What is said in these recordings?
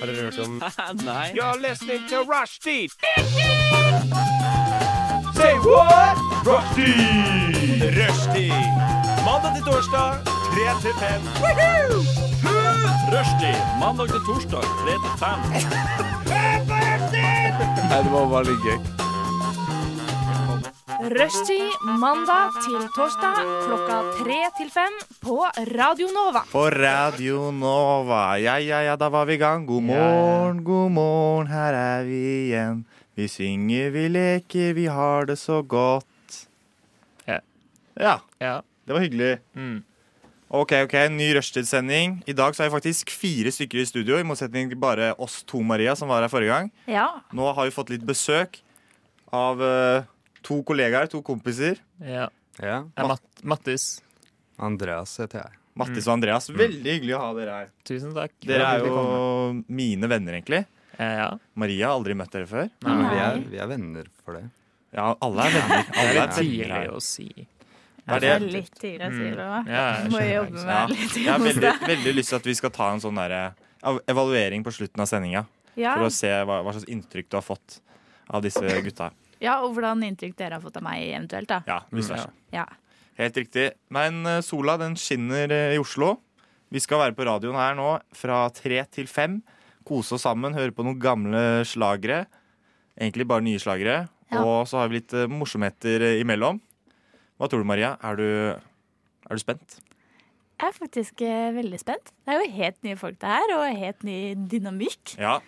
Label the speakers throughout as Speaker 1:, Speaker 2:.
Speaker 1: Har dere hørt om
Speaker 2: Nei.
Speaker 3: You're listening to Rushdie. Say what? Rushdie. Rushdie. Mandag til torsdag, 3 til 5.
Speaker 2: Rushdie mandag til torsdag 3 til 5.
Speaker 4: Rushtid mandag til torsdag klokka tre til fem på Radio Nova.
Speaker 5: På Radio Nova. Ja, ja, ja, da var vi i gang. God morgen, god morgen, her er vi igjen. Vi synger, vi leker, vi har det så godt.
Speaker 1: Ja.
Speaker 5: Ja,
Speaker 1: Ja.
Speaker 5: det var hyggelig.
Speaker 1: Mm.
Speaker 5: Ok, ok, ny rushtidssending. I dag så er vi faktisk fire stykker i studio, i motsetning til bare oss to, Maria, som var her forrige gang.
Speaker 4: Ja,
Speaker 5: Nå har vi fått litt besøk av eh, to kollegaer, to kompiser.
Speaker 1: ja.
Speaker 6: Ja.
Speaker 1: Jeg er Matt Mattis.
Speaker 6: Andreas heter jeg.
Speaker 5: Mattis og Andreas.
Speaker 1: Mm.
Speaker 5: Veldig hyggelig å ha dere her.
Speaker 1: Tusen takk.
Speaker 5: Dere er jo mine venner, egentlig.
Speaker 1: Eh, Ja.
Speaker 5: Maria har aldri møtt dere før.
Speaker 1: Nei.
Speaker 6: Vi
Speaker 4: Nei.
Speaker 6: er, vi er venner for det.
Speaker 5: Ja, alle er venner.
Speaker 1: Det er
Speaker 5: Alle
Speaker 1: litt
Speaker 5: venner
Speaker 1: tidlig
Speaker 5: her.
Speaker 1: å si.
Speaker 5: Hva
Speaker 4: det
Speaker 5: er
Speaker 4: er
Speaker 5: det?
Speaker 4: litt tidlig å si det. da.
Speaker 1: Ja, jeg
Speaker 4: Må
Speaker 1: skjønner.
Speaker 4: jobbe
Speaker 5: Ja.
Speaker 4: med litt
Speaker 5: Jeg har veldig, veldig lyst til at vi skal ta en sånn derre av- evaluering på slutten av sendinga.
Speaker 4: Ja,
Speaker 5: For å se hva, hva slags inntrykk du har fått av disse gutta.
Speaker 4: ja, og hvordan inntrykk dere har fått av meg eventuelt, da.
Speaker 5: Ja, vice versa.
Speaker 4: Ja.
Speaker 5: Helt riktig. Men eh, sola den skinner eh, i Oslo. Vi skal være på radioen her nå fra tre til fem. Kose oss sammen, høre på noen gamle slagere. Egentlig bare nye slagere.
Speaker 4: Ja.
Speaker 5: Og så har vi litt eh, morsomheter eh, imellom. Hva tror du, Maria? Er du, er du spent?
Speaker 4: Jeg er faktisk eh, veldig spent. Det er jo helt nye folk det her, og helt ny dynamikk.
Speaker 5: Ja.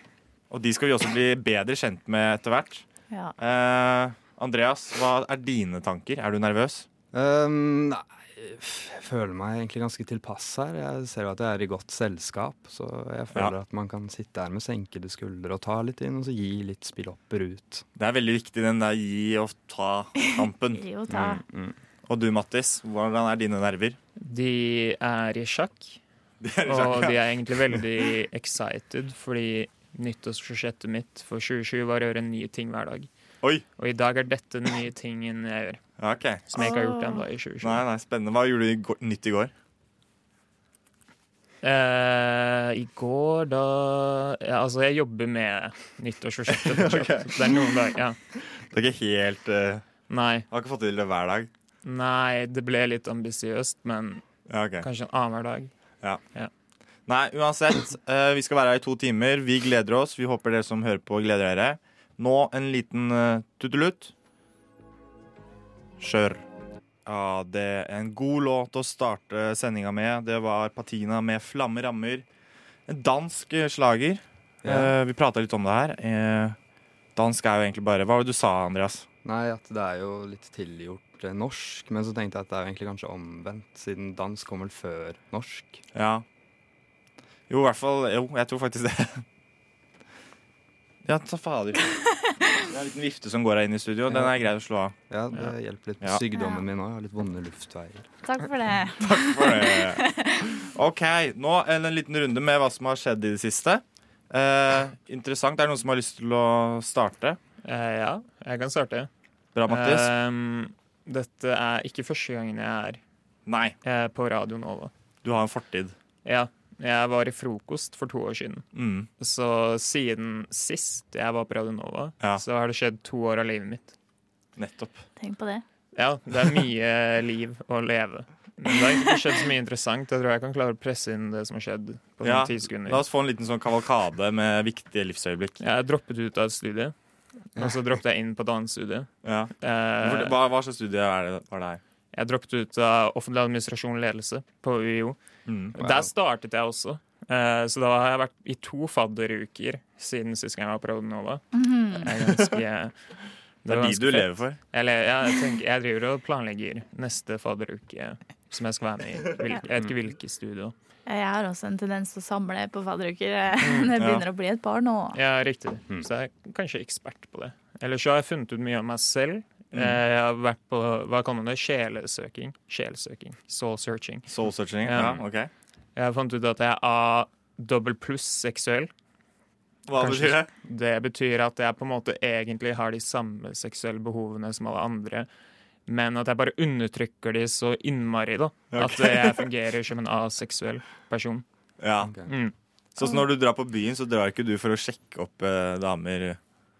Speaker 5: Og de skal vi også bli bedre kjent med etter hvert.
Speaker 4: Ja.
Speaker 5: Eh, Andreas, hva er dine tanker? Er du nervøs?
Speaker 6: Ehm, nei, jeg føler meg egentlig ganske tilpass her. Jeg ser jo at jeg er i godt selskap, så jeg føler
Speaker 5: Ja.
Speaker 6: at man kan sitte her med senkede skuldre og ta litt inn, og så gi litt spillopper ut.
Speaker 5: Det er veldig viktig, den der gi og ta kampen.
Speaker 4: Jo,
Speaker 6: Mm,
Speaker 4: da.
Speaker 5: Og du, Mattis, hvordan er dine nerver?
Speaker 1: De er i sjakk, og de er egentlig veldig excited, fordi nyttårsforsettet mitt for 2020 var å gjøre nye ting hver dag.
Speaker 5: Oi!
Speaker 1: Og i dag er dette den nye tingen jeg gjør,
Speaker 5: Ja, ok.
Speaker 1: som jeg ikke har gjort ennå i 2020.
Speaker 5: Nei, nei, spennende. Hva gjorde du i går, nytt i går?
Speaker 1: Eh, I går, da ja, Altså, jeg jobber med nyttårsforsettet fortsatt. Så Det er noen dager, ja.
Speaker 5: Det er ikke helt eh,
Speaker 1: Nei,
Speaker 5: Har ikke fått til det hver dag.
Speaker 1: nei, det ble litt ambisiøst, men
Speaker 5: Ja, ok.
Speaker 1: kanskje en annenhver dag.
Speaker 5: Nei, uansett. eh, vi skal være her i to timer. Vi gleder oss. Vi håper dere som hører på, gleder dere. Nå en liten eh, tuttelutt. Kjør. Ja, det er en god låt å starte sendinga med. Det var Patina med 'Flamme rammer'. En dansk eh, slager.
Speaker 6: Ja.
Speaker 5: Eh, vi prata litt om det her. Eh, dansk er jo egentlig bare Hva var det du sa, Andreas?
Speaker 6: Nei, at det er jo litt tilgjort eh, norsk, men så tenkte jeg at det er jo egentlig kanskje omvendt, siden dansk kom vel før norsk.
Speaker 5: Ja. Jo, i hvert fall Jo, jeg tror faktisk det. Ja, ta fader. Det er en liten vifte som går her inn i studio. Den er grei å slå av.
Speaker 6: Ja, det hjelper litt på
Speaker 5: Ja.
Speaker 4: Ja.
Speaker 6: sykdommen min òg. Jeg har litt vonde luftveier.
Speaker 4: Takk for det.
Speaker 5: For det. OK, nå en, en liten runde med hva som har skjedd i det siste. Eh, interessant. Er det noen som har lyst til å starte?
Speaker 1: Eh, ja, jeg kan starte.
Speaker 5: Bra, Mattis.
Speaker 1: Ehm, dette er ikke første gangen jeg
Speaker 5: Nei,
Speaker 1: er eh, på Radio Nova.
Speaker 5: du har en fortid.
Speaker 1: Ja, jeg var i frokost for to år siden.
Speaker 5: Mm.
Speaker 1: Så siden sist jeg var på Radio Nova,
Speaker 5: Ja.
Speaker 1: så har det skjedd to år av livet mitt.
Speaker 5: Nettopp.
Speaker 4: Tenk på det.
Speaker 1: Ja, det er mye liv å leve. Men det har egentlig ikke skjedd så mye interessant. Jeg tror jeg kan klare å presse inn det som har skjedd på
Speaker 5: Ja,
Speaker 1: noen ti sekunder.
Speaker 5: La oss få en liten sånn kavalkade med viktige livsøyeblikk.
Speaker 1: Jeg droppet ut av et studie, og så droppet jeg inn på et annet studie.
Speaker 5: Ja.
Speaker 1: Eh,
Speaker 5: Hvor- Hva, hva slags studie er det, var det her?
Speaker 1: Jeg droppet ut av offentlig administrasjon og ledelse på UiO.
Speaker 5: Mm.
Speaker 1: Der startet jeg også. Eh, Så da har jeg vært i to fadderuker siden sist gang jeg var på Radio Nova. Det er ganske Det
Speaker 5: Det er de du lever for.
Speaker 1: Jeg, le- ja, jeg, tenker, jeg driver og planlegger neste fadderuke som jeg skal være med i. Hvil- Jeg vet
Speaker 5: Mm.
Speaker 1: ikke hvilket studio.
Speaker 4: Jeg har også en tendens til å samle på fadderuker eh, når jeg
Speaker 5: ja.
Speaker 4: begynner å bli et par nå.
Speaker 1: Ja, riktig.
Speaker 5: Mm.
Speaker 1: Så jeg er kanskje ekspert på det. Eller så har jeg funnet ut mye om meg selv.
Speaker 5: Mm.
Speaker 1: Eh, Jeg har vært på hva kaller man det? sjelesøking. Sjelsøking. Soul searching.
Speaker 5: Soul searching. Ja,
Speaker 1: Ja.
Speaker 5: ok.
Speaker 1: Jeg har funnet ut at jeg er A dobbel pluss seksuell.
Speaker 5: Hva
Speaker 1: Kanskje-
Speaker 5: betyr det?
Speaker 1: Det betyr at jeg på en måte egentlig har de samme seksuelle behovene som alle andre, men at jeg bare undertrykker de så innmari, da. At jeg fungerer som en aseksuell person.
Speaker 5: Ja.
Speaker 6: Ok.
Speaker 1: Mm.
Speaker 5: Sånn som når du drar på byen, så drar ikke du for å sjekke opp eh, damer.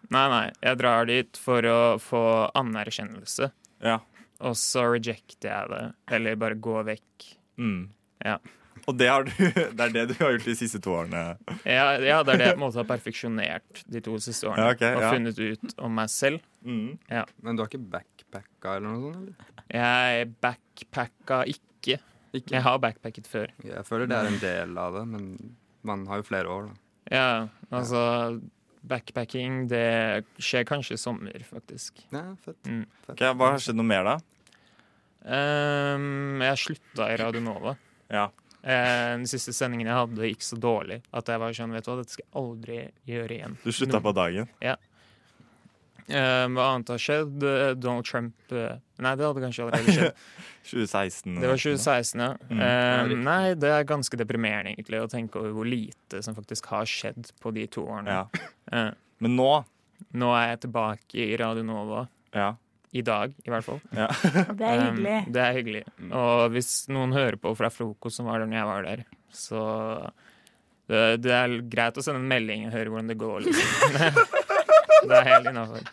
Speaker 1: Nei, nei. Jeg drar dit for å få anerkjennelse,
Speaker 5: Ja.
Speaker 1: og så rejecter jeg det. Eller bare går vekk.
Speaker 5: Mm.
Speaker 1: Ja.
Speaker 5: Og det, har du, det er det du har gjort de siste to årene.
Speaker 1: Ja, ja, det er det jeg på en måte har perfeksjonert de to siste årene.
Speaker 5: Ja, ok,
Speaker 1: og
Speaker 5: ja.
Speaker 1: funnet ut om meg selv.
Speaker 5: Mm.
Speaker 6: Men du har ikke backpacka eller noe sånt? eller?
Speaker 1: Jeg backpacka ikke.
Speaker 6: Ikke?
Speaker 1: Jeg har backpacket før.
Speaker 6: Jeg føler det er en del av det, men man har jo flere år, da.
Speaker 1: Ja, altså Backpacking, det skjer kanskje i sommer, faktisk. Mm.
Speaker 6: Ja, fett.
Speaker 5: Ok, hva har skjedd noe mer, da?
Speaker 1: Ehm, jeg slutta i Radio Nova.
Speaker 5: Ja.
Speaker 1: Eh, den siste sendingen jeg hadde, gikk så dårlig at jeg var sånn, vet du hva, dette skal jeg aldri gjøre igjen.
Speaker 5: Du slutta på dagen.
Speaker 1: Eh, hva annet har skjedd? Eh, Donald Trump eh, Nei, det hadde kanskje allerede skjedd.
Speaker 5: 2016.
Speaker 1: Det var 2016, ja.
Speaker 5: Mm.
Speaker 1: Eh,
Speaker 6: Ja, riktig.
Speaker 1: nei, det er ganske deprimerende, egentlig, å tenke over hvor lite som faktisk har skjedd på de to årene.
Speaker 5: Ja.
Speaker 1: Eh,
Speaker 5: Men nå
Speaker 1: nå er jeg tilbake i Radio Nova.
Speaker 5: ja.
Speaker 1: I dag, i hvert fall.
Speaker 4: Det
Speaker 1: Um,
Speaker 4: er hyggelig.
Speaker 1: det er hyggelig.
Speaker 5: Mm.
Speaker 1: Og hvis noen hører på fra frokost som var der når jeg var der, så det, det er greit å sende en melding og høre hvordan det går. Liksom. det er helt innafor.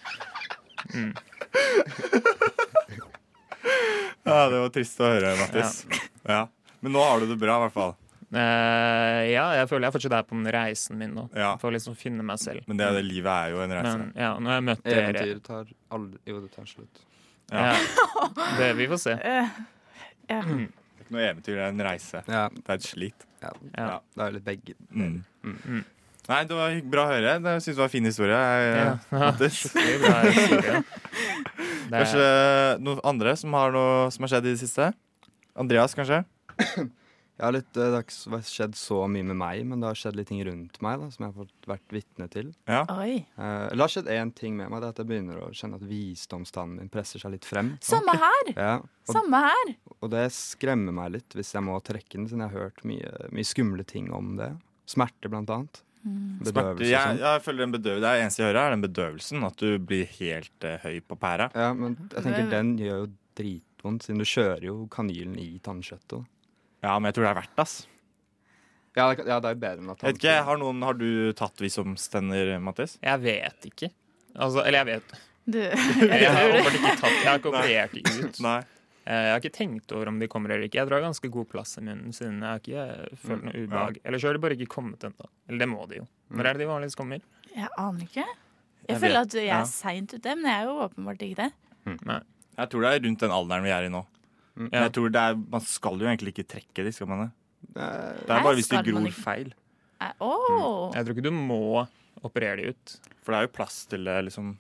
Speaker 5: ja, det var trist å høre, Mattis. Ja. Men nå har du det bra, i hvert fall.
Speaker 1: Eh, ja, jeg føler jeg fortsatt er på den reisen min nå.
Speaker 5: Ja.
Speaker 1: For å liksom finne meg selv.
Speaker 5: Men det, er det livet er jo en reise.
Speaker 1: Men ja, nå har jeg møtt dere.
Speaker 6: Eventyr tar aldri Jo, det tar slutt.
Speaker 1: Ja. Det, vi får se.
Speaker 5: Det er ikke noe eventyr, det er en reise.
Speaker 6: Ja,
Speaker 5: Det er et slit.
Speaker 6: ja.
Speaker 1: Ja.
Speaker 6: Det er litt begge.
Speaker 5: Mm.
Speaker 1: Mm.
Speaker 5: Nei, det var hygg- bra å høre. Det- Jeg syns det var en fin historie.
Speaker 1: Ja.
Speaker 5: Jeg, Mattis.
Speaker 1: Skikkelig bra historie. Det er-
Speaker 5: Kanskje noen andre som har noe som har skjedd i det siste? Andreas, kanskje?
Speaker 6: Jeg har litt, eh, det har ikke s- skjedd så mye med meg, men det har skjedd litt ting rundt meg da, som jeg har fått vært vitne til.
Speaker 4: Oi.
Speaker 6: Eh, eller det har skjedd én ting med meg, det er at jeg begynner å kjenne at visdomstannen min presser seg litt frem.
Speaker 4: Samme her!
Speaker 6: Ja, og,
Speaker 4: Samme her!
Speaker 6: og det skremmer meg litt hvis jeg må trekke den, siden jeg har hørt mye, mye skumle ting om det. Smerte, blant annet.
Speaker 5: Smerte.
Speaker 6: Bedøvelse og
Speaker 5: Mm.
Speaker 6: sånn.
Speaker 5: Jeg, jeg føler den bedøv, Det er eneste jeg hører, er den bedøvelsen. At du blir helt eh, høy på pæra.
Speaker 6: Ja, men jeg tenker den gjør jo dritvondt, siden du kjører jo kanylen i tannkjøttet. da.
Speaker 5: Ja, men jeg tror det er verdt det. ass.
Speaker 6: Ja, det, kan- ja, det er jo bedre enn at
Speaker 5: Jeg vet ikke, har, noen, har du tatt visdomstenner, Mattis?
Speaker 1: Jeg vet ikke. Altså, eller jeg vet
Speaker 4: Du,
Speaker 1: Jeg har åpenbart ikke tatt Jeg har ikke operert ut.
Speaker 5: Nei.
Speaker 1: Eh, Jeg har ikke tenkt over om de kommer eller ikke. Jeg drar ganske god plass i munnen siden jeg har ikke følt
Speaker 5: Mm,
Speaker 1: noe ubehag. Eller så har de bare ikke kommet ennå. Eller det må de jo. Når er det de vanligvis kommer?
Speaker 4: jeg aner ikke.
Speaker 5: Jeg
Speaker 4: Jeg føler
Speaker 5: vet-
Speaker 4: at jeg
Speaker 5: ja.
Speaker 4: er seint ute, men jeg er jo åpenbart ikke det.
Speaker 5: Jeg tror det er rundt den alderen vi er i nå.
Speaker 6: Mm.
Speaker 5: Men
Speaker 1: Ja.
Speaker 5: Jeg tror det er, Man skal jo egentlig ikke trekke de, skal man det? Det
Speaker 4: Nei,
Speaker 5: er bare hvis de
Speaker 4: skal man
Speaker 5: gror
Speaker 4: ikke.
Speaker 5: feil.
Speaker 4: Eh, Åh!
Speaker 1: Jeg tror ikke du må operere de ut.
Speaker 5: For det er jo plass til det, liksom.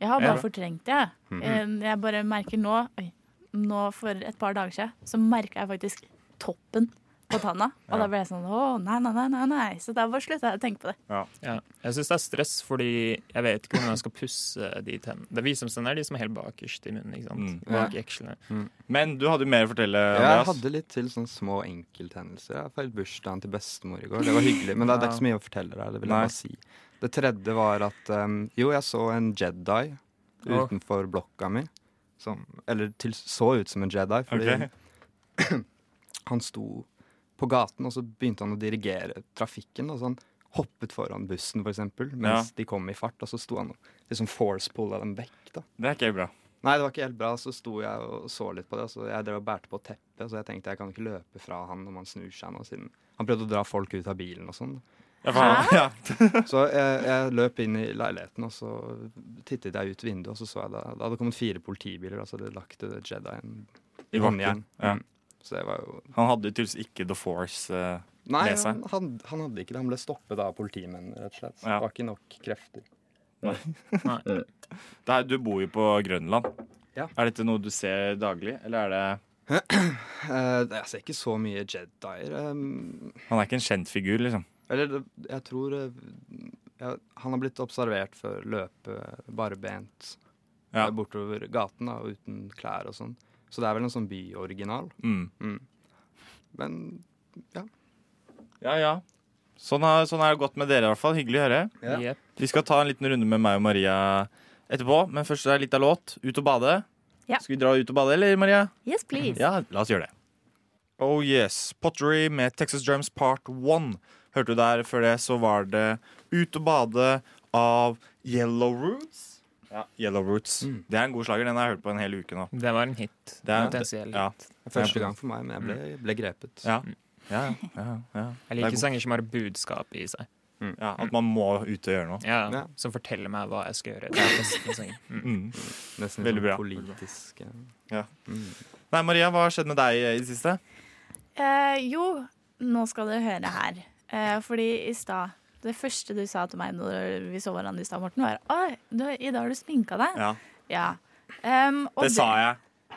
Speaker 4: Jeg har
Speaker 1: Ja.
Speaker 4: bare fortrengt det. jeg. Eh, Jeg bare merker nå Oi, nå for et par dager siden så merka jeg faktisk toppen på tanna. Og da ble jeg sånn å nei, nei, nei, nei, nei. Så da bare slutta jeg å tenke på det.
Speaker 1: Ja. Jeg syns det er stress, fordi jeg vet ikke hvordan jeg skal pusse de tennene. Det er Visdomstennene er de som er helt bakerst i munnen. ikke sant?
Speaker 6: Mm.
Speaker 1: Bak
Speaker 6: Ja.
Speaker 1: i ekslene.
Speaker 5: Men du hadde jo mer å fortelle,
Speaker 6: Jeg
Speaker 5: Andreas.
Speaker 6: hadde litt til sånne små enkelthendelser. Jeg feilte bursdagen til bestemor i går. Det var hyggelig, men det er det er ikke så mye å fortelle der. Det vil
Speaker 5: Nei.
Speaker 6: jeg bare si. Det tredje var at em, Jo, jeg så en Jedi
Speaker 1: Åh.
Speaker 6: utenfor blokka mi. Som, eller til, så ut som en Jedi, fordi
Speaker 5: Ok.
Speaker 6: han sto på gaten, og så begynte han å dirigere trafikken. Og så han hoppet foran bussen, for eksempel, mens de kom i fart. Og så sto han og liksom force-pulla dem vekk. da.
Speaker 5: Det er ikke bra.
Speaker 6: Nei, det var ikke helt bra. Så sto jeg og så litt på det. og Så jeg drev og bærte på teppet, så jeg tenkte jeg kan ikke løpe fra han når man snur seg nå, siden han prøvde å dra folk ut av bilen og sånn.
Speaker 5: Ja, faen. Ja.
Speaker 6: Så jeg, jeg løp inn i leiligheten, og så tittet jeg ut vinduet, og så så jeg da Det hadde kommet fire politibiler, og så hadde de lagt eh, Jedien
Speaker 5: I
Speaker 6: i
Speaker 5: bakken,
Speaker 6: håndjern.
Speaker 5: ja.
Speaker 6: Mm. Så det var jo
Speaker 5: Han hadde jo tydeligvis ikke The Force. eh,
Speaker 6: Nei,
Speaker 5: Med seg.
Speaker 6: han, han, han hadde ikke det. Han ble stoppet av politimenn, rett og slett.
Speaker 5: Ja.
Speaker 6: Det var ikke nok krefter.
Speaker 5: Det er, du bor jo på Grønland.
Speaker 6: Ja.
Speaker 5: Er dette noe du ser daglig, eller er det
Speaker 6: Eh, jeg ser ikke så mye Jedier. eh,
Speaker 5: Han er ikke en kjent figur, liksom.
Speaker 6: Eller det- jeg tror eh, ja, han har blitt observert for å løpe barbent
Speaker 5: Ja.
Speaker 6: eh, bortover gaten da, uten klær og sånn. Så det er vel en sånn byoriginal.
Speaker 5: Mm.
Speaker 6: Men
Speaker 5: Ja, ja. Sånn har, sånn har det gått med dere, i hvert fall. Hyggelig å høre.
Speaker 6: Ja.
Speaker 1: Jep.
Speaker 5: Vi skal ta en liten runde med meg og Maria etterpå, men først er det litt av låt. Ut og bade.
Speaker 4: Ja.
Speaker 5: Skal vi dra ut og bade, eller, Maria?
Speaker 4: Yes, please.
Speaker 5: Ja, la oss gjøre det. Oh yes, Pottery med Texas Drums Part 1 hørte du der før det, så var det Ut og bade av Yellow Roots. Ja, Mm. Yellow Roots. Det er en god slager. Den har jeg hørt på en hel uke nå.
Speaker 1: Det var en hit.
Speaker 5: Det er-
Speaker 1: potensiell.
Speaker 5: Ja,
Speaker 6: Første gang for meg, men jeg ble, ble grepet.
Speaker 5: ja, ja, ja, ja.
Speaker 1: Jeg
Speaker 5: Det er
Speaker 1: liker
Speaker 5: god-
Speaker 1: sanger som har budskap i seg.
Speaker 5: ja At man må ut og gjøre noe.
Speaker 1: Ja,
Speaker 6: Ja.
Speaker 1: Som forteller meg hva jeg skal gjøre. Det er best med sanger. Mm.
Speaker 5: Mm.
Speaker 6: Nesten
Speaker 5: Veldig
Speaker 6: veldig
Speaker 5: bra.
Speaker 6: bra. politisk. eh. Mm. Ja.
Speaker 5: Nei, Maria, hva har skjedd med deg i det siste?
Speaker 4: Eh, jo, nå skal dere høre her. Eh, fordi i stad Det første du sa til meg når vi så hverandre i stad, Morten, var Oi, du, i dag har du sminka deg.
Speaker 5: Ja,
Speaker 4: Ja. Em, og
Speaker 5: Det sa jeg.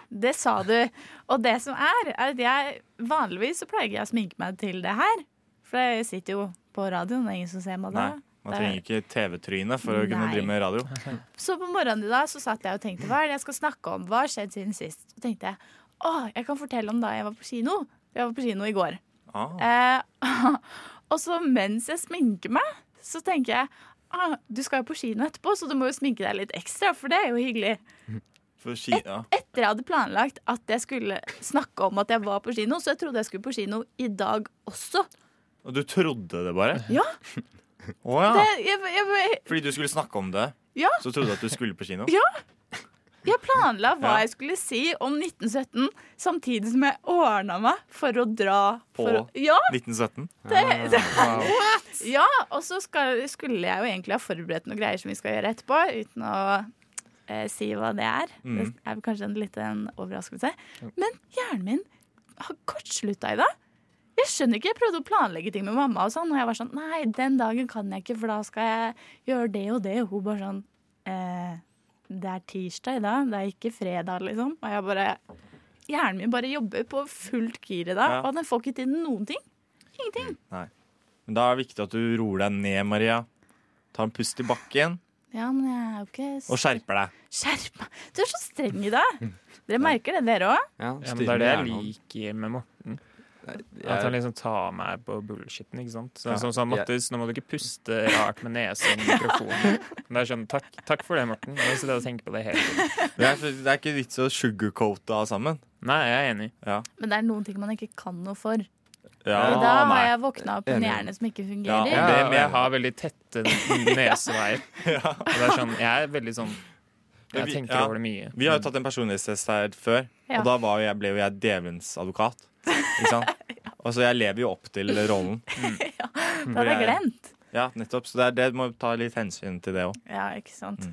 Speaker 4: Det sa du. Og det som er, er at jeg vanligvis så pleier jeg å sminke meg til det her. For jeg sitter jo på radioen, det er ingen som ser meg da.
Speaker 5: Nei, man trenger ikke TV-tryne for å kunne
Speaker 4: Nei.
Speaker 5: drive med radio.
Speaker 4: Så på morgenen i dag så satt jeg og tenkte hva er det jeg skal snakke om, hva har skjedd siden sist? Så tenkte jeg å, jeg kan fortelle om da jeg var på kino. Jeg var på kino i går.
Speaker 5: Ah,
Speaker 4: Eh, og så mens jeg sminker meg, så tenker jeg ah, du skal jo på kino etterpå, så du må jo sminke deg litt ekstra, for det er jo hyggelig.
Speaker 5: for ski, ja.
Speaker 4: etter jeg hadde planlagt at jeg skulle snakke om at jeg var på kino, så jeg trodde jeg skulle på kino i dag også.
Speaker 5: Og du trodde det bare?
Speaker 4: Ja.
Speaker 5: Å ja.
Speaker 4: Det, jeg, jeg,
Speaker 5: Fordi du skulle snakke om det?
Speaker 4: Ja.
Speaker 5: Så trodde du at du skulle på kino?
Speaker 4: Ja. jeg planla hva
Speaker 5: Ja.
Speaker 4: jeg skulle si om 1917, samtidig som jeg ordna meg for å dra
Speaker 5: På?
Speaker 4: For, å- ja,
Speaker 5: 1917?
Speaker 4: ja, og så skal, skulle jeg jo egentlig ha forberedt noen greier som vi skal gjøre etterpå, uten å eh, si hva det er. Det
Speaker 5: Mm.
Speaker 4: er vel kanskje en liten overraskelse. Men hjernen min har kortslutta i dag. Jeg skjønner ikke, jeg prøvde å planlegge ting med mamma, og sånn, og jeg var sånn Nei, den dagen kan jeg ikke, for da skal jeg gjøre det og det. Og hun bare sånn eh, Det er tirsdag i dag, det er ikke fredag, liksom. Og jeg bare Hjernen min bare jobber på fullt gir i dag,
Speaker 5: Ja.
Speaker 4: og den får ikke til noen ting. Ingenting.
Speaker 5: Men da er det viktig at du roer deg ned, Maria. Tar en pust i bakken
Speaker 4: Ja, men jeg er jo ikke
Speaker 5: og skjerper deg.
Speaker 4: Skjerp meg! Du er så streng i dag.
Speaker 5: Mm.
Speaker 4: Dere merker det, dere òg?
Speaker 6: Ja,
Speaker 1: Ja, men det er det jeg liker med Morten. At han
Speaker 6: Jeg,
Speaker 1: liksom tar meg på bullshitten. ikke sant? Så,
Speaker 5: Ja.
Speaker 1: Sånn som Mattis, nå må du ikke puste rart med nesa i mikrofonen. Men det er sånn, takk, takk for det, Morten. Jeg sitter og tenker på det hele tiden.
Speaker 5: Det er, det er ikke vits i å sugarcoate av sammen.
Speaker 1: Nei, jeg er enig.
Speaker 4: Men det er noen ting man ikke kan noe for.
Speaker 5: Ja,
Speaker 4: Og da har
Speaker 5: Ah, nei.
Speaker 4: jeg våkna opp med en
Speaker 6: Enig.
Speaker 4: hjerne som ikke
Speaker 5: Ja,
Speaker 4: fungerer.
Speaker 5: og
Speaker 1: Ja,
Speaker 5: det
Speaker 1: men jeg har veldig tette neseveier. Og det er sånn, jeg er veldig sånn
Speaker 5: Men
Speaker 1: Jeg
Speaker 5: vi-
Speaker 1: tenker
Speaker 5: ja.
Speaker 1: over det mye.
Speaker 5: Vi har jo tatt en personlighetstest her før,
Speaker 4: Ja.
Speaker 5: og da var jo jeg, ble jo jeg djevelens advokat. Ikke sant? Og så jeg lever jo opp til rollen.
Speaker 4: det hadde jeg glemt.
Speaker 5: Ja, nettopp. Så det er det, du må ta litt hensyn til det òg.
Speaker 4: Ja, ikke sant.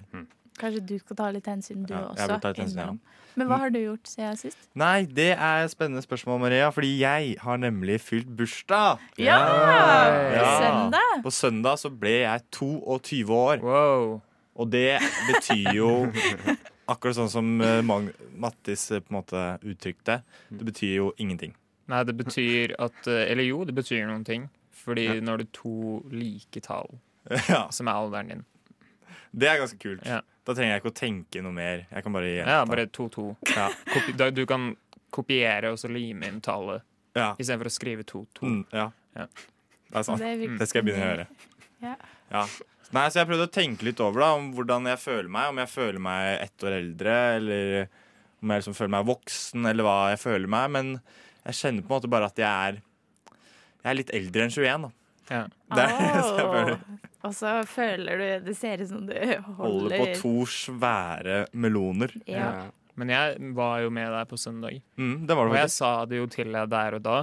Speaker 4: Kanskje du skal ta litt hensyn, du
Speaker 5: Mhm. Ja, jeg
Speaker 4: også.
Speaker 5: vil ta litt hensyn, jeg
Speaker 4: innimellom. Men hva har du gjort siden sist?
Speaker 5: Nei, det er et spennende spørsmål, Maria, fordi jeg har nemlig fylt bursdag.
Speaker 4: Ja! På
Speaker 5: Ja.
Speaker 4: søndag.
Speaker 5: På søndag så ble jeg 22 år,
Speaker 1: Wow.
Speaker 5: og det betyr jo Akkurat sånn som eh, Mag Mattis eh, på en måte uttrykte. Det betyr jo ingenting.
Speaker 1: Nei, det betyr at eh, Eller jo, det betyr noen ting. Fordi nå har du to like tall,
Speaker 5: Ja,
Speaker 1: som er alderen din.
Speaker 5: Det er ganske kult.
Speaker 1: Ja.
Speaker 5: Da trenger jeg ikke å tenke noe mer. Jeg kan bare gjenta.
Speaker 1: Ja, bare 2-2.
Speaker 5: Ja.
Speaker 1: Kopi- da- Du kan kopiere og så lime inn tallet,
Speaker 5: Ja.
Speaker 1: istedenfor å skrive 2-2.
Speaker 5: Mm, ja.
Speaker 1: Ja.
Speaker 5: Det er sant.
Speaker 4: Det er
Speaker 5: Altså,
Speaker 4: virkelig-
Speaker 5: mm, Det skal jeg begynne å gjøre.
Speaker 4: Ja.
Speaker 5: Ja. Nei, så jeg prøvde å tenke litt over da, om hvordan jeg føler meg. Om jeg føler meg ett år eldre, eller om jeg liksom føler meg voksen, eller hva jeg føler meg. Men jeg kjenner på en måte bare at jeg er, jeg er litt eldre enn 21. da.
Speaker 1: Ja.
Speaker 5: Det er det jeg føler.
Speaker 4: Åh. Og så føler du Det ser ut som du
Speaker 5: Holder
Speaker 4: holder
Speaker 5: på to svære meloner.
Speaker 4: Ja.
Speaker 1: Men jeg var jo med deg på søndag,
Speaker 5: Mm, det var
Speaker 1: og
Speaker 5: det
Speaker 1: jeg
Speaker 5: faktisk.
Speaker 1: sa det jo til deg der og da.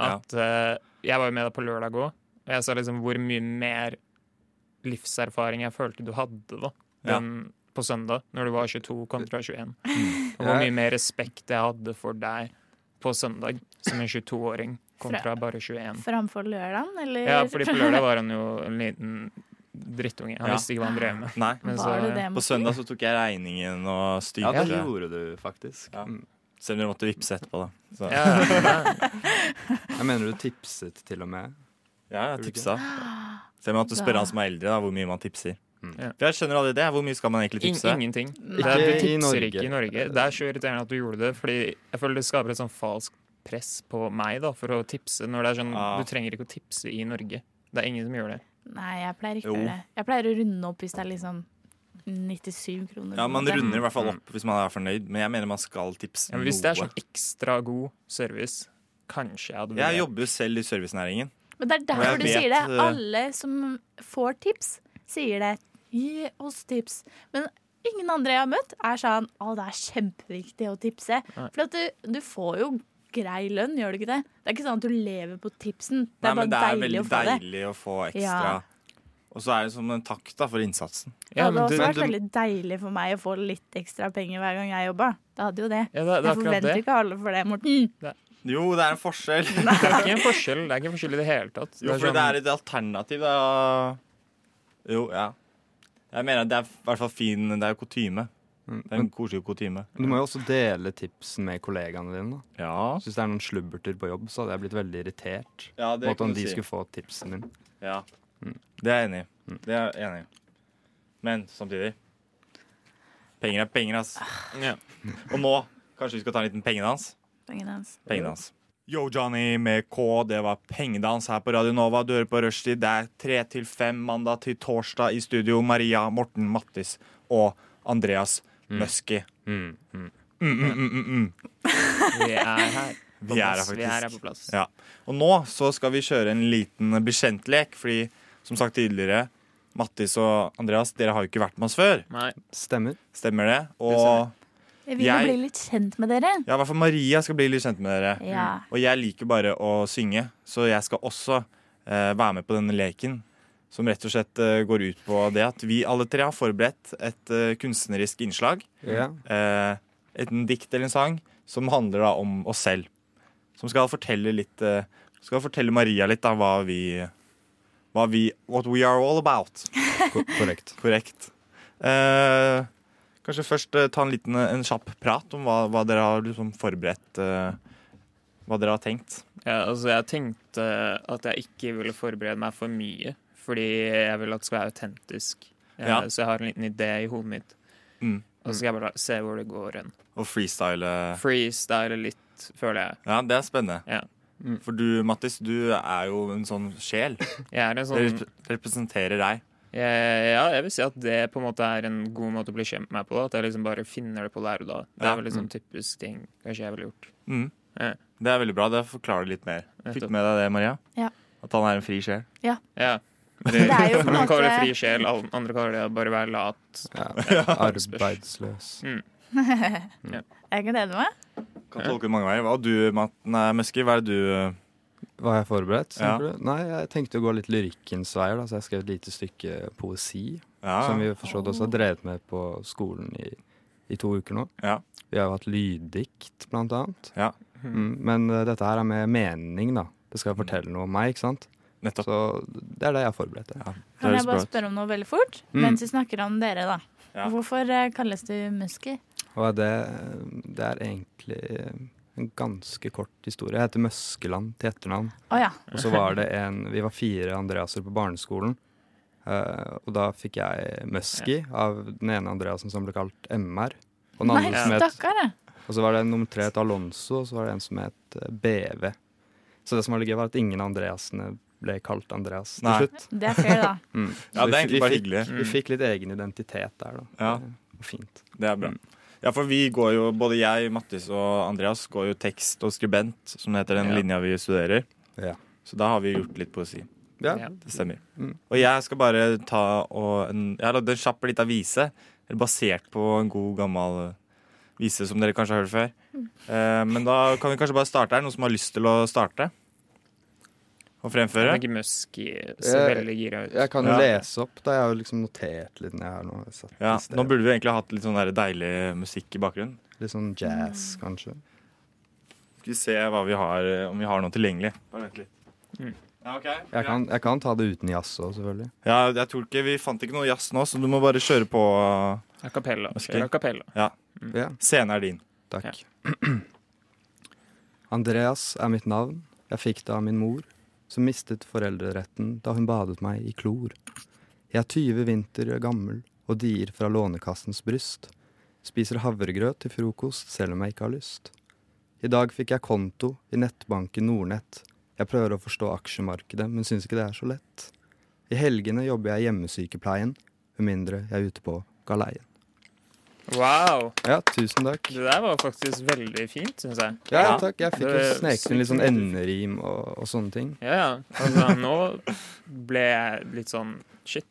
Speaker 1: At eh, Jeg var jo med deg på lørdag òg, og jeg sa liksom hvor mye mer livserfaring jeg følte du hadde da
Speaker 5: Ja.
Speaker 1: den på søndag, når du var 22 kontra 21.
Speaker 5: Mm.
Speaker 1: Og hvor mye mer respekt jeg hadde for deg på søndag som en 22-åring kontra bare 21.
Speaker 4: Framfor lørdagen, eller?
Speaker 1: Ja, fordi på lørdag var han jo en liten drittunge. Han
Speaker 5: Ja.
Speaker 1: visste ikke hva han drev med.
Speaker 5: Nei.
Speaker 1: Men så,
Speaker 4: Var du det?
Speaker 5: På søndag så tok jeg regningen og
Speaker 6: ja,
Speaker 5: styrte.
Speaker 6: det gjorde du faktisk.
Speaker 5: Ja.
Speaker 6: Mm.
Speaker 5: Selv om dere måtte vippse etterpå, da. Så.
Speaker 1: Ja, ja.
Speaker 6: Jeg mener du tipset til og med.
Speaker 5: Ja, jeg tipsa. Selv om at du spør han som er eldre, da, hvor mye man tipser.
Speaker 4: Mm.
Speaker 5: For jeg skjønner aldri det. Hvor mye skal man egentlig
Speaker 1: In
Speaker 5: tipse?
Speaker 1: ingenting. Det
Speaker 6: Ikke
Speaker 1: er, du
Speaker 6: i
Speaker 1: tipser
Speaker 6: Norge.
Speaker 1: ikke i Norge. Det er så irriterende at du gjorde det, fordi jeg føler det skaper et sånn falskt press på meg da, for å tipse. Når det er sånn,
Speaker 5: Ja.
Speaker 1: Du trenger ikke å tipse i Norge. Det er ingen som gjør det.
Speaker 4: Nei, jeg pleier ikke
Speaker 5: Jo.
Speaker 4: å gjøre det. Jeg pleier å runde opp hvis det er liksom 97 kroner.
Speaker 5: Ja, Man
Speaker 4: Det- Mm.
Speaker 5: runder i hvert fall opp hvis man er fornøyd, men jeg mener man skal tipse
Speaker 1: Ja, men hvis det er
Speaker 5: noe.
Speaker 1: sånn ekstra god service, kanskje jeg hadde
Speaker 5: Jeg
Speaker 1: vurdert.
Speaker 5: jobber jo selv i servicenæringen,
Speaker 4: Men det er derfor
Speaker 5: jeg
Speaker 4: du
Speaker 5: vet,
Speaker 4: sier det.
Speaker 5: eh,
Speaker 4: Alle som får tips, sier det. Gi oss tips. Men ingen andre jeg har møtt, er sånn Å, det er kjempeviktig å tipse. For at du, du får jo grei lønn, gjør du ikke det? Det er ikke sånn at du lever på tipsen. Det
Speaker 5: Nei,
Speaker 4: er
Speaker 5: men
Speaker 4: bare
Speaker 5: det er veldig
Speaker 4: deilig å få det.
Speaker 5: deilig å få ekstra.
Speaker 4: Ja.
Speaker 5: Og så er det som en takk da for innsatsen.
Speaker 4: Det hadde
Speaker 1: du-
Speaker 4: også vært
Speaker 5: du-
Speaker 4: veldig deilig for meg å få litt ekstra penger hver gang jeg jobba. Det hadde jo det.
Speaker 1: Ja, det, det er
Speaker 4: Jeg
Speaker 1: akkurat
Speaker 4: forventer
Speaker 1: det.
Speaker 4: ikke alle for det, Morten.
Speaker 5: Jo, det er en forskjell.
Speaker 1: Det er ikke en forskjell det er ikke en forskjell i det sånn, hele tatt.
Speaker 5: Jo, for
Speaker 6: sånn-
Speaker 5: det er et alternativ, da. Jo, ja. Jeg mener at det er i hvert fall fin Det er jo kutyme.
Speaker 6: Mm,
Speaker 5: Det er en koselig kutyme.
Speaker 6: Men du må jo også dele tipsen med kollegaene dine. da.
Speaker 5: Ja.
Speaker 6: Hvis det er noen slubberter på jobb, så hadde jeg blitt veldig irritert.
Speaker 5: ja,
Speaker 6: på
Speaker 5: det
Speaker 6: at om
Speaker 5: kan du
Speaker 6: de
Speaker 5: si.
Speaker 6: skulle få tipsen din.
Speaker 5: Ja.
Speaker 6: Mm.
Speaker 5: Det er jeg enig i. Det er jeg enig i. Men samtidig Penger er penger, ass.
Speaker 1: Ja.
Speaker 5: Og nå kanskje vi skal ta en liten pengedans?
Speaker 4: Pengene
Speaker 1: altså.
Speaker 4: hans.
Speaker 5: Pengedans. Yo, Johnny med K. Det var pengedans her på Radio Nova. Du hører på Rushdie. Det er tre til fem mandag til torsdag i studio. Maria, Morten, Mattis og Andreas Musky. Mm, mm, mm, mm, mm.
Speaker 1: Vi er her. På
Speaker 5: Vi er her
Speaker 1: plass. Vi
Speaker 5: faktisk.
Speaker 1: er her på plass.
Speaker 5: Ja. Og nå så skal vi kjøre en liten bekjentlek, fordi som sagt tidligere, Mattis og Andreas, dere har jo ikke vært med oss før.
Speaker 1: Nei.
Speaker 6: Stemmer.
Speaker 5: Stemmer det? Og
Speaker 1: stemmer.
Speaker 4: Jeg vil
Speaker 5: Jeg-
Speaker 4: jo bli litt kjent med dere.
Speaker 5: ja, i hvert fall Maria skal bli litt kjent med dere.
Speaker 4: Ja.
Speaker 5: Og jeg liker bare å synge, så jeg skal også eh, være med på denne leken. Som rett og slett eh, går ut på det at vi alle tre har forberedt et eh, kunstnerisk innslag.
Speaker 6: Ja.
Speaker 5: eh, et en dikt eller en sang som handler da om oss selv. Som skal fortelle litt eh, Skal fortelle Maria litt da hva vi Hva vi What we are all about.
Speaker 6: Ko korrekt.
Speaker 5: Korrekt. Eh, kanskje først eh, ta en liten eh, en kjapp prat om hva, hva dere har liksom forberedt eh, Hva dere har tenkt.
Speaker 1: Ja, altså, jeg tenkte at jeg ikke ville forberede meg for mye, fordi jeg vil at det skal være autentisk. Eh,
Speaker 5: Ja.
Speaker 1: Så jeg har en liten idé i hodet mitt,
Speaker 5: Mm.
Speaker 1: og så skal jeg bare se hvor det går hen.
Speaker 5: Og freestyle. eh.
Speaker 1: Freestyle litt, føler jeg.
Speaker 5: Ja, det er spennende.
Speaker 1: Ja. Mm.
Speaker 5: For du, Mattis, du er jo en sånn sjel.
Speaker 1: Jeg er en
Speaker 5: Det
Speaker 1: sånn
Speaker 5: rep- representerer deg.
Speaker 1: jeg, Ja, jeg vil si at det på en måte er en god måte å bli kjent med meg på. Da. At jeg liksom bare finner det på der og da. Det
Speaker 5: Ja.
Speaker 1: er vel liksom typisk ting kanskje jeg ville gjort.
Speaker 5: Mm.
Speaker 1: Ja.
Speaker 5: Det er veldig bra. Det forklarer litt mer. Fikk
Speaker 1: Nettopp.
Speaker 5: med deg det, Maria?
Speaker 4: Ja.
Speaker 5: At han er en fri sjel?
Speaker 1: Ja.
Speaker 4: Det er jo på en
Speaker 1: Noen kaller det
Speaker 4: måte-
Speaker 1: fri sjel, alle andre kaller det å bare være lat.
Speaker 6: Ja. Arbeidsløs.
Speaker 4: Jeg kan dele meg.
Speaker 5: Kan tolke det mange veier. Og du, Matt, nei, Musky, hva er det du eh,
Speaker 6: Var jeg forberedt?
Speaker 5: Ja.
Speaker 6: tenker du? Nei, jeg tenkte å gå litt lyrikkens veier, da, så jeg skrev et lite stykke poesi.
Speaker 5: ja.
Speaker 6: Som vi jo forstått også har drevet med på skolen i, i to uker nå.
Speaker 5: Ja.
Speaker 6: Vi har jo hatt lyddikt, blant annet.
Speaker 5: Ja.
Speaker 6: Mm, men eh, dette her er med mening, da. Det skal fortelle noe om meg, ikke sant?
Speaker 5: Nettopp.
Speaker 6: Så det er det jeg har forberedt. Ja.
Speaker 4: Kan
Speaker 5: høres
Speaker 4: jeg
Speaker 5: bra
Speaker 4: bare
Speaker 5: ut.
Speaker 4: spørre om noe veldig fort?
Speaker 6: Mm.
Speaker 4: Mens vi snakker om dere, da.
Speaker 5: Ja.
Speaker 4: Hvorfor eh, kalles du Musky?
Speaker 6: Og det, eh, det er egentlig en ganske kort historie. Jeg heter Møskeland til etternavn.
Speaker 4: Å ja.
Speaker 6: Og så var det en Vi var fire Andreaser på barneskolen. eh, og da fikk jeg Musky av den ene Andreasen som ble kalt MR. Og den
Speaker 4: Nei,
Speaker 6: andre som het
Speaker 4: stakkar. jeg.
Speaker 6: Og så var det nummer tre het Alonso, og så var det en som het eh, BV. Så det som var litt gøy, var at ingen Andreasene ble kalt Andreas til
Speaker 5: Nei.
Speaker 6: slutt.
Speaker 4: Det er fair, da.
Speaker 6: Mm.
Speaker 5: Ja,
Speaker 6: Så vi
Speaker 5: det er
Speaker 6: fi-
Speaker 5: egentlig
Speaker 6: vi
Speaker 5: bare
Speaker 6: fikk-
Speaker 5: hyggelig. Mm.
Speaker 6: Vi fikk litt egen identitet der, da.
Speaker 5: Ja.
Speaker 6: Det var Fint.
Speaker 5: Det er bra. Ja, for vi går jo, både jeg, Mattis og Andreas går jo tekst og skribent, som det heter den
Speaker 1: Ja.
Speaker 5: linja vi studerer.
Speaker 6: Ja.
Speaker 5: Så da har vi gjort litt poesi.
Speaker 6: Ja.
Speaker 1: Ja.
Speaker 5: Det stemmer.
Speaker 6: Mm.
Speaker 5: Og jeg skal bare ta og en, Jeg har lagd en kjapp lita vise, eller basert på en god, gammel eh, vise som dere kanskje har hørt før. Eh, men da kan vi kanskje bare starte her. Noen som har lyst til å starte? Og fremføre?
Speaker 1: Jeg er ikke musky, så
Speaker 6: Jeg-
Speaker 1: veldig gira ut.
Speaker 6: Jeg kan jo
Speaker 5: Ja.
Speaker 6: lese opp, da. Jeg har jo liksom notert litt ned her nå. Satt
Speaker 5: Ja,
Speaker 6: i sted.
Speaker 5: Nå burde vi egentlig hatt litt sånn der deilig musikk i bakgrunnen.
Speaker 6: Litt sånn jazz, kanskje.
Speaker 5: Skal vi se hva vi har, eh, om vi har noe tilgjengelig. Bare vent litt.
Speaker 1: Mm.
Speaker 5: Ja, ok.
Speaker 6: Jeg kan, jeg kan ta det uten jazz òg, selvfølgelig.
Speaker 5: Ja, jeg tror ikke, Vi fant ikke noe jazz nå, så du må bare kjøre på.
Speaker 1: A cappella.
Speaker 5: Musky.
Speaker 1: Kjør a cappella.
Speaker 6: Ja.
Speaker 5: Scenen er din.
Speaker 6: Takk. Andreas er mitt navn. Jeg fikk det av min mor, som mistet foreldreretten da hun badet meg i klor. Jeg er 20 vinter gammel og dier fra Lånekassens bryst. Spiser havregrøt til frokost selv om jeg ikke har lyst. I dag fikk jeg konto i nettbanken Nordnett. Jeg prøver å forstå aksjemarkedet, men syns ikke det er så lett. I helgene jobber jeg i hjemmesykepleien, med mindre jeg er ute på galeien.
Speaker 1: Wow.
Speaker 6: Ja, tusen takk.
Speaker 1: Det der var faktisk veldig fint, syns jeg.
Speaker 6: Ja, takk. Jeg fikk jo
Speaker 1: Det-
Speaker 6: sneket inn litt sånn enderim og, og sånne ting.
Speaker 1: Ja, ja. Altså, nå ble jeg litt sånn shit.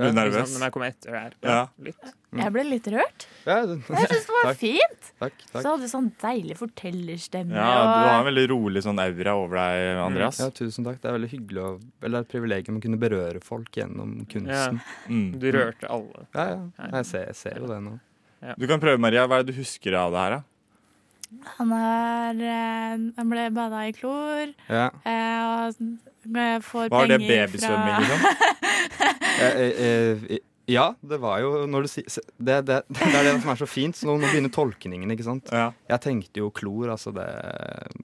Speaker 5: Er du
Speaker 1: Liksom,
Speaker 5: nervøs?
Speaker 1: Når jeg kom etter det her.
Speaker 5: Ja.
Speaker 1: Litt.
Speaker 4: Jeg ble litt rørt.
Speaker 6: Ja, det-
Speaker 4: Jeg syns det var
Speaker 6: Takk.
Speaker 4: fint.
Speaker 6: takk,
Speaker 4: Så
Speaker 6: takk.
Speaker 4: hadde du sånn deilig fortellerstemme.
Speaker 5: Ja, du har en
Speaker 4: og...
Speaker 5: veldig rolig sånn aura over deg, Andreas.
Speaker 6: Ja, tusen takk. Det er veldig hyggelig å, eller et privilegium å kunne berøre folk gjennom
Speaker 1: Ja.
Speaker 6: kunsten.
Speaker 5: Mm.
Speaker 1: Du rørte alle.
Speaker 6: Ja, ja. Jeg ser, jeg ser jo det nå.
Speaker 5: Du kan prøve, Maria. Hva er det du husker av det her, da?
Speaker 4: Han er eh, Han ble bada i klor.
Speaker 6: Ja.
Speaker 4: eh, og eh, får
Speaker 5: Var det
Speaker 4: penger
Speaker 5: babysvømming,
Speaker 4: fra
Speaker 5: liksom?
Speaker 6: Eh, eh, eh, ja, det var jo når du sier se- det, det, det er det som er så fint. Så nå, nå begynner tolkningen, ikke sant.
Speaker 5: Ja.
Speaker 6: Jeg tenkte jo klor, altså det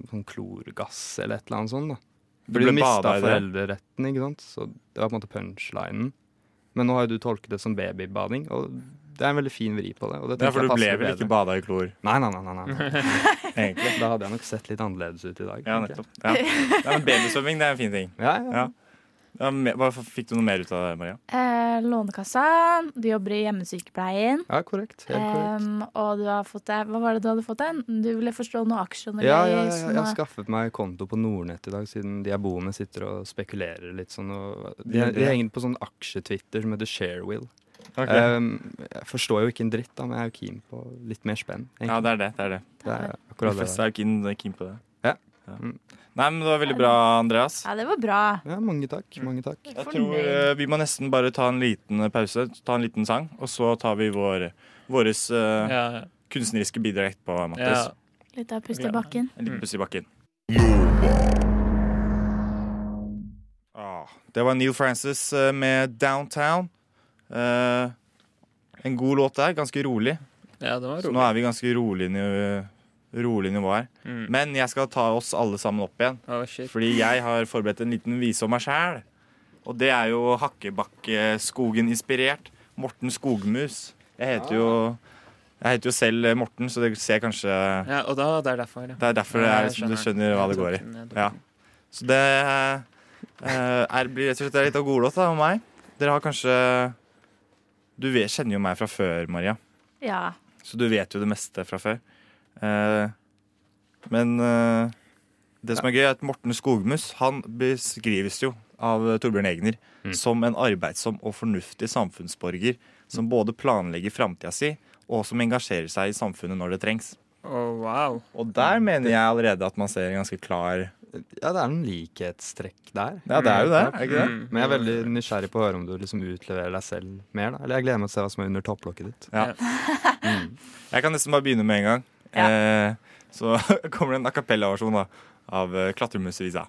Speaker 6: Sånn klorgass eller et eller annet sånt, da.
Speaker 5: Du
Speaker 6: Fordi du
Speaker 5: ble
Speaker 6: mista
Speaker 5: badet i det.
Speaker 6: foreldreretten, ikke sant. Så det var på en måte punchlinen. Men nå har jo du tolket det som babybading, og det er en veldig fin vri på det. Og det
Speaker 5: Ja,
Speaker 6: tenker
Speaker 5: for
Speaker 6: jeg
Speaker 5: du ble
Speaker 6: passer
Speaker 5: vel ikke
Speaker 6: bedre.
Speaker 5: bada i klor,
Speaker 6: Nei, nei, nei. nei, nei, nei.
Speaker 5: egentlig.
Speaker 6: Da hadde jeg nok sett litt annerledes ut i dag.
Speaker 5: Ja,
Speaker 6: tenker jeg.
Speaker 5: nettopp. Ja. Nei, men babysvømming, det er en fin ting.
Speaker 6: Ja, ja.
Speaker 5: Ja. Ja, me- hva f- fikk du noe mer ut av det, Maria?
Speaker 4: Eh, Lånekassa. Du jobber i hjemmesykepleien.
Speaker 6: ja, korrekt. Helt
Speaker 4: Eh,
Speaker 6: korrekt.
Speaker 4: Em, Ehm, og du har fått deg Hva var det du hadde fått deg? Du ville forstå noe aksjer? eller
Speaker 6: Ja, ja, ja,
Speaker 4: sånn
Speaker 6: jeg har
Speaker 4: noe-
Speaker 6: skaffet meg konto på Nordnett i dag, siden de aboene sitter og spekulerer litt sånn. Og de,
Speaker 5: Gjør de
Speaker 6: de
Speaker 5: det?
Speaker 6: henger på sånn aksjetwitter som heter Sharewill.
Speaker 5: Eh,
Speaker 6: Um, jeg forstår jo ikke en dritt, da, men jeg er jo keen på litt mer spenn. egentlig.
Speaker 5: Ja, det er det. det, er det.
Speaker 6: det er akkurat det.
Speaker 5: Professor er keen, keen på det.
Speaker 6: Ja. Mm.
Speaker 5: Nei, men det var veldig bra, Andreas.
Speaker 4: Ja, det var bra.
Speaker 6: Ja, mange takk.
Speaker 5: Mm.
Speaker 6: mange takk.
Speaker 5: Jeg
Speaker 4: Fornøyd.
Speaker 5: tror eh, vi må nesten bare ta en liten eh, pause, ta en liten sang, og så tar vi vår, våres eh,
Speaker 1: Ja,
Speaker 5: kunstneriske bidrag etterpå,
Speaker 1: ja.
Speaker 5: Mattis.
Speaker 4: Litt av pust
Speaker 1: Ja.
Speaker 4: i bakken.
Speaker 5: En
Speaker 1: Mm.
Speaker 5: liten puss i bakken. Ah, det var Neil Francis eh, med 'Downtown'. Eh, en god låt der. Ganske rolig.
Speaker 1: ja det var
Speaker 5: Så nå
Speaker 1: rolig.
Speaker 5: er vi ganske rolig, niv- rolig nivå her.
Speaker 1: Mm.
Speaker 5: Men jeg skal ta oss alle sammen opp igjen.
Speaker 1: Å, shit.
Speaker 5: Fordi jeg har forberedt en liten vise om meg sjæl. Og det er jo Hakkebakkeskogen-inspirert. Morten Skogmus. Jeg heter jo
Speaker 1: Ah.
Speaker 5: Jeg heter jo selv Morten, så det ser kanskje
Speaker 1: Ja, og da, det er derfor, ja.
Speaker 5: Det er derfor det
Speaker 1: Ja,
Speaker 5: er,
Speaker 1: jeg
Speaker 5: du skjønner hva det går i.
Speaker 1: Jeg tok den, jeg tok
Speaker 5: Ja.
Speaker 1: den.
Speaker 5: Så det eh, er, blir rett og slett litt av godlåt da, om meg. Dere har kanskje Du vet, kjenner jo meg fra før, Maria.
Speaker 4: Ja.
Speaker 5: Så du vet jo det meste fra før. Eh, men eh, det som er gøy, er at Morten Skogmus han beskrives jo av eh, Torbjørn Egner
Speaker 1: Mm.
Speaker 5: som en arbeidsom og fornuftig samfunnsborger som både planlegger framtida si, og som engasjerer seg i samfunnet når det trengs.
Speaker 1: Å, wow.
Speaker 5: Og
Speaker 1: Mm.
Speaker 5: der mener jeg allerede at man ser en ganske klar
Speaker 6: Ja, det er noen likhetstrekk der.
Speaker 5: Ja, det er jo det. Er det ikke det?
Speaker 1: Mm.
Speaker 6: Men jeg er veldig nysgjerrig på å høre om du liksom utleverer deg selv mer. da. Eller jeg gleder meg til å se hva som er under topplokket ditt.
Speaker 5: Jeg kan nesten bare begynne med en gang.
Speaker 4: Ja.
Speaker 5: Eh, så kommer det en a cappella-versjon da, av eh, Klatremusvisa.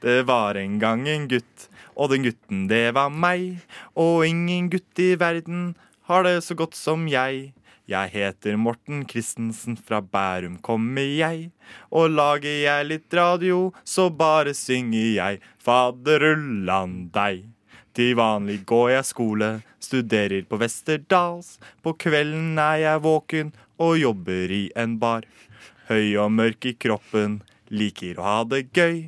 Speaker 5: Det var en gang en gutt, og den gutten det var meg. Og ingen gutt i verden har det så godt som jeg. Jeg heter Morten Christensen, fra Bærum kommer jeg. Og lager jeg litt radio, så bare synger jeg Faderullan deg. Til vanlig går jeg skole, studerer på Westerdals. På kvelden er jeg våken og jobber i en bar. Høy og mørk i kroppen, liker å ha det gøy.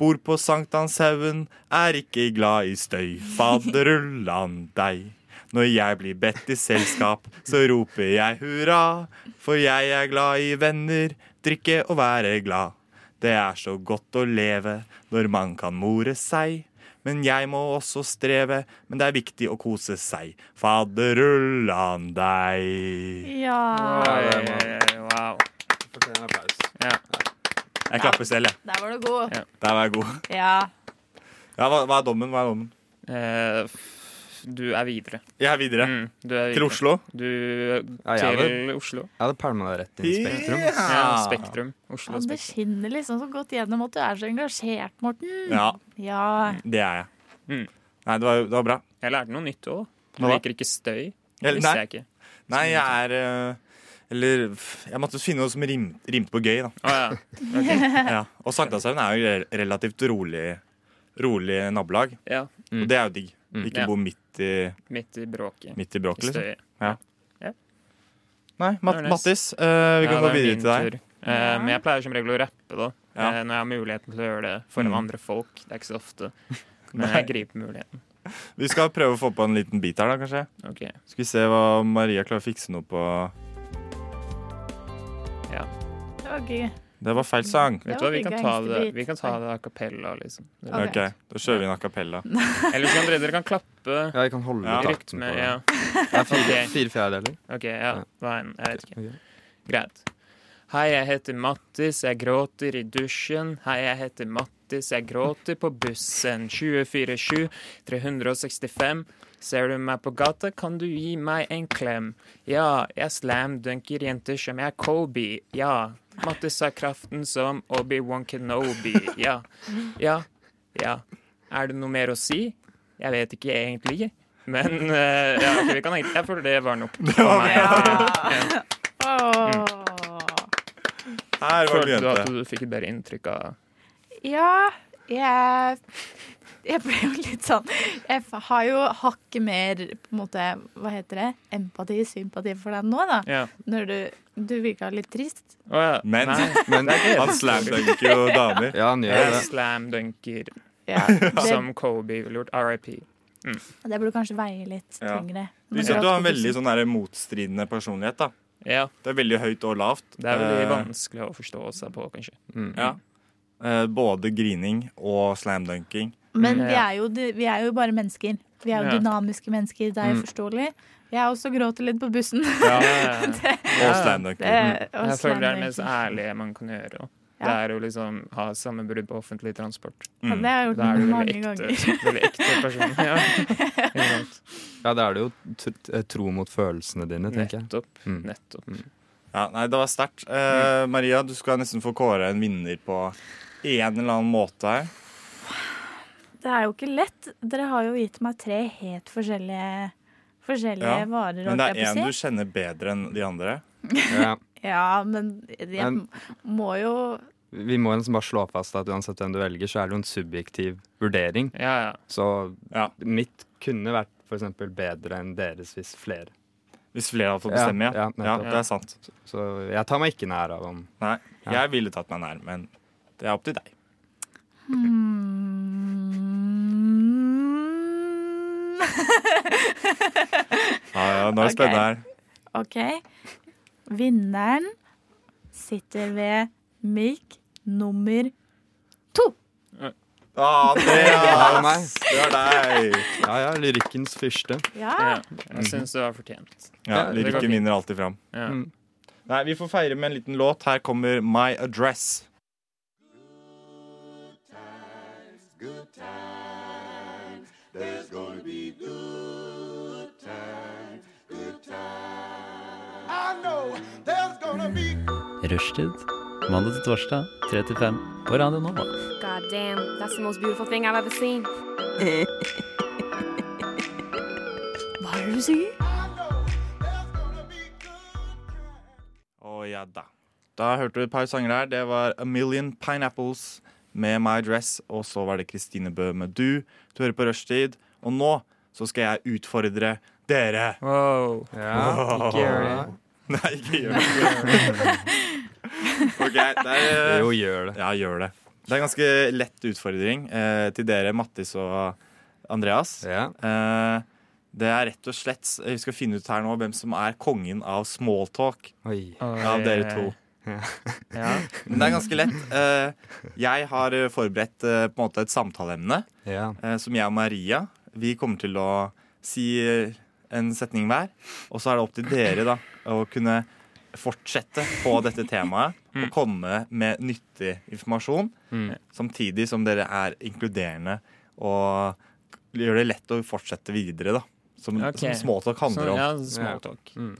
Speaker 5: Bor på Sankthanshaugen, er ikke glad i støy. Faderullan deg. Når jeg blir bedt i selskap, så roper jeg hurra. For jeg er glad i venner, drikke og være glad. Det er så godt å leve når man kan more seg. Men jeg må også streve, men det er viktig å kose seg. Faderullan deg.
Speaker 4: ja.
Speaker 1: Oi, wow. Ja.
Speaker 5: Jeg klapper selv, jeg.
Speaker 4: Der var du god.
Speaker 1: Ja.
Speaker 5: Der var jeg god.
Speaker 4: Ja.
Speaker 5: Ja, hva, hva er dommen? Hva er dommen?
Speaker 1: Eh, f- du er videre.
Speaker 5: Jeg er videre.
Speaker 1: Mm, du er videre.
Speaker 5: Til Oslo.
Speaker 1: Du
Speaker 6: Ja, jeg
Speaker 1: til Oslo.
Speaker 6: Jeg hadde pælma deg rett inn i Spektrum.
Speaker 1: Ja, Spektrum. Oslo
Speaker 4: Ja, det
Speaker 1: Spektrum.
Speaker 4: skinner liksom så godt gjennom at du er så engasjert, Morten.
Speaker 5: Ja,
Speaker 4: Ja.
Speaker 5: det er jeg.
Speaker 1: Mm.
Speaker 5: Nei, det var, det var bra.
Speaker 1: Jeg lærte noe nytt òg. Du
Speaker 5: Hva da?
Speaker 1: liker ikke støy. Det
Speaker 5: Eller,
Speaker 1: visste
Speaker 5: nei,
Speaker 1: jeg ikke.
Speaker 5: nei, jeg er eh, Eller f- jeg måtte finne noe som rim, rimte på gøy, da.
Speaker 1: Å ja.
Speaker 5: Ja. Og Sankthanshaugen er jo re- relativt rolig, rolig nabolag.
Speaker 1: ja.
Speaker 6: Mm.
Speaker 5: Og det er jo digg. Ikke
Speaker 1: Mm. Ja.
Speaker 5: bo midt i,
Speaker 1: Midt i bråket.
Speaker 5: midt i bråket,
Speaker 1: I
Speaker 5: liksom.
Speaker 1: støyet.
Speaker 5: Nei, Mat
Speaker 1: Det var nice.
Speaker 5: Mattis, eh, vi kan
Speaker 1: Ja,
Speaker 5: gå
Speaker 1: det er
Speaker 5: videre
Speaker 1: min
Speaker 5: til deg.
Speaker 1: tur. Eh, Men jeg pleier som regel å rappe da
Speaker 5: Ja.
Speaker 1: eh, når jeg har muligheten til å gjøre det foran
Speaker 5: Mm.
Speaker 1: andre folk. Det er ikke så ofte. Men jeg griper muligheten.
Speaker 5: Vi skal prøve å få på en liten bit her, da, kanskje.
Speaker 1: Ok.
Speaker 5: Skal vi se hva Maria klarer å fikse noe på
Speaker 4: Det var gøy.
Speaker 5: Det var feil sang.
Speaker 1: Vet du
Speaker 4: Det
Speaker 1: hva,
Speaker 4: var
Speaker 1: vi kan
Speaker 4: ikke
Speaker 1: ta det
Speaker 4: gangsterbit.
Speaker 1: Vi kan ta det a cappella, liksom.
Speaker 4: Ok.
Speaker 5: OK, da kjører vi en a cappella.
Speaker 1: Eller så kan dere, dere kan klappe
Speaker 6: Ja, jeg kan holde
Speaker 5: Ja.
Speaker 6: takten
Speaker 1: rytme.
Speaker 6: på det.
Speaker 1: Ja.
Speaker 6: Det er fire,
Speaker 1: Ok.
Speaker 6: fire fjerdedeler.
Speaker 1: OK, ja. Hva enn. Jeg vet ikke.
Speaker 6: Ok.
Speaker 1: Greit. Hei, jeg heter Mattis, jeg gråter i dusjen. Hei, jeg heter Mattis, jeg gråter på bussen. 24-7, 365. Ser du meg på gata, kan du gi meg en klem. Ja, jeg slamdunker jenter som jeg er Kobe. Ja, Mattis har kraften som Obi-Wan Kenobi. Ja, ja, ja. Er det noe mer å si? Jeg vet ikke egentlig, men eh, ja, ok, vi kan, egentlig- Jeg føler det var nok. Det var
Speaker 4: Åh.
Speaker 5: Her var det
Speaker 1: Følte du at
Speaker 5: jente.
Speaker 1: du fikk et bedre inntrykk av
Speaker 4: Ja, jeg Jeg ble jo litt sånn Jeg f- har jo hakket mer på en måte, Hva heter det? Empati, sympati for deg nå, da.
Speaker 1: Ja.
Speaker 4: Når du, du virka litt trist.
Speaker 1: Å ja.
Speaker 5: Men-
Speaker 1: Nei,
Speaker 6: Men
Speaker 1: det er
Speaker 5: Han
Speaker 1: ikke
Speaker 5: slamdunker jo damer.
Speaker 6: ja, han gjør
Speaker 1: Jeg
Speaker 6: det.
Speaker 1: slamdunker
Speaker 4: Ja, det,
Speaker 1: som Kobe ville gjort. RIP.
Speaker 4: det burde kanskje veie litt
Speaker 5: Ja.
Speaker 4: tyngre.
Speaker 5: Du ser at du har en veldig sånn der motstridende personlighet. da
Speaker 1: Ja,
Speaker 5: Det er veldig høyt og lavt.
Speaker 1: det er veldig
Speaker 5: Eh,
Speaker 1: vanskelig å forstå seg på, kanskje.
Speaker 6: Mm.
Speaker 5: Ja. Eh, Både grining og slamdunking.
Speaker 4: Men
Speaker 1: Mm.
Speaker 4: vi er, jo, de- vi er jo bare mennesker. Vi er jo
Speaker 1: Ja.
Speaker 4: dynamiske mennesker. Det er jo
Speaker 6: Mm.
Speaker 4: forståelig. Jeg også gråter litt på bussen.
Speaker 1: Ja, ja, ja.
Speaker 5: Og slamdunking.
Speaker 4: Det- og
Speaker 1: Jeg føler det er det
Speaker 4: slammer.
Speaker 1: mest ærlige man kan gjøre. da. Det
Speaker 4: Ja.
Speaker 1: er å liksom ha sammenbrudd på offentlig transport.
Speaker 5: Mm.
Speaker 4: Ja, sånn, det har jeg gjort
Speaker 1: Da er du
Speaker 4: mange
Speaker 1: veldig
Speaker 4: ganger.
Speaker 1: ekte, veldig ekte person. Ja. Ikke sant?
Speaker 6: Ja, da er det jo tr- eh, tro mot følelsene dine, tenker jeg.
Speaker 1: Nettopp.
Speaker 6: Mm.
Speaker 1: Nettopp.
Speaker 5: Ja, nei, det var sterkt.
Speaker 4: Mm.
Speaker 5: Eh, Maria, du skal nesten få kåre en vinner på en eller annen måte her.
Speaker 4: Det er jo ikke lett. Dere har jo gitt meg tre helt forskjellige, forskjellige
Speaker 5: Ja,
Speaker 4: varer.
Speaker 5: Men det
Speaker 4: holdt
Speaker 5: er
Speaker 4: jeg på
Speaker 5: en
Speaker 4: å
Speaker 5: du
Speaker 4: si.
Speaker 5: kjenner bedre enn de andre.
Speaker 6: Ja.
Speaker 4: Ja, men jeg
Speaker 6: Men-
Speaker 4: må jo
Speaker 6: Vi må liksom bare slå fast at uansett hvem du velger, så er det jo en subjektiv vurdering.
Speaker 1: Ja, ja.
Speaker 6: Så
Speaker 5: Ja.
Speaker 6: mitt kunne vært for eksempel bedre enn deres hvis flere.
Speaker 5: Hvis flere hadde fått bestemme, ja.
Speaker 6: Ja, ja,
Speaker 5: ja,
Speaker 6: nettopp.
Speaker 5: det er sant.
Speaker 6: Så jeg tar meg ikke nær av om
Speaker 5: Nei,
Speaker 6: Ja.
Speaker 5: jeg ville tatt meg nær, men det er opp til deg.
Speaker 4: mm,
Speaker 5: Ja, ja, nå er det
Speaker 4: Ok.
Speaker 5: spennende her.
Speaker 4: OK. Vinneren sitter ved mic nummer to.
Speaker 5: Andreas!
Speaker 6: Ja, meg.
Speaker 5: Det er deg!
Speaker 6: Ja, ja, lyrikkens fyrste.
Speaker 1: ja.
Speaker 4: Ja.
Speaker 1: Jeg syns det var fortjent.
Speaker 5: Ja,
Speaker 6: Ja,
Speaker 1: det går
Speaker 5: Lyrikken
Speaker 1: fint.
Speaker 5: vinner alltid fram.
Speaker 1: Ja.
Speaker 6: Mm.
Speaker 5: Nei, vi får feire med en liten låt. Her kommer My Address.
Speaker 7: Rushtid. Mandag til torsdag, 3 til 5 på Radio Nova.
Speaker 8: God damn, that's the most beautiful thing I've ever seen.
Speaker 4: Hva er det du sier?
Speaker 5: Å ja da. Da hørte du et par sanger her. Det var A Million Pineapples med My Dress, og så var det Kristine Bø med Du. Du hører på Rushtid, og nå så skal jeg utfordre dere.
Speaker 1: Wow. Ikke gjør det.
Speaker 5: Nei, ikke gjør det. OK, det er
Speaker 6: Jo, gjør det.
Speaker 5: Ja, gjør det. Det er en ganske lett utfordring eh, til dere, Mattis og Andreas.
Speaker 6: Ja.
Speaker 5: Eh, det er rett og slett Vi skal finne ut her nå hvem som er kongen av smalltalk
Speaker 6: Oi.
Speaker 5: av dere to.
Speaker 1: Ja.
Speaker 5: Men det er ganske lett. Eh, jeg har eh, forberedt eh, på en måte et samtaleemne
Speaker 6: Ja.
Speaker 5: eh, som jeg og Maria Vi kommer til å si eh, en setning hver. Og så er det opp til dere da å kunne fortsette på dette temaet og
Speaker 1: Mm.
Speaker 5: komme med nyttig informasjon.
Speaker 6: Mm.
Speaker 5: Samtidig som dere er inkluderende og gjør det lett å fortsette videre. da Som,
Speaker 1: Ok.
Speaker 5: som småtalk handler
Speaker 1: Sånn,
Speaker 5: om.
Speaker 1: ja, småtalk.
Speaker 6: Mm.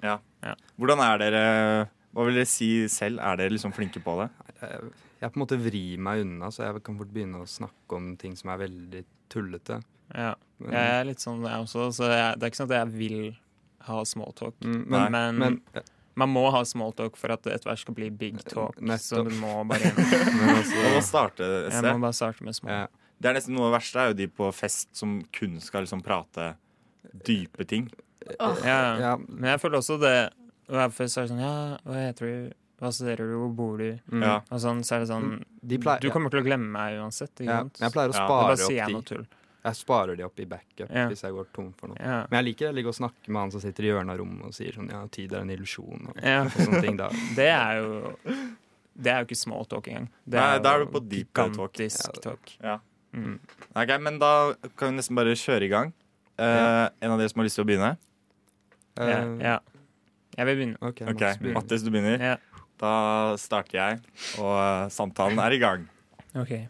Speaker 5: Hvordan er dere Hva vil dere si selv? Er dere liksom flinke på det?
Speaker 6: Jeg på en måte vrir meg unna, så jeg kan fort begynne å snakke om ting som er veldig tullete.
Speaker 1: Ja.
Speaker 6: Men-
Speaker 1: Jeg er litt sånn jeg også, så jeg, det er ikke sånn at jeg vil ha smalltalk.
Speaker 6: Mm,
Speaker 5: Nei,
Speaker 6: Men,
Speaker 1: Men,
Speaker 6: men,
Speaker 1: man må ha smalltalk for at ethvert skal bli big talk. Så
Speaker 6: Nettopp.
Speaker 1: du må bare
Speaker 6: men
Speaker 5: Jeg må
Speaker 6: altså
Speaker 5: starte
Speaker 1: Jeg
Speaker 5: Esse.
Speaker 1: må bare starte med small.
Speaker 6: ja.
Speaker 5: Det er nesten noe av det verste er jo de på fest som kun skal liksom prate dype ting.
Speaker 1: Ja.
Speaker 6: Ja.
Speaker 1: Men jeg føler også det Når jeg først er sånn Ja, hva heter du? Hva studerer du? Hvor bor du?
Speaker 6: Mm.
Speaker 5: Ja.
Speaker 1: Og sånn, så er det sånn
Speaker 6: De pleier,
Speaker 1: Du kommer til å glemme meg uansett. Ikke
Speaker 6: ja.
Speaker 1: sant?
Speaker 6: Jeg pleier å
Speaker 5: Ja, det
Speaker 1: det
Speaker 6: spare
Speaker 1: bare sier jeg noe
Speaker 6: opp de
Speaker 1: tull.
Speaker 6: Jeg sparer de opp i backup
Speaker 1: Ja.
Speaker 6: hvis jeg går tom for noe.
Speaker 1: Ja.
Speaker 6: Men jeg liker å ligge og snakke med han som sitter i hjørnet av rommet og sier sånn ja, tid er en illusjon og,
Speaker 1: Ja.
Speaker 6: og sånne ting. Da.
Speaker 1: Det er jo Det er jo ikke smalltalk engang. Det
Speaker 5: Nei, da er
Speaker 1: jo
Speaker 5: du på deep dive talk.
Speaker 1: gigantisk talk. Mm.
Speaker 5: Ok, men da kan vi nesten bare kjøre i gang. Eh, En av dere som har lyst til å begynne?
Speaker 1: Ja,
Speaker 6: Eh,
Speaker 1: ja. Jeg vil begynne.
Speaker 6: Ok,
Speaker 5: Ok,
Speaker 6: Mats begynner.
Speaker 5: Mattis, du begynner.
Speaker 1: Ja.
Speaker 5: Da starter jeg, og eh, samtalen er i gang.
Speaker 1: OK.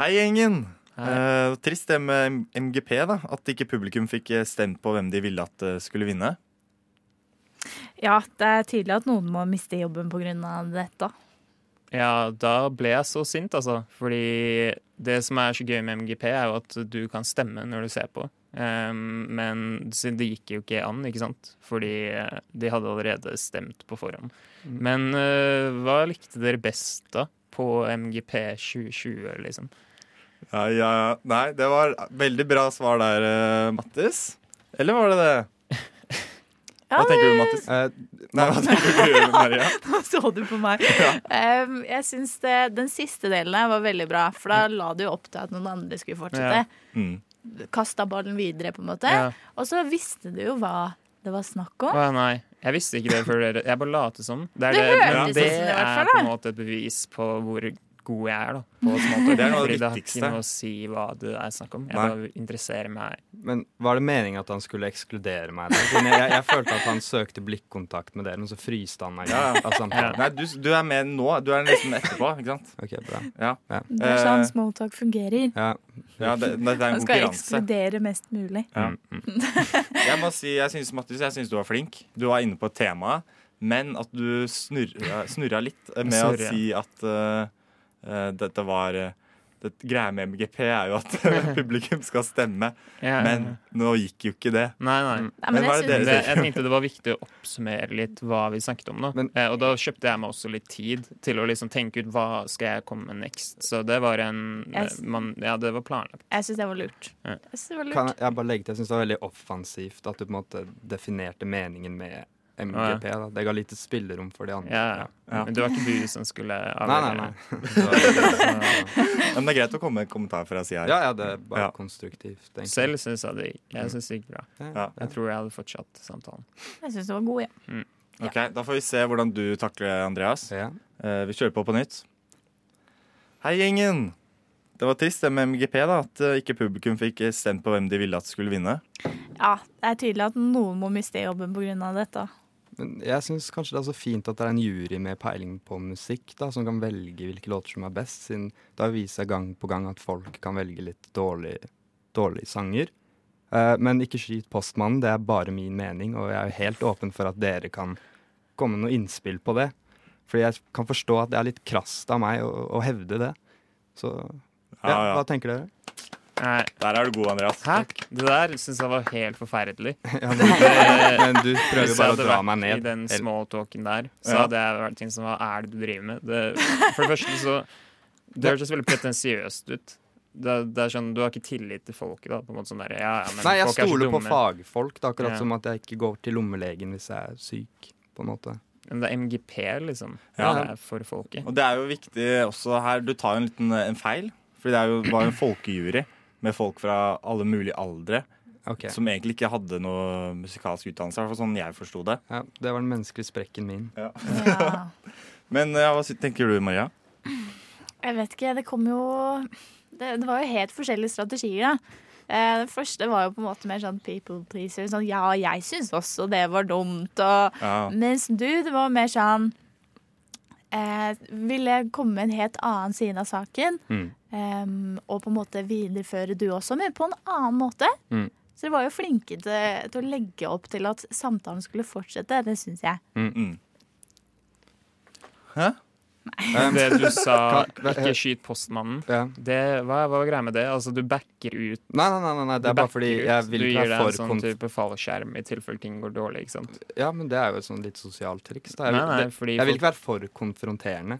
Speaker 5: Hei, gjengen!
Speaker 1: Her.
Speaker 5: Eh, trist det med M- MGP, da. At ikke publikum fikk eh, stemt på hvem de ville at eh, skulle vinne.
Speaker 4: Ja, det er tydelig at noen må miste jobben pga. dette.
Speaker 1: Ja, da ble jeg så sint, altså. Fordi det som er så gøy med MGP, er jo at du kan stemme når du ser på. Ehm, men så det gikk jo ikke an, ikke sant? Fordi eh, de hadde allerede stemt på forhånd. Men eh, hva likte dere best da på MGP 2020, liksom?
Speaker 5: Ja, ja, ja. Nei, det var veldig bra svar der, eh, Mattis. Eller var det det? Hva
Speaker 4: Ja,
Speaker 5: tenker du, Mattis?
Speaker 6: Eh,
Speaker 5: Nei, hva tenker du, Maria?
Speaker 4: da så du på meg. Em, jeg syns det- den siste delen her var veldig bra, for da la du jo opp til at noen andre skulle fortsette.
Speaker 5: Mm.
Speaker 4: Kasta ballen videre, på en måte.
Speaker 1: Ja.
Speaker 4: Og så visste du jo hva det var snakk om.
Speaker 1: Å nei, jeg visste ikke det før dere Jeg bare later som. Det, er
Speaker 4: Det
Speaker 1: det,
Speaker 4: hørtes
Speaker 1: men det
Speaker 4: sånn ut i hvert fall,
Speaker 1: er på en
Speaker 4: da.
Speaker 1: måte et bevis på hvor god jeg er, da. På småtalk.
Speaker 5: Det er noe av det
Speaker 1: Fordi det har
Speaker 5: viktigste.
Speaker 1: ikke noe å si hva det er snakk om. Jeg
Speaker 5: Nei.
Speaker 1: bare interesserer meg.
Speaker 6: Men var det meningen at han skulle ekskludere meg? der? Siden Jeg, jeg, jeg følte at han søkte blikkontakt med dere, men så fryste han meg.
Speaker 5: Ja, ja.
Speaker 6: av samtalen.
Speaker 5: Nei, du, du er med nå. Du er nesten etterpå, ikke sant?
Speaker 6: Ok, bra.
Speaker 4: Det er sånn smalltalk fungerer.
Speaker 6: Ja.
Speaker 5: Ja, det, Mm, det er
Speaker 4: Man
Speaker 5: Eh. en
Speaker 4: skal
Speaker 5: konkurranse.
Speaker 4: ekskludere mest mulig.
Speaker 5: Jeg må si, jeg synes, Mattis, jeg syns du var flink. Du var inne på temaet. Men at du snurra, snurra litt med å
Speaker 1: Snurra.
Speaker 5: si at eh, eh, dette var eh, det, Greia med MGP er jo at publikum skal stemme,
Speaker 1: Jeg-
Speaker 5: men nå gikk jo ikke det.
Speaker 1: Nei, nei.
Speaker 4: Nei,
Speaker 5: Men
Speaker 4: men
Speaker 5: hva er
Speaker 4: jeg
Speaker 5: det dere-
Speaker 4: synes,
Speaker 1: Det, jeg tenkte det var viktig å oppsummere litt hva vi snakket om. da
Speaker 6: Men-
Speaker 1: eh, Og da kjøpte jeg meg også litt tid til å liksom tenke ut hva skal jeg komme med next. Så det var en eh,
Speaker 4: Jeg-
Speaker 1: man, Ja, det var planlagt.
Speaker 4: jeg synes det var lurt.
Speaker 1: Ja.
Speaker 4: Jeg synes det var lurt.
Speaker 6: Kan jeg, jeg bare legge til, jeg syns det var veldig offensivt at du på en måte definerte meningen med MGP. Da. Det ga lite spillerom for de andre.
Speaker 1: Ja,
Speaker 5: Ja.
Speaker 1: Men det var ikke du som skulle
Speaker 6: Nei, nei, nei.
Speaker 5: Men det er greit å komme med en kommentar fra sida her.
Speaker 6: Ja, ja, det er bare
Speaker 5: Ja.
Speaker 6: konstruktivt. egentlig.
Speaker 1: Selv syns jeg det gikk. Jeg
Speaker 5: Mm.
Speaker 1: synes det gikk bra.
Speaker 5: Ja.
Speaker 1: Jeg tror jeg hadde fortsatt samtalen.
Speaker 4: Jeg synes det var god, ja.
Speaker 5: Ok, Da får vi se hvordan du takler Andreas.
Speaker 6: Ja.
Speaker 5: Eh, vi kjører på på nytt. Hei, gjengen! Det var trist det med MGP, da, at eh, ikke publikum fikk stemt på hvem de ville at skulle vinne.
Speaker 4: ja. Det er tydelig at noen må miste jobben pga. dette.
Speaker 6: Men jeg syns kanskje det er så fint at det er en jury med peiling på musikk, da, som kan velge hvilke låter som er best, siden det har vist seg gang på gang at folk kan velge litt dårlig- dårlige sanger. Eh, men ikke skyt postmannen, det er bare min mening, og jeg er jo helt åpen for at dere kan komme med noe innspill på det. Fordi jeg kan forstå at det er litt krast av meg å, å hevde det. Så ja,
Speaker 5: Ja, ja.
Speaker 6: hva tenker dere?
Speaker 1: Nei,
Speaker 5: Der er du god, Andreas.
Speaker 1: Hæ? Det der syns jeg var helt forferdelig.
Speaker 6: Ja, men, men du prøver
Speaker 1: Hvis jeg
Speaker 6: bare å
Speaker 1: hadde
Speaker 6: dra
Speaker 1: vært
Speaker 6: meg ned.
Speaker 1: i den
Speaker 6: Eller-
Speaker 1: smalltalken der, så
Speaker 5: Ja.
Speaker 1: hadde jeg vært ting som Hva er det du driver med? Det, for det første så Det hørtes veldig pretensiøst ut. Det, det er sånn, Du har ikke tillit til folket, da. På en måte sånn der, ja, ja, men
Speaker 6: Nei, jeg
Speaker 1: folk er så
Speaker 6: stoler på
Speaker 1: dumme.
Speaker 6: fagfolk, da, akkurat
Speaker 1: Ja.
Speaker 6: som at jeg ikke går til lommelegen hvis jeg er syk. på en måte.
Speaker 1: Men det er MGP, liksom.
Speaker 5: Ja.
Speaker 1: Det er for folket.
Speaker 5: Og det er jo viktig også her Du tar jo en liten eh, en feil, for det er jo, var jo en folkejury med folk fra alle mulige aldre
Speaker 6: Ok,
Speaker 5: som egentlig ikke hadde noe musikalsk utdannelse, i hvert fall sånn jeg forsto det.
Speaker 6: ja, Det var den menneskelige sprekken min.
Speaker 4: Ja.
Speaker 5: Men eh, hva sy- tenker du, Maria?
Speaker 4: Jeg vet ikke, det kom jo Det, det var jo helt forskjellige strategier, da. Eh, Den første var jo på en måte mer sånn people pleaser. Sånn ja, jeg syns også det var dumt. Og,
Speaker 5: Ja.
Speaker 4: Mens du, det var mer sånn eh, Ville komme med en helt annen side av saken. eh, og på en måte videreføre du også, men på en annen måte.
Speaker 6: Mm.
Speaker 4: Så dere var jo flinke til, til å legge opp til at samtalen skulle fortsette. Det syns jeg.
Speaker 5: Mm.
Speaker 1: Det du sa,
Speaker 6: Kan-
Speaker 1: ikke skyt postmannen,
Speaker 6: Ja.
Speaker 1: det, hva, hva var greia med det? Altså, du backer ut.
Speaker 6: Nei, nei, nei, nei, nei, det er bare
Speaker 1: du backer
Speaker 6: fordi
Speaker 1: ut.
Speaker 6: jeg vil
Speaker 1: Du
Speaker 6: ikke
Speaker 1: gir
Speaker 6: være
Speaker 1: deg en
Speaker 6: for
Speaker 1: sånn
Speaker 6: kont...
Speaker 1: type fallskjerm i tilfelle ting går dårlig, ikke sant.
Speaker 6: Ja, men det er jo et sånn litt sosialt triks. Da. Jeg,
Speaker 1: Nei, nei,
Speaker 6: vil,
Speaker 1: fordi
Speaker 6: det, jeg vil
Speaker 1: folk-
Speaker 6: ikke være for konfronterende.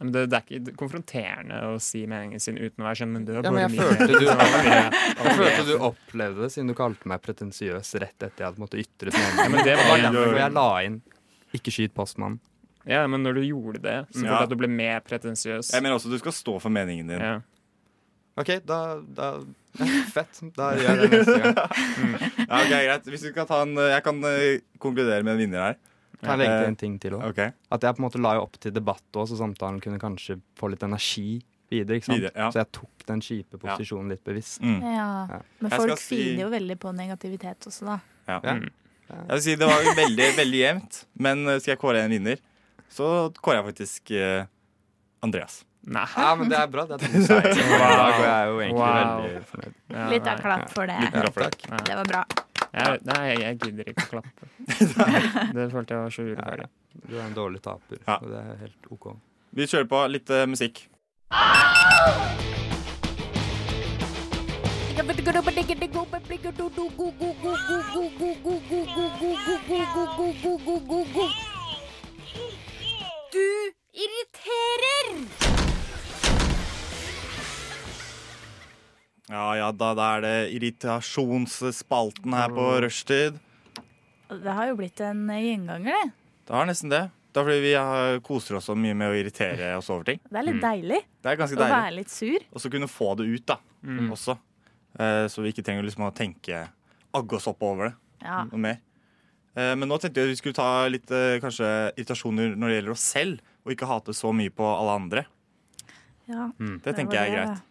Speaker 1: Men det, det er ikke konfronterende å si meningen sin uten å være sånn, men det var
Speaker 6: Ja,
Speaker 1: bare
Speaker 6: men jeg
Speaker 1: min
Speaker 6: følte
Speaker 1: mening.
Speaker 6: du-
Speaker 1: Det var min-
Speaker 6: Jeg følte du opplevde det, siden du kalte meg pretensiøs rett etter jeg hadde måttet ytre
Speaker 1: Ja, men
Speaker 6: meningen.
Speaker 1: det
Speaker 6: Det
Speaker 1: var
Speaker 6: var derfor jeg la inn 'ikke skyt postmannen'.
Speaker 1: Ja, men når du gjorde det, så følte
Speaker 5: Ja.
Speaker 1: jeg at du ble mer pretensiøs.
Speaker 5: Jeg mener også du skal stå for meningen din.
Speaker 1: Ja.
Speaker 6: OK, da, da ja, Fett. Da gjør jeg det neste gang.
Speaker 5: Ja, ok, greit. Hvis vi skal ta en, eh, jeg kan eh, konkludere med en vinner her.
Speaker 6: Kan jeg legge til en ting til òg?
Speaker 5: Ok,
Speaker 6: At jeg på en måte la jo opp til debatt også, så samtalen kunne kanskje få litt energi videre. ikke sant?
Speaker 5: Videre, ja.
Speaker 6: Så jeg tok den kjipe posisjonen litt bevisst.
Speaker 5: mm.
Speaker 4: Ja. Men
Speaker 5: Jeg skal
Speaker 4: folk
Speaker 5: si-
Speaker 4: filer jo veldig på negativitet også, da.
Speaker 5: ja.
Speaker 6: Ja.
Speaker 5: Jeg vil si Det var jo veldig veldig jevnt, men eh, skal jeg kåre en vinner, så kårer jeg faktisk eh, Andreas.
Speaker 1: Nei.
Speaker 6: Ja, men det er bra. Det er to seier. Da går jeg jo egentlig
Speaker 1: Wow.
Speaker 6: veldig fornøyd.
Speaker 1: Ja,
Speaker 4: Litt av
Speaker 1: nei.
Speaker 4: klapp for det.
Speaker 5: Liten klapp for deg.
Speaker 4: Det var bra.
Speaker 1: Jeg, nei, jeg gidder ikke å klappe. Det følte jeg var så urettferdig.
Speaker 6: Du er en dårlig taper,
Speaker 5: Ja.
Speaker 6: og det er helt OK.
Speaker 5: Vi kjører på litt eh, musikk.
Speaker 8: Du irriterer!
Speaker 5: Ja ja, da, da er det irritasjonsspalten her på rushtid.
Speaker 4: Det har jo blitt en gjenganger, det.
Speaker 5: Det har nesten det. Det er fordi vi har- koser oss så mye med å irritere oss over ting.
Speaker 4: Det er litt deilig
Speaker 5: Mm. Det er ganske
Speaker 4: å
Speaker 5: deilig.
Speaker 4: være litt sur.
Speaker 5: Og så kunne få det ut, da.
Speaker 1: Mm.
Speaker 5: Også. Eh, så vi ikke trenger liksom å tenke agge oss opp over det
Speaker 4: Ja.
Speaker 5: noe mer. Eh, men nå tenkte jeg at vi skulle ta litt eh, kanskje irritasjoner når det gjelder oss selv, og ikke hate så mye på alle andre.
Speaker 4: ja.
Speaker 5: Det tenker jeg er greit.
Speaker 4: greit.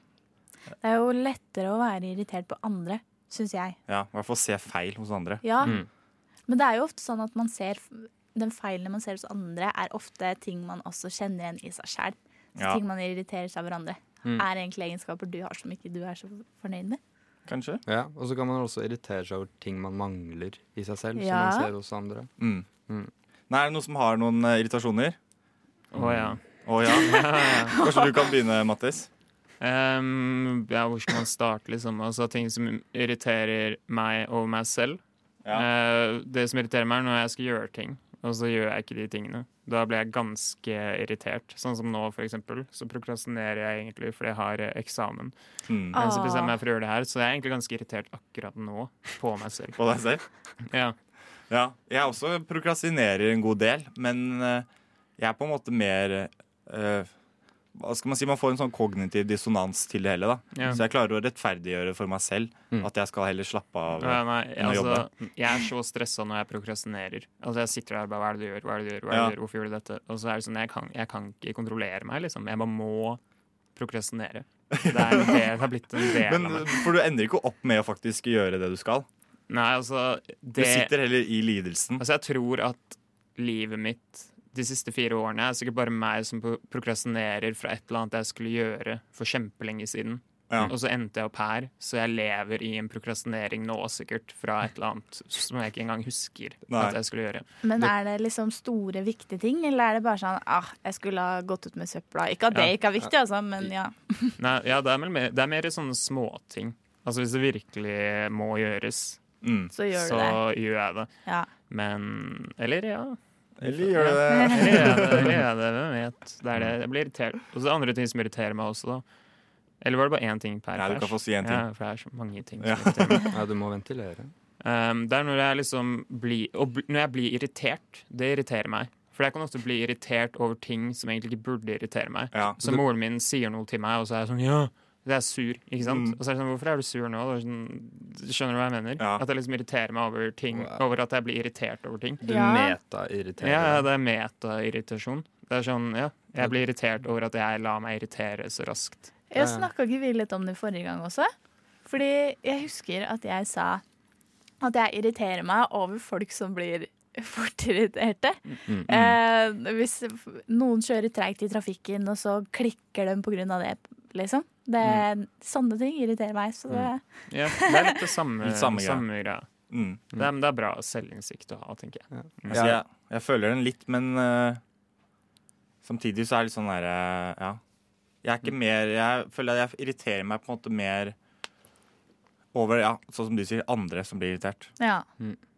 Speaker 4: Det er jo lettere å være irritert på andre, syns jeg.
Speaker 5: Ja, I hvert fall se feil hos andre.
Speaker 4: Ja.
Speaker 1: Mm.
Speaker 4: Men det er jo ofte sånn at man ser den feilen man ser hos andre, er ofte ting man også kjenner igjen i seg sjæl. Så
Speaker 5: Ja.
Speaker 4: ting man irriterer seg av hverandre.
Speaker 6: Mm.
Speaker 1: Mm.
Speaker 4: Er egentlig egenskaper du har som ikke du er så fornøyd med.
Speaker 5: Kanskje?
Speaker 6: Ja, Og så kan man også irritere seg over ting man mangler i seg selv, som
Speaker 4: Ja.
Speaker 6: man ser hos andre.
Speaker 5: Mm. Nei, er det noen som har noen eh, irritasjoner?
Speaker 1: Å ja.
Speaker 6: Mm.
Speaker 5: Å ja. Kanskje du kan begynne, Mattis?
Speaker 1: Ehm, ja, hvor skal man starte, liksom? Altså ting som irriterer meg over meg selv. Eh, det som irriterer meg, er når jeg skal gjøre ting, og så gjør jeg ikke de tingene. Da blir jeg ganske irritert. Sånn som nå, for eksempel, så prokrastinerer jeg egentlig fordi jeg har eh, eksamen.
Speaker 5: Mm.
Speaker 1: Men så
Speaker 4: Ah.
Speaker 1: bestemmer jeg meg for å gjøre det her, så jeg er egentlig ganske irritert akkurat nå på meg selv.
Speaker 5: På deg selv?
Speaker 1: Ja.
Speaker 5: Ja. Jeg også prokrastinerer en god del, men eh, jeg er på en måte mer eh, Hva skal man si? Man får en sånn kognitiv dissonans til det hele, da.
Speaker 1: ja. Mm.
Speaker 5: Så jeg klarer å rettferdiggjøre for meg selv at jeg skal heller slappe av.
Speaker 1: Ja, nei,
Speaker 5: enn å
Speaker 1: altså, jeg er så stressa når jeg prokrastinerer. Altså, jeg sitter der og bare Hva er det du gjør? Hva er det du gjør? Hva er det
Speaker 5: Ja.
Speaker 1: du gjør? Hvorfor gjør du dette? Og så er det sånn, jeg kan, jeg kan ikke kontrollere meg, liksom. Jeg bare må prokrastinere. Det er, en del, det er blitt en del
Speaker 5: Men eh,
Speaker 1: av meg.
Speaker 5: For du ender ikke opp med å faktisk gjøre det du skal.
Speaker 1: Nei, altså
Speaker 5: Du
Speaker 1: det,
Speaker 5: sitter heller i lidelsen.
Speaker 1: Altså, jeg tror at livet mitt de siste fire årene er sikkert bare meg som pro- prokrastinerer fra et eller annet jeg skulle gjøre for kjempelenge siden.
Speaker 5: Ja.
Speaker 1: Og så endte jeg opp her, så jeg lever i en prokrastinering nå sikkert fra et eller annet som jeg ikke engang husker
Speaker 5: Nei.
Speaker 1: at jeg skulle gjøre.
Speaker 4: Men er det liksom store, viktige ting, eller er det bare sånn ah, jeg skulle ha gått ut med søpla. Ikke at det
Speaker 1: Ja.
Speaker 4: ikke er viktig, altså, men ja.
Speaker 1: Nei, ja, det er, vel mer, det er mer sånne småting. Altså hvis det virkelig må gjøres,
Speaker 5: Mm.
Speaker 1: altså,
Speaker 4: Så gjør du
Speaker 1: så
Speaker 4: det.
Speaker 1: gjør jeg det.
Speaker 4: Ja.
Speaker 1: Men Eller ja.
Speaker 5: Eller gjør du det?
Speaker 1: Eller gjør jeg det, eller gjør jeg det hvem vet. Det er det. Jeg blir irritert. Og så er det andre ting som irriterer meg også, da. Eller var det bare én ting per
Speaker 5: Nei, du kan
Speaker 1: pers?
Speaker 5: få si en ting.
Speaker 1: Ja, for det er så mange ting som
Speaker 5: Ja.
Speaker 1: irriterer meg.
Speaker 6: Ja, du må ventilere.
Speaker 1: Um, det er når jeg liksom blir Og bl- når jeg blir irritert, det irriterer meg. For jeg kan ofte bli irritert over ting som egentlig ikke burde irritere meg.
Speaker 5: Ja.
Speaker 1: Så moren min sier noe til meg, og så er jeg sånn Ja! Jeg er sur, ikke sant?
Speaker 5: Mm.
Speaker 1: Og så er det sånn, hvorfor er du sur nå? Det er Sånn, skjønner du hva jeg mener?
Speaker 5: Ja.
Speaker 1: At jeg liksom irriterer meg over ting,
Speaker 6: Wow.
Speaker 1: over at jeg blir irritert over ting.
Speaker 6: Du
Speaker 4: Ja.
Speaker 6: meta-irriterer.
Speaker 1: Ja, ja, det er meta-irritasjon. Det er sånn, ja, jeg blir irritert over at jeg lar meg irritere så raskt.
Speaker 4: Jeg snakka ikke vi litt om det forrige gang også? Fordi jeg husker at jeg sa at jeg irriterer meg over folk som blir fort irriterte.
Speaker 5: Mm.
Speaker 4: Eh, hvis noen kjører treigt i trafikken, og så klikker de på grunn av det, liksom. Det, Sånne ting irriterer meg. Så det,
Speaker 1: Ja, det er litt det samme,
Speaker 5: Litt samme greia.
Speaker 1: samme greia.
Speaker 5: Mm.
Speaker 1: Det er, men det er bra selvinnsikt å ha, tenker jeg.
Speaker 5: Altså, jeg, jeg føler den litt, men eh, samtidig så er det litt sånn derre Ja. Jeg er ikke mer Jeg føler at jeg irriterer meg på en måte mer over, ja, sånn som du sier, andre som blir irritert.
Speaker 4: ja.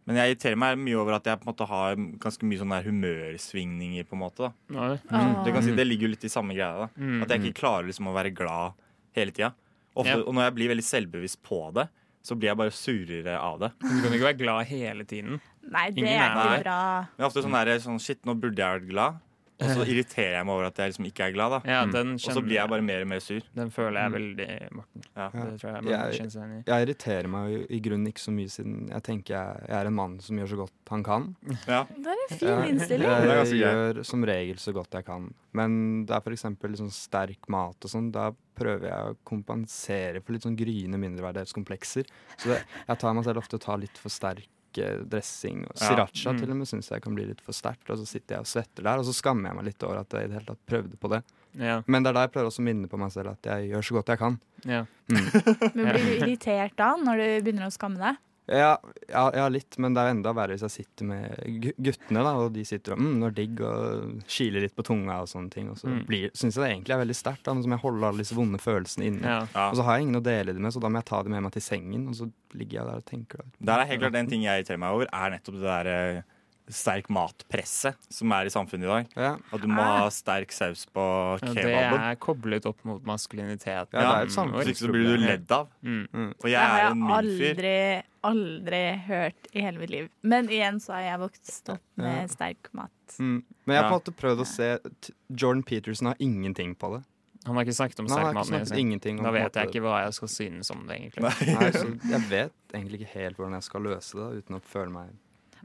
Speaker 5: Men jeg irriterer meg mye over at jeg på en måte har ganske mye sånne der humørsvingninger. på en måte da.
Speaker 1: Nå-
Speaker 5: Du kan si Det ligger jo litt i samme greia. da.
Speaker 1: Mm.
Speaker 5: At jeg ikke klarer liksom å være glad hele tida. Ofte,
Speaker 1: Ja.
Speaker 5: Og når jeg blir veldig selvbevisst på det, så blir jeg bare surere av det.
Speaker 1: Du kan jo ikke være glad hele tiden.
Speaker 4: Nei, det
Speaker 1: Ingen
Speaker 4: er
Speaker 1: er
Speaker 4: ikke
Speaker 5: det.
Speaker 4: bra.
Speaker 5: Men ofte sånn der, sånn, Shit, nå burde jeg vært glad. Og så irriterer jeg meg over at jeg liksom ikke er glad, da.
Speaker 1: Ja,
Speaker 6: Mm.
Speaker 1: den
Speaker 5: Og så
Speaker 1: kjenner
Speaker 5: blir jeg bare mer og mer sur.
Speaker 1: Den føler jeg veldig, Morten.
Speaker 5: Ja.
Speaker 1: Det tror jeg man
Speaker 6: Jeg-
Speaker 1: kjenner seg igjen i.
Speaker 6: Jeg irriterer meg jo i grunnen ikke så mye, siden jeg tenker jeg, jeg er en mann som gjør så godt han kan.
Speaker 4: Det er en fin innstilling.
Speaker 5: Det er
Speaker 6: Jeg
Speaker 5: ganske greit.
Speaker 6: gjør som regel så godt jeg kan. Men det er f.eks. Liksom sterk mat og sånn. Da prøver jeg å kompensere for litt sånn gryende mindreverdighetskomplekser. Så det, jeg tar meg selv ofte og tar litt for sterk eh, dressing. Og
Speaker 5: Ja.
Speaker 6: sriracha
Speaker 1: Mm.
Speaker 6: til og med syns jeg kan bli litt for sterkt. Og så sitter jeg og svetter der, og så skammer jeg meg litt over at jeg i det hele tatt prøvde på det.
Speaker 1: Ja,
Speaker 6: Men det er da jeg prøver også å minne på meg selv at jeg gjør så godt jeg kan.
Speaker 1: ja.
Speaker 4: Men blir du irritert da, når du begynner å skamme deg?
Speaker 6: Ja, ja, ja, litt, men det er enda verre hvis jeg sitter med gu- guttene, da, og de sitter og mm, når digg og kiler litt på tunga og sånne ting. Og så
Speaker 1: Mm.
Speaker 6: blir- syns jeg det egentlig er veldig sterkt, da, men så må jeg holde alle disse vonde følelsene inne.
Speaker 1: ja.
Speaker 5: Ja.
Speaker 6: Og så har jeg ingen å dele det med, så da må jeg ta det med meg til sengen, og så ligger jeg der og tenker. Da.
Speaker 5: Der er helt klart En ting jeg irriterer meg over, er nettopp det der eh, sterk matpresset som er i samfunnet i dag.
Speaker 6: Ja,
Speaker 5: At du må ha sterk saus på
Speaker 1: Ah. Ja, Det
Speaker 5: kebaben.
Speaker 1: er koblet opp mot maskulinitet.
Speaker 6: ja, det er
Speaker 5: Ja,
Speaker 6: et
Speaker 5: Hvis ikke så
Speaker 6: samfunnsproblem.
Speaker 5: blir du ledd av.
Speaker 1: Mm.
Speaker 5: Og jeg
Speaker 4: Det har
Speaker 5: er en
Speaker 4: jeg
Speaker 5: mild fyr.
Speaker 4: aldri, aldri hørt i hele mitt liv. Men igjen så har jeg vokst opp
Speaker 6: Ja.
Speaker 4: med sterk mat.
Speaker 6: Mm. Men jeg har på
Speaker 5: Ja.
Speaker 6: en måte prøvd å se t- Jordan Peterson har ingenting på det.
Speaker 1: Han har ikke snakket om
Speaker 6: Han har
Speaker 1: sterk
Speaker 6: ikke
Speaker 1: mann.
Speaker 6: snakket ingenting om
Speaker 1: Da
Speaker 6: på en
Speaker 1: vet jeg
Speaker 6: måte-
Speaker 1: ikke hva jeg skal synes om det, egentlig.
Speaker 6: Nei, så jeg vet egentlig ikke helt hvordan jeg skal løse det, uten å føle meg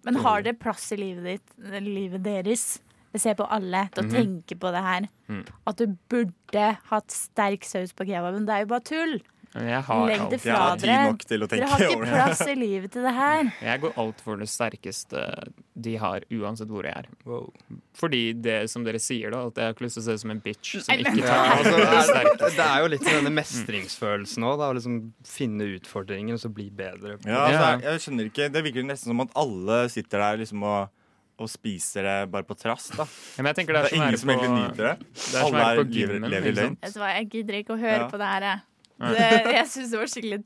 Speaker 4: Men
Speaker 5: Mm.
Speaker 4: har det plass i livet ditt, eh, livet deres? Jeg ser på alle til å
Speaker 5: Mm.
Speaker 4: tenke på det her. At du burde hatt sterk saus på kebaben. Det er jo bare tull!
Speaker 1: Men jeg har
Speaker 4: Legg det
Speaker 1: alt.
Speaker 5: Jeg har
Speaker 4: fra
Speaker 5: tid
Speaker 4: dere.
Speaker 5: nok til å
Speaker 4: Dere
Speaker 5: tenke
Speaker 4: har
Speaker 5: over
Speaker 4: ikke
Speaker 5: det.
Speaker 4: plass i livet til det her.
Speaker 1: Jeg går alt for det sterkeste de har, uansett hvor jeg er.
Speaker 6: wow.
Speaker 1: Fordi det som dere sier, da, at jeg har ikke lyst til å se ut som en bitch som
Speaker 4: Nei, men-
Speaker 1: ikke
Speaker 6: Ja,
Speaker 1: tar
Speaker 6: altså, det,
Speaker 1: det
Speaker 6: er,
Speaker 1: sterke.
Speaker 6: det er jo litt sånn denne mestringsfølelsen òg. Å liksom finne utfordringen og så bli bedre. på
Speaker 5: Ja,
Speaker 6: det.
Speaker 5: altså,
Speaker 1: Ja.
Speaker 5: jeg, jeg skjønner ikke Det virker nesten som at alle sitter der liksom og, og spiser det bare på trass. da
Speaker 1: Ja, Men jeg tenker
Speaker 5: Det er
Speaker 1: det er som å
Speaker 5: ingen som egentlig
Speaker 1: være på
Speaker 5: nyter det.
Speaker 1: Det er som
Speaker 5: Alle
Speaker 1: å være
Speaker 5: er
Speaker 1: på
Speaker 5: lever-
Speaker 1: gymmen. liksom.
Speaker 5: lever i
Speaker 1: ikke
Speaker 5: løgn.
Speaker 1: sant?
Speaker 4: Vet du hva, jeg gidder ikke å høre
Speaker 5: Ja.
Speaker 4: på det her. jeg. Det, jeg syns det var skikkelig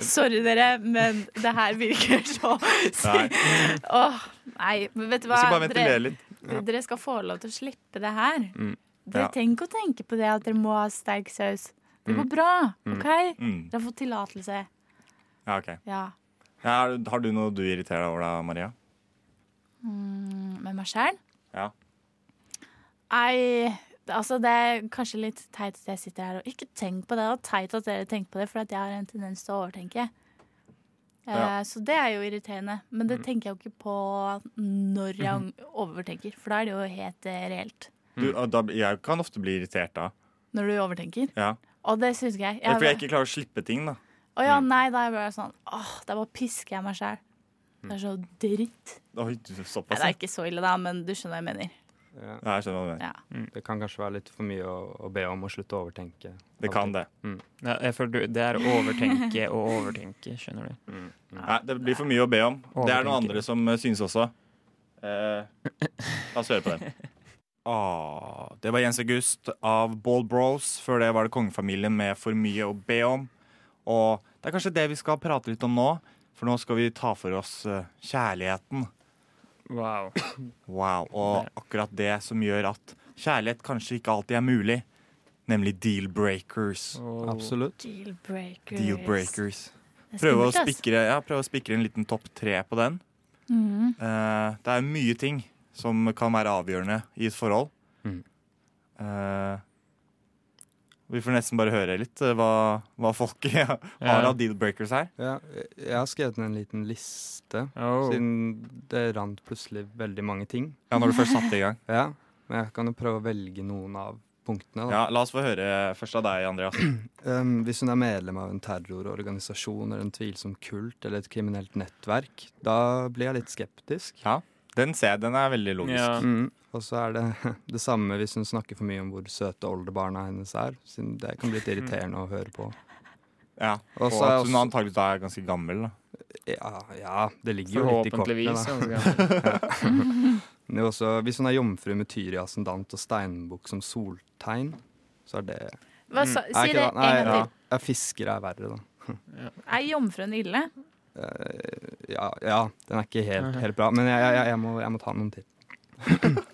Speaker 4: Sorry, dere, men det her virker så
Speaker 5: Nei,
Speaker 4: Åh, nei. Men vet du
Speaker 5: Vi
Speaker 4: hva?
Speaker 5: skal bare ventilere litt. Mm.
Speaker 4: dere, dere skal få lov til å slippe det her. Dere
Speaker 5: Ja.
Speaker 4: trenger ikke å tenke på det at dere må ha sterk saus. Det går bra, OK?
Speaker 5: Mm.
Speaker 4: Dere har fått tillatelse.
Speaker 5: Ja, ok
Speaker 4: Ja.
Speaker 5: ja, har, du- har du noe du irriterer deg over, da, Maria?
Speaker 4: Mm, Med meg sjæl?
Speaker 5: Ja.
Speaker 4: Nei, altså det er kanskje litt teit at jeg sitter her og ikke tenk på det. Det er teit at dere tenker på det, for at jeg har en tendens til å overtenke. Eh,
Speaker 5: Ja. Mm.
Speaker 4: Så det er jo irriterende. Men det tenker jeg jo ikke på når
Speaker 5: Mhm.
Speaker 4: jeg overtenker, for da er det jo helt eh, reelt.
Speaker 5: Du,
Speaker 1: Hmm.
Speaker 5: og da, jeg kan ofte bli irritert da.
Speaker 4: Når du overtenker.
Speaker 5: Ja.
Speaker 4: Og det syns ikke jeg.
Speaker 5: Det er Mm.
Speaker 4: jeg,
Speaker 5: fordi jeg ikke klarer å slippe ting. da
Speaker 4: Å ja, nei, da er jeg bare sånn Åh, da bare pisker jeg meg sjæl. Det er så dritt.
Speaker 5: Oi, Mm. du,
Speaker 4: Nei,
Speaker 5: såpass.
Speaker 4: det
Speaker 5: ja.
Speaker 4: er ikke så ille, da, men du skjønner hva jeg mener.
Speaker 5: Ja, jeg skjønner hva du mener.
Speaker 4: Ja.
Speaker 6: Det kan kanskje være litt for mye å, å be om å slutte å overtenke.
Speaker 5: Det kan det.
Speaker 1: Ja, jeg føler du- Det er å overtenke og overtenke, skjønner du.
Speaker 6: Mm.
Speaker 5: Nei, det blir for mye å be om. Det er noen andre som eh, synes også. Eh, la oss høre på dem. Ah, det var Jens August av Ball Bros. Før det var det kongefamilien med For mye å be om. Og det er kanskje det vi skal prate litt om nå, for nå skal vi ta for oss eh, kjærligheten.
Speaker 1: Wow.
Speaker 5: Wow, Og akkurat det som gjør at kjærlighet kanskje ikke alltid er mulig. Nemlig deal breakers.
Speaker 1: Og-
Speaker 6: Absolutt.
Speaker 4: Deal breakers.
Speaker 5: Deal breakers.
Speaker 4: Det er
Speaker 5: Prøve å
Speaker 4: skummelt, ass.
Speaker 5: spikre, ja, prøve å spikre en liten topp tre på den.
Speaker 4: Mhm.
Speaker 5: Eh, det er mye ting som kan være avgjørende i et forhold.
Speaker 6: Mm.
Speaker 5: Eh, vi får nesten bare høre litt eh, hva, hva folk har av deal breakers her.
Speaker 6: Ja, jeg- jeg har skrevet ned en liten liste,
Speaker 1: Oh.
Speaker 6: siden det rant plutselig veldig mange ting.
Speaker 5: Ja, Når du først satte i gang.
Speaker 6: Ja, Men jeg kan jo prøve å velge noen av punktene. Da.
Speaker 5: Ja, La oss få høre først av deg, Andreas.
Speaker 6: Um, hvis hun er medlem av en terrororganisasjon eller en tvilsom kult eller et kriminelt nettverk, da blir jeg litt skeptisk.
Speaker 5: Den ser jeg, den er veldig logisk.
Speaker 1: Ja.
Speaker 6: Mm. Og så er det det samme hvis hun snakker for mye om hvor søte oldebarna hennes er. Siden det kan bli litt irriterende å høre på.
Speaker 5: Ja.
Speaker 6: Og
Speaker 5: Og
Speaker 6: så er
Speaker 5: at hun
Speaker 6: også,
Speaker 5: antakelig da er ganske gammel. Da.
Speaker 6: ja, ja, det ligger jo litt i kortene.
Speaker 1: Forhåpentligvis. altså,
Speaker 6: da.
Speaker 1: ganske gammel.
Speaker 6: Men også, hvis hun er jomfru med tyr i ascendant og steinbukk som soltegn, så er det
Speaker 4: Hva
Speaker 6: Nei,
Speaker 4: sa, si
Speaker 6: Mm. ikke
Speaker 4: det
Speaker 6: da.
Speaker 4: en
Speaker 6: Nei,
Speaker 4: gang
Speaker 6: ja.
Speaker 4: til.
Speaker 6: ja, fiskere er verre, da.
Speaker 4: Er jomfruen ille?
Speaker 6: Eh, Ja, ja den er ikke helt, helt bra, men jeg, jeg, jeg, må, jeg må ta noen til.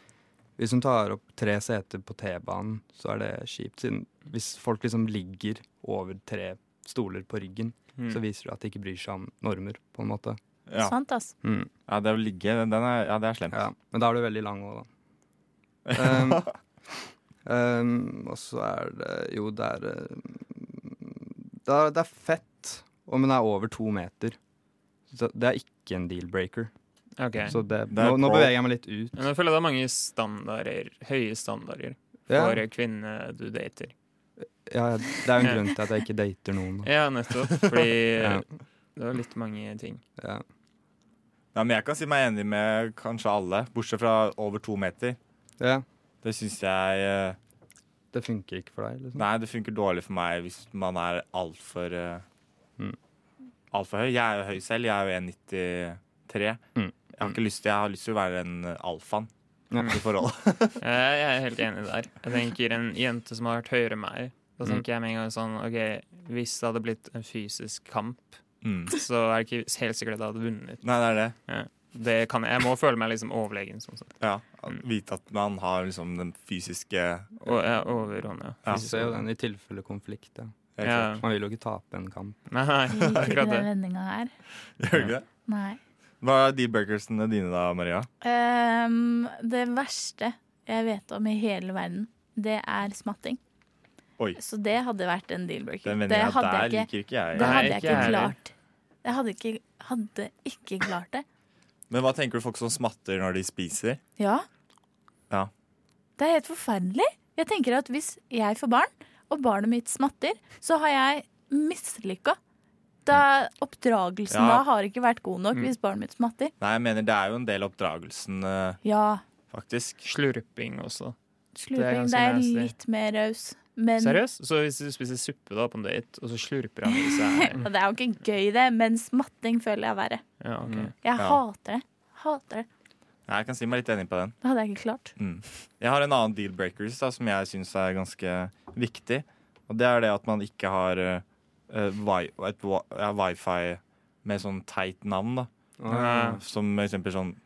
Speaker 6: Hvis hun tar opp tre seter på T-banen, så er det kjipt. Siden hvis folk liksom ligger over tre stoler på ryggen,
Speaker 1: Hmm, Mm.
Speaker 6: så viser det at de ikke bryr seg om normer, på en måte.
Speaker 5: Ja.
Speaker 4: Sant, ass.
Speaker 5: ja, det å ligge, den er, ja, det er slemt.
Speaker 6: Men da er du veldig lang òg, da. Um, um, og så er det Jo, det er um, Det er, det er fett, og, men det er over to meter. Så det er ikke en deal-breaker.
Speaker 1: OK.
Speaker 6: Så det,
Speaker 5: Det er
Speaker 6: nå, nå
Speaker 5: pro.
Speaker 6: beveger jeg meg litt ut.
Speaker 1: Men jeg føler det er mange standarder, høye standarder,
Speaker 6: Ja,
Speaker 1: for kvinner du dater.
Speaker 6: ja, det er jo en grunn til at jeg ikke dater noen. da.
Speaker 1: Ja, nettopp. Fordi
Speaker 6: Ja.
Speaker 1: det var litt mange ting.
Speaker 6: Ja.
Speaker 5: Ja, men jeg kan si meg enig med kanskje alle, bortsett fra over to meter.
Speaker 6: ja,
Speaker 5: Det syns jeg eh,
Speaker 6: det funker ikke for deg, liksom.
Speaker 5: Nei, det funker dårlig for meg hvis man er altfor uh,
Speaker 6: Mm.
Speaker 5: Altfor høy. Jeg er jo høy selv. Jeg er jo 1,93.
Speaker 6: Mm.
Speaker 5: Jeg har ikke lyst til Jeg har lyst til å være en eh, alfaen
Speaker 6: Ja.
Speaker 5: i forholdet.
Speaker 1: Eh, Jeg er helt enig der. Jeg tenker en jente som har vært høyere enn meg,
Speaker 6: Hmm.
Speaker 1: da tenker jeg med en gang sånn OK, hvis det hadde blitt en fysisk kamp,
Speaker 5: Mm.
Speaker 1: så er det ikke helt sikkert at jeg hadde vunnet.
Speaker 5: Nei, det er det.
Speaker 1: Det kan jeg. jeg må føle meg liksom overlegen, sånn sett.
Speaker 5: Ja.
Speaker 6: Mm.
Speaker 5: At Vite at man har liksom den fysiske
Speaker 1: Og jeg er overhånd, ja.
Speaker 5: Ja.
Speaker 6: Vi ser jo den i tilfelle konflikt. Ja.
Speaker 5: Jeg
Speaker 1: ja.
Speaker 5: klart.
Speaker 6: Man vil jo ikke tape en kamp.
Speaker 1: Nei,
Speaker 4: Liker ikke
Speaker 1: akkurat det.
Speaker 4: den vendinga her.
Speaker 5: Gjør du ikke det?
Speaker 4: Nei.
Speaker 5: Hva er de burgersene dine, da, Maria?
Speaker 4: Ehm, det verste jeg vet om i hele verden, det er smatting.
Speaker 5: Oi.
Speaker 4: Så det hadde vært en deal-breaker.
Speaker 5: Den
Speaker 4: Det
Speaker 5: vendinga
Speaker 4: hadde
Speaker 5: der
Speaker 4: jeg ikke,
Speaker 5: liker ikke jeg.
Speaker 4: det hadde
Speaker 1: Nei,
Speaker 4: jeg
Speaker 1: ikke jeg
Speaker 4: ikke
Speaker 1: heller.
Speaker 4: klart. Jeg hadde ikke, hadde ikke klart det.
Speaker 5: Men hva tenker du folk som smatter når de spiser?
Speaker 4: Ja.
Speaker 5: Ja.
Speaker 4: Det er helt forferdelig. Jeg tenker at hvis jeg får barn, og barnet mitt smatter, så har jeg mislykka. Da Oppdragelsen
Speaker 5: Ja.
Speaker 4: da har ikke vært god nok hvis barnet mitt smatter.
Speaker 5: Nei, jeg mener det er jo en del av oppdragelsen, eh,
Speaker 4: Ja,
Speaker 5: faktisk.
Speaker 1: Slurping også.
Speaker 4: slurping.
Speaker 1: ganske
Speaker 4: Det er
Speaker 1: nasty.
Speaker 4: litt mer raus. Men
Speaker 1: Seriøst? Så hvis du spiser suppe da på en date, og så slurper han i seg
Speaker 4: Og det er jo ikke gøy, det, men smatting føler jeg er verre.
Speaker 1: ja, ok.
Speaker 4: Jeg
Speaker 5: Ja.
Speaker 4: hater det. Hater det.
Speaker 5: Nei, Jeg kan si meg litt enig på den.
Speaker 4: Det hadde jeg ikke klart.
Speaker 5: Mm. Jeg har en annen deal breakers da, som jeg syns er ganske viktig. Og det er det at man ikke har eh, eh, wi et wi ja, wifi med sånn teit navn. da.
Speaker 1: Ja.
Speaker 5: Som for eksempel sånn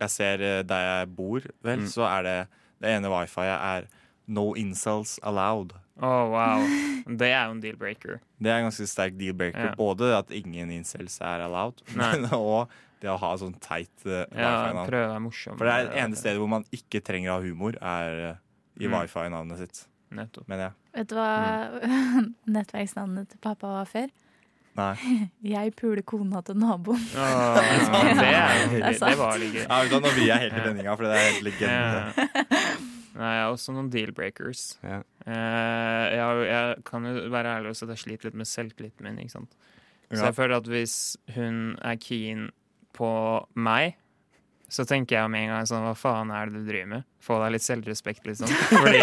Speaker 5: Jeg ser eh, der jeg bor, vel,
Speaker 1: Mm.
Speaker 5: så er det det ene wifiet er No incels allowed.
Speaker 1: Å, wow. Det er jo en deal-breaker.
Speaker 5: Det er en ganske sterk deal breaker.
Speaker 1: Ja.
Speaker 5: Både at ingen incels er allowed,
Speaker 1: Nei.
Speaker 5: men og det å ha sånn teit eh,
Speaker 1: Ja,
Speaker 5: wifi-navn.
Speaker 1: prøv å være morsom.
Speaker 5: For det er det ene stedet hvor man ikke trenger å ha humor, er eh, i
Speaker 1: Mm.
Speaker 5: wifi-navnet sitt,
Speaker 1: Nettopp.
Speaker 5: mener jeg.
Speaker 4: Vet du hva nettverksnavnet til pappa var før?
Speaker 5: Nei.
Speaker 4: Jeg puler kona til naboen.
Speaker 1: Åh, det, er,
Speaker 4: Det er
Speaker 1: det,
Speaker 4: sant.
Speaker 1: var litt gøy.
Speaker 5: Ja, vet du hva, Nå blir jeg helt i vendinga, for det er helt legende.
Speaker 1: Ja. Nei, jeg har også noen deal-breakers.
Speaker 6: Ja.
Speaker 1: Eh, jeg, har- jeg kan jo være ærlig og si at jeg sliter litt med selvtilliten min. Ikke sant? Så
Speaker 5: Ja.
Speaker 1: jeg føler at hvis hun er keen på meg, så tenker jeg med en gang sånn Hva faen er det du driver med? Få deg litt selvrespekt, liksom. Fordi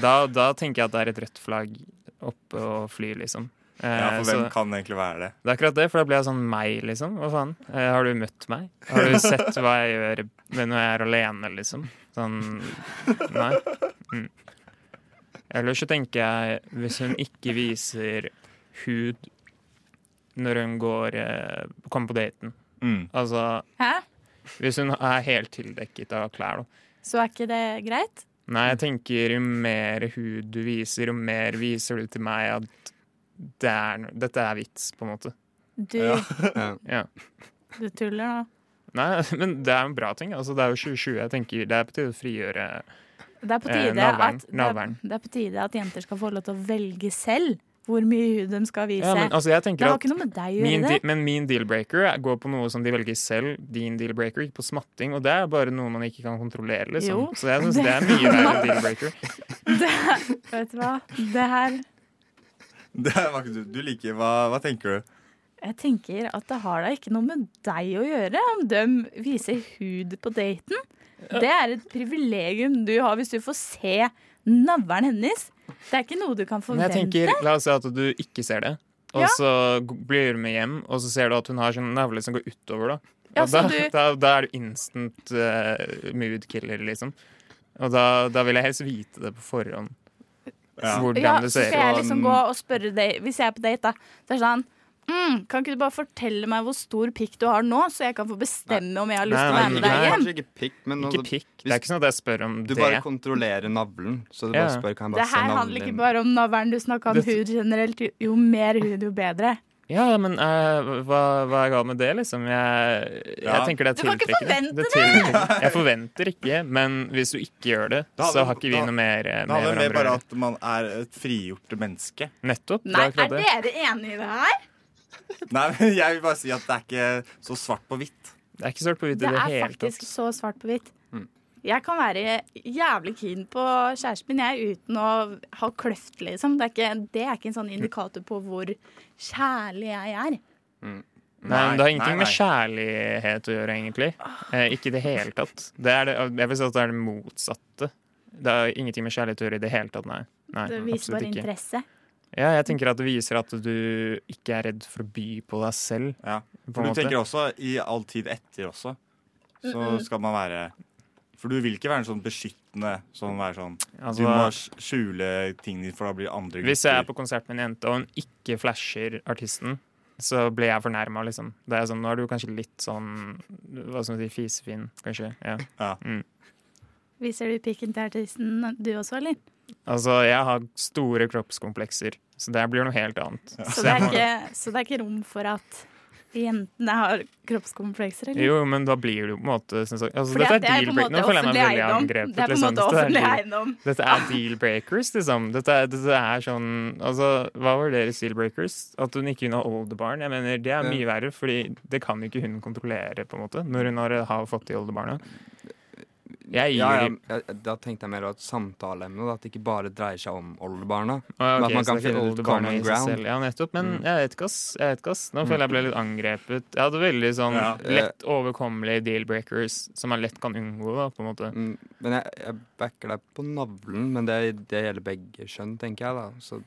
Speaker 1: da, da tenker jeg at det er et rødt flagg oppe og fly, liksom. Eh,
Speaker 5: Ja, for hvem
Speaker 1: så
Speaker 5: kan egentlig være det?
Speaker 1: det er akkurat det, for da blir jeg sånn meg, liksom. Hva faen? Eh, har du møtt meg? Har du sett hva jeg gjør med når jeg er alene, liksom? Sånn Nei. Mm. Ellers så tenker jeg, hvis hun ikke viser hud når hun går eh, kommer på daten
Speaker 5: Mm.
Speaker 1: Altså,
Speaker 4: Hæ?
Speaker 1: hvis hun er helt tildekket av klær, da.
Speaker 4: Så er ikke det greit?
Speaker 1: Nei, jeg tenker jo mer hud du viser, jo mer viser du til meg at det er, no- dette er vits, på en måte.
Speaker 4: Du,
Speaker 1: Ja.
Speaker 4: du tuller nå.
Speaker 1: Nei, men det er jo en bra ting. Altså, det er jo 2020. jeg tenker Det er på tide å frigjøre
Speaker 4: Det er på
Speaker 1: Eh,
Speaker 4: tide,
Speaker 1: navlen.
Speaker 4: at, det er,
Speaker 1: Navlen.
Speaker 4: det er på tide at jenter skal få lov til å velge selv hvor mye hud de skal vise.
Speaker 1: ja, men, altså, jeg
Speaker 4: det
Speaker 1: tenker
Speaker 4: har
Speaker 1: at
Speaker 4: ikke noe med deg å
Speaker 1: min
Speaker 4: gjøre.
Speaker 1: de,
Speaker 4: det.
Speaker 1: Men min deal-breaker går på noe som de velger selv. Din deal-breaker gikk på smatting, og det er bare noe man ikke kan kontrollere.
Speaker 4: Jo.
Speaker 1: Liksom. Så jeg syns det er mye verre deal-breaker.
Speaker 4: Det, vet du hva? Det her
Speaker 5: Det er faktisk- du, du liker hva, hva tenker du?
Speaker 4: Jeg tenker at det har da ikke noe med deg å gjøre om de viser hud på daten. Det er et privilegium du har hvis du får se navlen hennes. Det er ikke noe du kan
Speaker 1: Men jeg
Speaker 4: forvente.
Speaker 1: tenker, La oss si at du ikke ser det, og
Speaker 4: Ja.
Speaker 1: så g- blir du med hjem, og så ser du at hun har sånn navle som går utover. Da
Speaker 4: Ja,
Speaker 1: Og
Speaker 4: så
Speaker 1: da,
Speaker 4: du-
Speaker 1: da, da er du instant eh, mood killer, liksom. Og da, da vil jeg helst vite det på forhånd.
Speaker 5: Ja.
Speaker 1: Hvordan
Speaker 4: ja,
Speaker 1: det
Speaker 4: så
Speaker 1: ser
Speaker 4: skal
Speaker 1: ut.
Speaker 4: jeg liksom gå og spørre deg, hvis jeg er på date, da. Så er det sånn mm, Kan ikke du bare fortelle meg hvor stor pikk du har nå, så jeg kan få bestemme om jeg har lyst til å
Speaker 1: Nei,
Speaker 4: være med deg
Speaker 1: nei.
Speaker 4: hjem?
Speaker 6: Kanskje ikke pikk, men
Speaker 1: Ikke
Speaker 6: altså,
Speaker 1: pikk. Det er ikke sånn at jeg spør om
Speaker 6: du
Speaker 1: det.
Speaker 6: bare kontrollerer navlen. Så du bare
Speaker 1: Ja.
Speaker 6: spør kan jeg
Speaker 4: Det
Speaker 6: bare se
Speaker 4: her handler
Speaker 6: navlen
Speaker 4: ikke
Speaker 6: din.
Speaker 4: bare om navlen. Du snakka om
Speaker 1: Det-
Speaker 4: hud generelt. Jo- Jo mer hud, jo bedre.
Speaker 1: Ja, men eh, hva, hva er galt med det, liksom? Jeg, jeg
Speaker 5: Ja.
Speaker 1: tenker det er
Speaker 4: Du kan ikke
Speaker 1: tiltrekkende.
Speaker 4: forvente
Speaker 1: tiltrekkende. Jeg forventer ikke, men hvis du ikke gjør det,
Speaker 5: Da hadde-
Speaker 1: så har ikke vi
Speaker 5: da-
Speaker 1: noe mer eh,
Speaker 5: Det
Speaker 1: med
Speaker 5: handler mer
Speaker 1: hverandre å
Speaker 5: bare
Speaker 1: gjøre.
Speaker 5: at man er et frigjort menneske.
Speaker 1: Nettopp.
Speaker 4: Nei,
Speaker 1: det er
Speaker 4: er
Speaker 1: akkurat det.
Speaker 4: dere enige i det her?
Speaker 5: Nei, men Jeg vil bare si at det er ikke så svart på hvitt.
Speaker 1: Det er ikke svart på hvitt i
Speaker 4: Det
Speaker 1: det
Speaker 4: er
Speaker 1: hele
Speaker 4: faktisk
Speaker 1: tatt. Mm.
Speaker 4: så svart på hvitt. Jeg kan være jævlig keen på kjæresten min jeg, uten å ha kløft, liksom. Det er ikke, det er ikke en sånn indikator på hvor kjærlig jeg er.
Speaker 1: Nei, men Det har
Speaker 5: Nei, nei,
Speaker 1: ingenting med kjærlighet å gjøre, egentlig. Eh, ikke i det hele tatt. Det er det, jeg vil si at det er det motsatte. Det har ingenting med kjærlighet å gjøre i det hele tatt, nei. nei
Speaker 4: Det viser
Speaker 1: absolutt
Speaker 4: bare
Speaker 1: ikke.
Speaker 4: interesse.
Speaker 1: Ja, jeg tenker at det viser at du ikke er redd for å by på deg selv.
Speaker 5: Ja.
Speaker 1: På
Speaker 5: For du
Speaker 1: en måte.
Speaker 5: tenker også i all tid etter også. Så skal man være For du vil ikke være en sånn beskyttende sånn være sånn Du
Speaker 1: Altså,
Speaker 5: må sk- skjule tingene, for da blir andre
Speaker 1: hvis jeg er på konsert med en jente, og hun ikke flasher artisten, så blir jeg fornærma, liksom. Det er sånn, nå er du kanskje litt sånn Hva skal man si, fisefin, kanskje. Ja.
Speaker 4: Viser du pikken til artisten du også, eller?
Speaker 1: Altså, jeg har store kroppskomplekser, så det blir noe helt annet.
Speaker 4: Så det er ikke, så det er ikke rom for at jentene har kroppskomplekser, eller?
Speaker 1: Jo, men da blir det jo på en måte synes jeg, altså,
Speaker 4: Fordi
Speaker 1: Dette
Speaker 4: at
Speaker 1: er
Speaker 4: det er på en
Speaker 1: deal-breaker.
Speaker 4: måte
Speaker 1: Nå føler jeg meg
Speaker 4: offentlig
Speaker 1: veldig
Speaker 4: eiendom.
Speaker 1: angrepet.
Speaker 4: Det er på en
Speaker 1: liksom.
Speaker 4: måte
Speaker 1: Dette er
Speaker 4: offentlig
Speaker 1: deal-
Speaker 4: eiendom.
Speaker 1: Dette er deal-breakers, liksom. Dette er, dette er sånn Altså, hva var deres deal-breakers? At hun ikke kunne ha oldebarn? Jeg mener, det er mye verre, fordi det kan jo ikke hun kontrollere, på en måte, når hun har, har fått de oldebarna. Jeg gir
Speaker 6: Ja, ja,
Speaker 1: dem
Speaker 6: jeg, da tenkte jeg mer at samtaleemnet, da, at det ikke bare dreier seg om oldebarna.
Speaker 1: Å, ja,
Speaker 6: Men
Speaker 1: ok,
Speaker 6: at man kan
Speaker 1: så det er ikke
Speaker 6: finne ut
Speaker 1: oldebarna
Speaker 6: common
Speaker 1: i seg
Speaker 6: ground. Mm.
Speaker 1: selv. Ja, nettopp. Men jeg vet ikke, ass. Jeg vet ikke, ass. Nå føler jeg ble litt angrepet. Jeg hadde veldig sånn
Speaker 5: Ja.
Speaker 1: lett overkommelige deal-breakers som man lett kan unngå, da, på en måte.
Speaker 6: Mm, Men jeg, jeg backer deg på navlen, men det, det gjelder begge kjønn, tenker jeg da. Så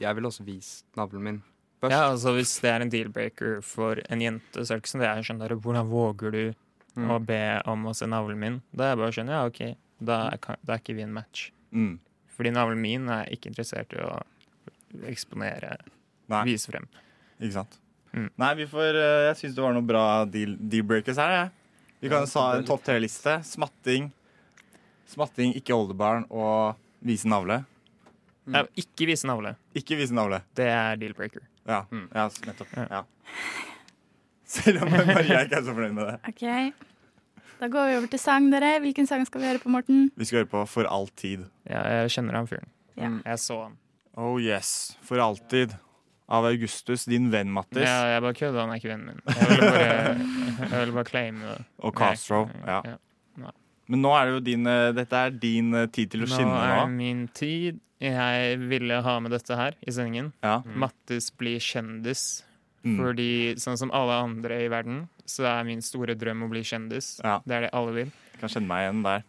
Speaker 6: jeg vil også vise navlen min først.
Speaker 1: Ja, altså Hvis det er en deal-breaker for en jente, så er det ikke sånn det er sånn der, Hvordan våger du å
Speaker 5: Mm.
Speaker 6: Mm.
Speaker 1: be om å se navlen min? Da er jeg bare sånn, ja, OK, da er, ka- da er ikke vi en match.
Speaker 5: Mm.
Speaker 1: Fordi navlen min er ikke interessert i å eksponere,
Speaker 5: Nei.
Speaker 1: vise frem.
Speaker 5: Ikke sant?
Speaker 1: Mm.
Speaker 5: Nei, vi får eh, Jeg syns det var noen bra deal, deal-breakers her, jeg. Vi kan ta en topp tre-liste. Smatting, smatting, ikke oldebarn og vise navle. Mm.
Speaker 1: Ja, ikke vise navle.
Speaker 5: Ikke vise navle.
Speaker 1: Det er deal-breaker.
Speaker 5: Ja,
Speaker 1: Mm.
Speaker 5: ja s- nettopp. Ja. Selv om Maria ikke er så fornøyd med det.
Speaker 4: Ok, da går vi over til sang, dere. Hvilken sang skal vi høre på, Morten?
Speaker 5: Vi skal høre på For all tid.
Speaker 1: Ja, jeg kjenner han fyren.
Speaker 4: Ja.
Speaker 5: Mm.
Speaker 1: Jeg så han.
Speaker 5: Oh yes, For alltid. Av Augustus, din venn Mattis,
Speaker 1: Ja, jeg bare kødda, han er ikke vennen min. Jeg ville bare, jeg ville bare claime det.
Speaker 5: og Castro. Ja.
Speaker 1: Ja.
Speaker 5: Men nå er det jo din eh, Dette er din eh, tid til å
Speaker 1: Nå
Speaker 5: skinne
Speaker 1: er det
Speaker 5: nå.
Speaker 1: min tid. Jeg ville ha med dette her i sendingen.
Speaker 5: Ja.
Speaker 1: Mattis blir kjendis.
Speaker 5: Mm.
Speaker 1: Fordi sånn som alle andre i verden, så er min store drøm å bli kjendis.
Speaker 5: Ja.
Speaker 1: Det er det alle vil.
Speaker 5: Kan kjenne meg igjen der.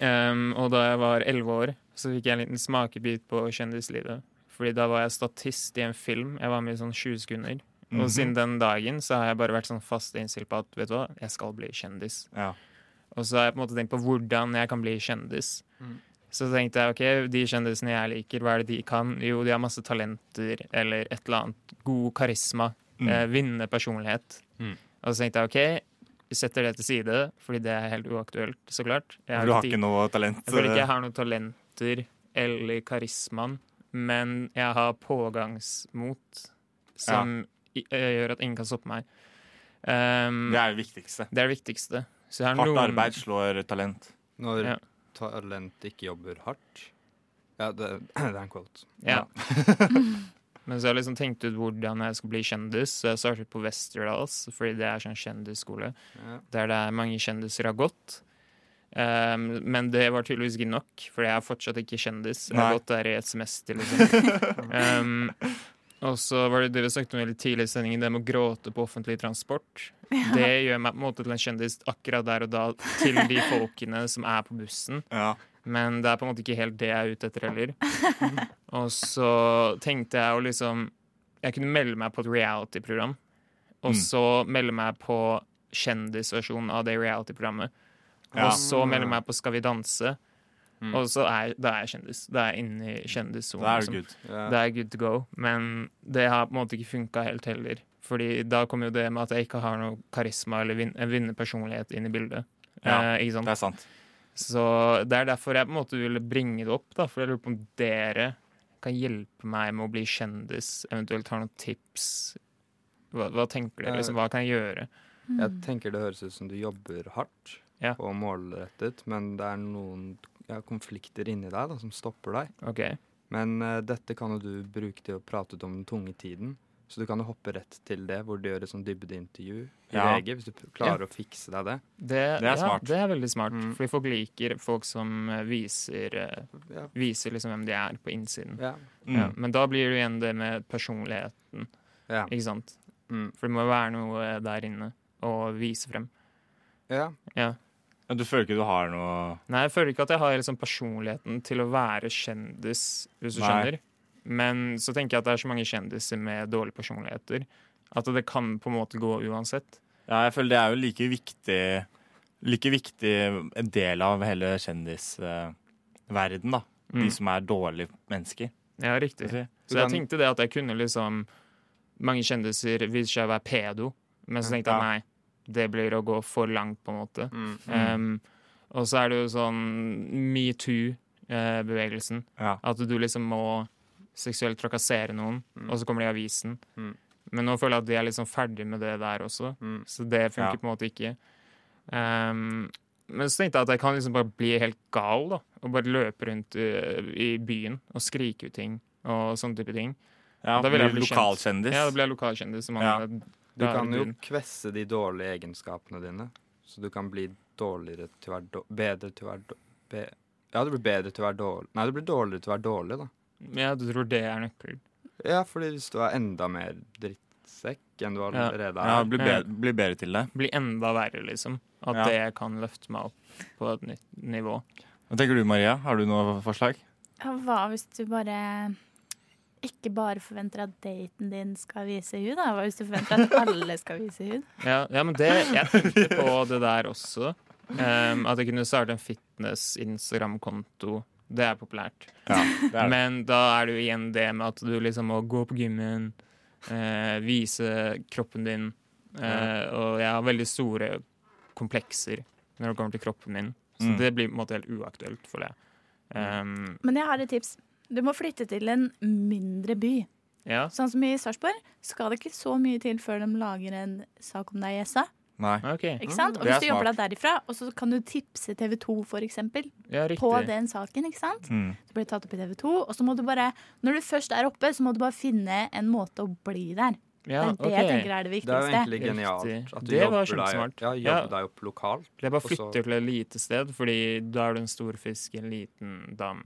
Speaker 1: Ehm, og da jeg var elleve år, så fikk jeg en liten smakebit på kjendislivet. Fordi da var jeg statist i en film. Jeg var med i sånn 20 sekunder.
Speaker 5: Mhm.
Speaker 1: Og siden den dagen så har jeg bare vært sånn fast innstilt på at vet du hva, jeg skal bli kjendis.
Speaker 5: Ja.
Speaker 1: Og så har jeg på en måte tenkt på hvordan jeg kan bli kjendis.
Speaker 5: Mm.
Speaker 1: Så tenkte jeg ok, de kjendisene jeg liker, hva er det de kan? Jo, de har masse talenter eller et eller annet. God karisma.
Speaker 5: Mm.
Speaker 1: Eh, Vinnende personlighet. Og så tenkte jeg ok, vi setter det til side, fordi det er helt uaktuelt, så klart. Jeg
Speaker 5: For du har
Speaker 1: tid-
Speaker 5: ikke noe talent?
Speaker 1: jeg føler ikke
Speaker 5: eh,
Speaker 1: jeg har noen talenter eller karismaen, men jeg har pågangsmot som i- ø, gjør at ingen kan stoppe meg. Um,
Speaker 5: Det er det viktigste.
Speaker 1: det er det viktigste. Så jeg har
Speaker 5: Hardt
Speaker 1: noen-
Speaker 5: arbeid slår talent.
Speaker 6: Når
Speaker 1: Ja.
Speaker 6: talent ikke jobber hardt. Ja, det, det er en quote.
Speaker 1: Ja. men så har jeg liksom tenkt ut hvordan jeg skal bli kjendis, så jeg startet på Westerdals, fordi det er sånn kjendisskole,
Speaker 6: Ja.
Speaker 1: der det er mange kjendiser har gått. Um, men det var tydeligvis ikke nok, for jeg er fortsatt ikke kjendis. Jeg har
Speaker 5: Nei.
Speaker 1: gått der i et semester, liksom. um, og så var det det vi snakket om veldig tidlig i sendingen, det med å gråte på offentlig transport. Det gjør meg på en måte til en kjendis akkurat der og da, til de folkene som er på bussen.
Speaker 5: Ja.
Speaker 1: Men det er på en måte ikke helt det jeg er ute etter heller. Og så tenkte jeg å liksom Jeg kunne melde meg på et reality-program. Og
Speaker 5: Mm.
Speaker 1: så melde meg på kjendisversjonen av det reality-programmet.
Speaker 5: Ja. Mm.
Speaker 1: Og så melde meg på Skal vi danse. Og så er, da er jeg kjendis. Da er jeg inne i kjendissonen.
Speaker 5: Da er
Speaker 1: liksom.
Speaker 5: du good.
Speaker 6: Ja.
Speaker 1: Det er good to go. Men det har på en måte ikke funka helt heller. Fordi da kommer jo det med at jeg ikke har noe karisma eller vin vinnerpersonlighet inn i bildet.
Speaker 5: Ja,
Speaker 1: eh, ikke sant?
Speaker 5: Det er sant.
Speaker 1: Så det er derfor jeg på en måte ville bringe det opp, da, for jeg lurer på om dere kan hjelpe meg med å bli kjendis, eventuelt har noen tips Hva, hva tenker dere? Liksom, hva kan jeg gjøre?
Speaker 6: Jeg
Speaker 4: Hmm. Mm.
Speaker 6: tenker det høres ut som du jobber hardt
Speaker 1: Ja.
Speaker 6: og målrettet, men det er noen ja, konflikter inni deg da, som stopper deg.
Speaker 1: OK.
Speaker 6: Men eh, dette kan jo du bruke til å prate ut om den tunge tiden. Så du kan jo hoppe rett til det, hvor du gjør et sånn dybdeintervju i
Speaker 5: Ja.
Speaker 6: VG. Hvis du p- klarer å fikse deg det.
Speaker 1: Det,
Speaker 5: Det er smart.
Speaker 1: Ja, det er veldig smart.
Speaker 5: Mm.
Speaker 1: Fordi folk liker folk som eh, viser, eh,
Speaker 6: Ja.
Speaker 1: viser liksom hvem de er på innsiden.
Speaker 6: Ja.
Speaker 5: Mm.
Speaker 1: Ja, men da blir det igjen det med personligheten,
Speaker 6: Ja.
Speaker 1: ikke sant?
Speaker 6: Mm.
Speaker 1: For det må være noe eh, der inne å vise frem.
Speaker 6: ja.
Speaker 1: Ja.
Speaker 5: Ja, Du føler ikke du har noe
Speaker 1: Nei, jeg føler ikke at jeg har liksom personligheten til å være kjendis, hvis du
Speaker 5: Nei.
Speaker 1: skjønner. Men så tenker jeg at det er så mange kjendiser med dårlige personligheter at det kan på en måte gå uansett.
Speaker 5: Ja, jeg føler det er jo like viktig Like viktig en del av hele kjendisverden, da.
Speaker 1: Mm.
Speaker 5: De som er dårlige mennesker.
Speaker 1: Ja, riktig.
Speaker 5: skal jeg si.
Speaker 1: Så jeg tenkte det at jeg kunne liksom Mange kjendiser viser seg å være pedo, men så tenkte jeg
Speaker 5: Ja.
Speaker 1: nei, det blir å gå for langt, på en måte.
Speaker 6: Mm.
Speaker 1: Um, og så er det jo sånn eh, metoo-bevegelsen.
Speaker 5: Ja.
Speaker 1: At du liksom må seksuelt trakassere noen, og så kommer det i avisen.
Speaker 6: Mm.
Speaker 1: Men nå føler jeg at de er liksom ferdig med det der også,
Speaker 6: Mm.
Speaker 1: så det
Speaker 5: Ja.
Speaker 1: funker på en måte ikke. Um, men så tenkte jeg at jeg kan liksom bare bli helt gal, da. Og bare løpe rundt uh, i byen og skrike ut ting og sånne type ting.
Speaker 5: Ja,
Speaker 1: Da vil jeg bli kjent.
Speaker 5: lokalkjendis.
Speaker 1: Ja, da blir jeg lokalkjendis. som
Speaker 5: Ja.
Speaker 1: han-
Speaker 6: Du
Speaker 1: da er
Speaker 6: kan
Speaker 1: det
Speaker 6: jo
Speaker 1: byen.
Speaker 6: kvesse de dårlige egenskapene dine, så du kan bli dårligere til å være dår- Bedre til å være dår- be Ja, du blir bedre til å være dårlig Nei, du blir dårligere til å være dårlig, da.
Speaker 1: Ja, du tror det er nøkkelen.
Speaker 6: Ja, fordi hvis du er enda mer drittsekk enn du
Speaker 1: Ja.
Speaker 6: allerede er.
Speaker 5: Ja, bli bedre, bli bedre til det.
Speaker 1: Bli enda verre, liksom. At
Speaker 5: Ja.
Speaker 1: det kan løfte meg opp på et nytt nivå.
Speaker 5: Hva tenker du, Maria? Har du noe forslag?
Speaker 4: Ja, Hva hvis du bare ikke bare forventer at daten din skal vise hud, da? Hva hvis du forventer at alle skal vise hud?
Speaker 1: Ja, ja men det, jeg tenkte på det der også. Ehm, at jeg kunne starte en fitness-Instagram-konto. Det er populært.
Speaker 5: Ja, det er det.
Speaker 1: Men da er det jo igjen det med at du liksom må gå på gymmen, eh, vise kroppen din. eh, og jeg har veldig store komplekser når det kommer til kroppen min. Så
Speaker 5: Mm.
Speaker 1: det blir på en måte helt uaktuelt for deg. Ehm,
Speaker 4: Men jeg har et tips. Du må flytte til en mindre by.
Speaker 1: ja,
Speaker 4: Sånn som i Sarpsborg skal det ikke så mye til før de lager en sak om deg i SA.
Speaker 5: Nei.
Speaker 1: OK.
Speaker 4: Ikke sant? Og
Speaker 5: det er
Speaker 4: hvis du jobber
Speaker 5: smart.
Speaker 4: deg derifra, og så kan du tipse TV 2 for eksempel,
Speaker 1: Ja,
Speaker 4: på
Speaker 1: riktig.
Speaker 4: den saken, ikke sant?
Speaker 5: Mm.
Speaker 4: Så blir det tatt opp i TV 2, og så må du bare, når du først er oppe, så må du bare finne en måte å bli der.
Speaker 1: Ja,
Speaker 4: det er det jeg
Speaker 1: ok.
Speaker 4: tenker er det
Speaker 6: Det er jo
Speaker 4: viktigste.
Speaker 6: egentlig genialt. At du
Speaker 1: Det var
Speaker 6: jobber
Speaker 1: kjempesmart.
Speaker 6: Deg, ja,
Speaker 1: Ja.
Speaker 6: jobber deg opp lokalt.
Speaker 1: Jeg bare
Speaker 6: Og så-
Speaker 1: flytter til et lite sted, fordi da er du en stor fisk i en liten dam.